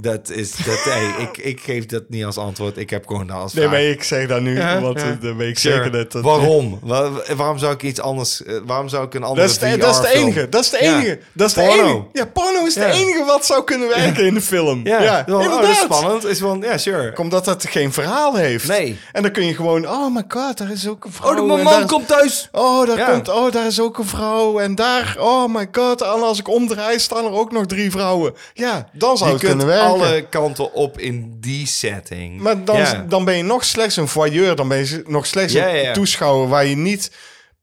[SPEAKER 1] Dat is... Dat, hey, ik, ik geef dat niet als antwoord. Ik heb gewoon dat als
[SPEAKER 2] Nee,
[SPEAKER 1] vraag.
[SPEAKER 2] maar ik zeg dat nu,
[SPEAKER 1] Ja,
[SPEAKER 2] want
[SPEAKER 1] ja.
[SPEAKER 2] eh, dan weet ik
[SPEAKER 1] Sure.
[SPEAKER 2] zeker dat... dat
[SPEAKER 1] waarom? Wa- waarom zou ik iets anders... eh, waarom zou ik een
[SPEAKER 2] Dat
[SPEAKER 1] andere
[SPEAKER 2] is, de, dat is de
[SPEAKER 1] VR-film?
[SPEAKER 2] enige. Dat is de
[SPEAKER 1] Ja.
[SPEAKER 2] enige. Dat is de
[SPEAKER 1] Porno.
[SPEAKER 2] enige. Ja, porno is
[SPEAKER 1] Ja.
[SPEAKER 2] de enige wat zou kunnen werken in de film. Ja,
[SPEAKER 1] Ja, Wel, oh, dat is
[SPEAKER 2] inderdaad.
[SPEAKER 1] spannend. Is van, ja, sure.
[SPEAKER 2] Omdat dat geen verhaal heeft.
[SPEAKER 1] Nee.
[SPEAKER 2] En dan kun je gewoon, oh my god, daar is ook een vrouw.
[SPEAKER 6] Oh, de
[SPEAKER 2] en
[SPEAKER 6] mijn
[SPEAKER 2] daar
[SPEAKER 6] man
[SPEAKER 2] is-
[SPEAKER 6] komt thuis.
[SPEAKER 2] Oh daar,
[SPEAKER 1] Ja.
[SPEAKER 2] komt, oh, daar is ook een vrouw. En daar, oh my god, en als ik omdraai, staan er ook nog drie vrouwen. Ja, dan zou
[SPEAKER 1] Je
[SPEAKER 2] het
[SPEAKER 1] kunt
[SPEAKER 2] kunnen werken.
[SPEAKER 1] alle kanten op in die setting.
[SPEAKER 2] Maar dan,
[SPEAKER 1] Ja.
[SPEAKER 2] dan ben je nog slechts een voyeur. Dan ben je nog slechts
[SPEAKER 1] Ja, ja,
[SPEAKER 2] een
[SPEAKER 1] ja.
[SPEAKER 2] toeschouwer waar je niet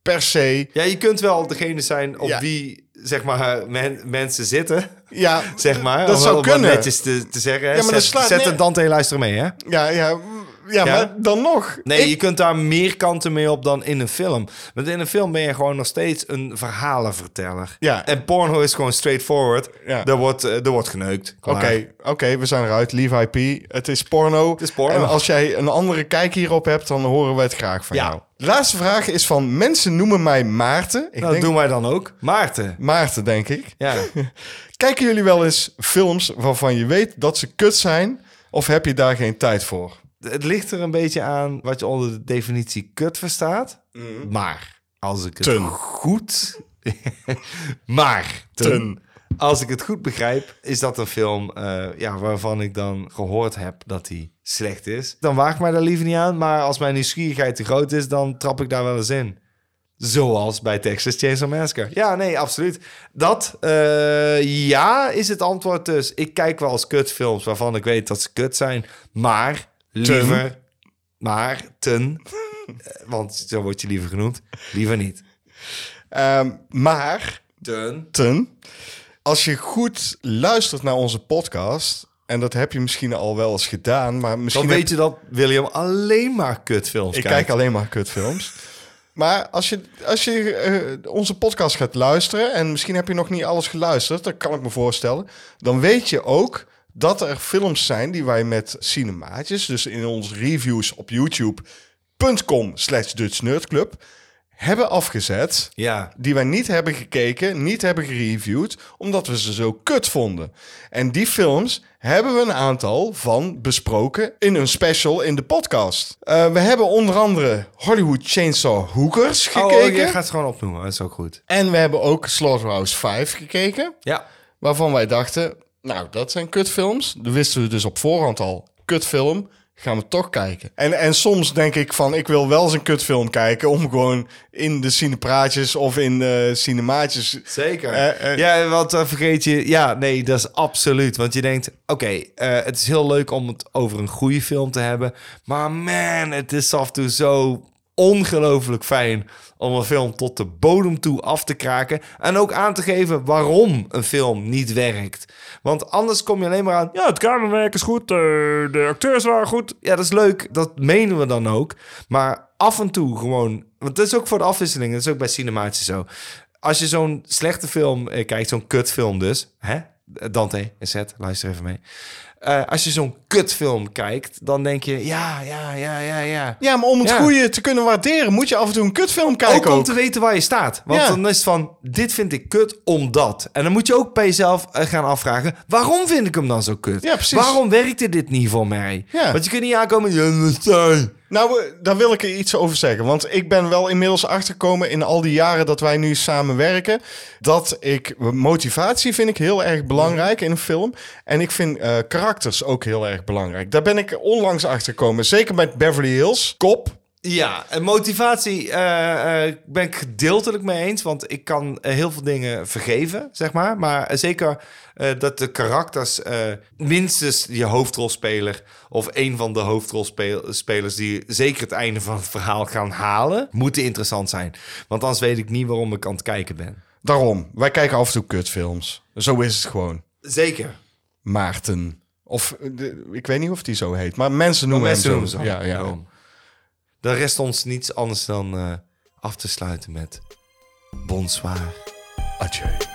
[SPEAKER 2] per se...
[SPEAKER 1] Ja, je kunt wel degene zijn op
[SPEAKER 2] Ja.
[SPEAKER 1] wie zeg maar, men- mensen zitten.
[SPEAKER 2] Ja,
[SPEAKER 1] Zeg maar.
[SPEAKER 2] dat
[SPEAKER 1] om-
[SPEAKER 2] zou
[SPEAKER 1] om wat
[SPEAKER 2] kunnen.
[SPEAKER 1] netjes te, te zeggen. hè.
[SPEAKER 2] Ja, maar dat
[SPEAKER 1] zet
[SPEAKER 2] slaat
[SPEAKER 1] zet
[SPEAKER 2] neer.
[SPEAKER 1] een Dante-luister mee, hè?
[SPEAKER 2] Ja, ja, mm, ja,
[SPEAKER 1] Ja?
[SPEAKER 2] maar dan nog.
[SPEAKER 1] Nee,
[SPEAKER 2] Ik-
[SPEAKER 1] je kunt daar meer kanten mee op dan in een film. Want in een film ben je gewoon nog steeds een verhalenverteller.
[SPEAKER 2] Ja.
[SPEAKER 1] En porno is gewoon straightforward.
[SPEAKER 2] Ja.
[SPEAKER 1] Er, wordt, eh, er wordt geneukt.
[SPEAKER 2] Oké,
[SPEAKER 1] Klaar. Nou,
[SPEAKER 2] oké, we zijn eruit. Levi P. Het is porno. Het
[SPEAKER 1] is porno.
[SPEAKER 2] En als jij een andere kijk hierop hebt, dan horen we het graag van
[SPEAKER 1] Ja.
[SPEAKER 2] jou. De laatste vraag is van mensen noemen mij Maarten. Ik
[SPEAKER 1] Nou, dat
[SPEAKER 2] denk
[SPEAKER 1] doen wij dan ook. Maarten.
[SPEAKER 2] Maarten, denk ik.
[SPEAKER 1] Ja.
[SPEAKER 2] Kijken jullie wel eens films waarvan je weet dat ze kut zijn? Of heb je daar geen tijd voor?
[SPEAKER 1] Het ligt er een beetje aan wat je onder de definitie kut verstaat. Maar als ik het
[SPEAKER 2] Ten.
[SPEAKER 1] goed. maar ten. Als ik het goed begrijp, is dat een film eh, ja, waarvan ik dan gehoord heb dat hij slecht is. Dan waag ik mij daar liever niet aan. Maar als mijn nieuwsgierigheid te groot is, dan trap ik daar wel eens in. Zoals bij Texas Chainsaw Massacre. Ja, nee, absoluut. Dat, eh, ja, is het antwoord dus. Ik kijk wel eens kutfilms waarvan ik weet dat ze kut zijn. Maar, liever, maar, ten, eh, want zo word je liever genoemd, liever niet.
[SPEAKER 2] Ehm, maar,
[SPEAKER 1] Ten.
[SPEAKER 2] Ten, als je goed luistert naar onze podcast... en dat heb je misschien al wel eens gedaan... maar misschien
[SPEAKER 1] Dan
[SPEAKER 2] heb-
[SPEAKER 1] weet je dat William alleen maar kutfilms
[SPEAKER 2] Ik
[SPEAKER 1] kijkt.
[SPEAKER 2] kijk alleen maar kutfilms. Maar als je, als je eh, onze podcast gaat luisteren... en misschien heb je nog niet alles geluisterd... dat kan ik me voorstellen... dan weet je ook dat er films zijn die wij met cinemaatjes... dus in onze reviews op youtube.com slash Dutch Nerd Club... hebben afgezet
[SPEAKER 1] Ja.
[SPEAKER 2] die wij niet hebben gekeken, niet hebben gereviewd, omdat we ze zo kut vonden. En die films hebben we een aantal van besproken in een special in de podcast. Eh, we hebben onder andere Hollywood Chainsaw Hookers
[SPEAKER 1] Oh,
[SPEAKER 2] gekeken.
[SPEAKER 1] je gaat het gewoon opnoemen. Dat is ook goed.
[SPEAKER 2] En we hebben ook Slaughterhouse 5 gekeken,
[SPEAKER 1] Ja.
[SPEAKER 2] waarvan wij dachten, nou, dat zijn kutfilms. Dat wisten we dus op voorhand al. Kutfilm. Gaan we toch kijken. En, en soms denk ik van, ik wil wel eens een kutfilm kijken... om gewoon in de cinepraatjes of in de cinemaatjes
[SPEAKER 1] Zeker.
[SPEAKER 2] Eh, eh.
[SPEAKER 1] ja, want eh, vergeet je... Ja, nee, dat is absoluut. Want je denkt, oké, eh, het is heel leuk om het over een goede film te hebben. Maar man, het is af en toe zo ongelooflijk fijn om een film tot de bodem toe af te kraken. En ook aan te geven waarom een film niet werkt. Want anders kom je alleen maar aan... Ja, het camerawerk is goed, eh, de acteurs waren goed. Ja, dat is leuk. Dat menen we dan ook. Maar af en toe gewoon... Want dat is ook voor de afwisseling. Dat is ook bij cinemaatjes zo als je zo'n slechte film eh, kijkt, zo'n kutfilm dus, hè? Dante en Zet, luister even mee. Eh, als je zo'n kutfilm kijkt, dan denk je, ja, ja, ja, ja, ja.
[SPEAKER 2] Ja, maar om het
[SPEAKER 1] Ja.
[SPEAKER 2] goede te kunnen waarderen, moet je af en toe een kutfilm kijken.
[SPEAKER 1] ook om
[SPEAKER 2] ook.
[SPEAKER 1] te weten waar je staat. Want
[SPEAKER 2] Ja.
[SPEAKER 1] dan is het van, dit vind ik kut omdat. En dan moet je ook bij jezelf eh, gaan afvragen, waarom vind ik hem dan zo kut?
[SPEAKER 2] Ja, precies.
[SPEAKER 1] Waarom werkte dit niet voor mij?
[SPEAKER 2] Ja.
[SPEAKER 1] Want je kunt niet aankomen, ja, dat is hij.
[SPEAKER 2] Nou, eh, daar wil ik er iets over zeggen. Want ik ben wel inmiddels achtergekomen in al die jaren dat wij nu samen werken. Dat ik motivatie vind ik heel erg belangrijk in een film. En ik vind eh, karakters ook heel erg belangrijk. Daar ben ik onlangs achtergekomen. Zeker met Beverly Hills. Kop.
[SPEAKER 1] Ja, en motivatie eh, eh, ben ik gedeeltelijk mee eens. Want ik kan eh, heel veel dingen vergeven, zeg maar. Maar eh, zeker eh, dat de karakters eh, minstens je hoofdrolspeler... of een van de hoofdrolspelers die zeker het einde van het verhaal gaan halen... moeten interessant zijn. Want anders weet ik niet waarom ik aan het kijken ben.
[SPEAKER 2] Daarom, wij kijken af en toe kutfilms. Zo is het gewoon.
[SPEAKER 1] Zeker.
[SPEAKER 2] Maarten. Of, eh, de- ik weet niet of die zo heet. Maar mensen noemen
[SPEAKER 1] Mensen
[SPEAKER 2] hem
[SPEAKER 1] doen
[SPEAKER 2] zo.
[SPEAKER 1] zo.
[SPEAKER 2] Ja, ja.
[SPEAKER 1] Daarom. Dan rest ons niets anders dan eh, af te sluiten met... Bonsoir.
[SPEAKER 2] Adieu.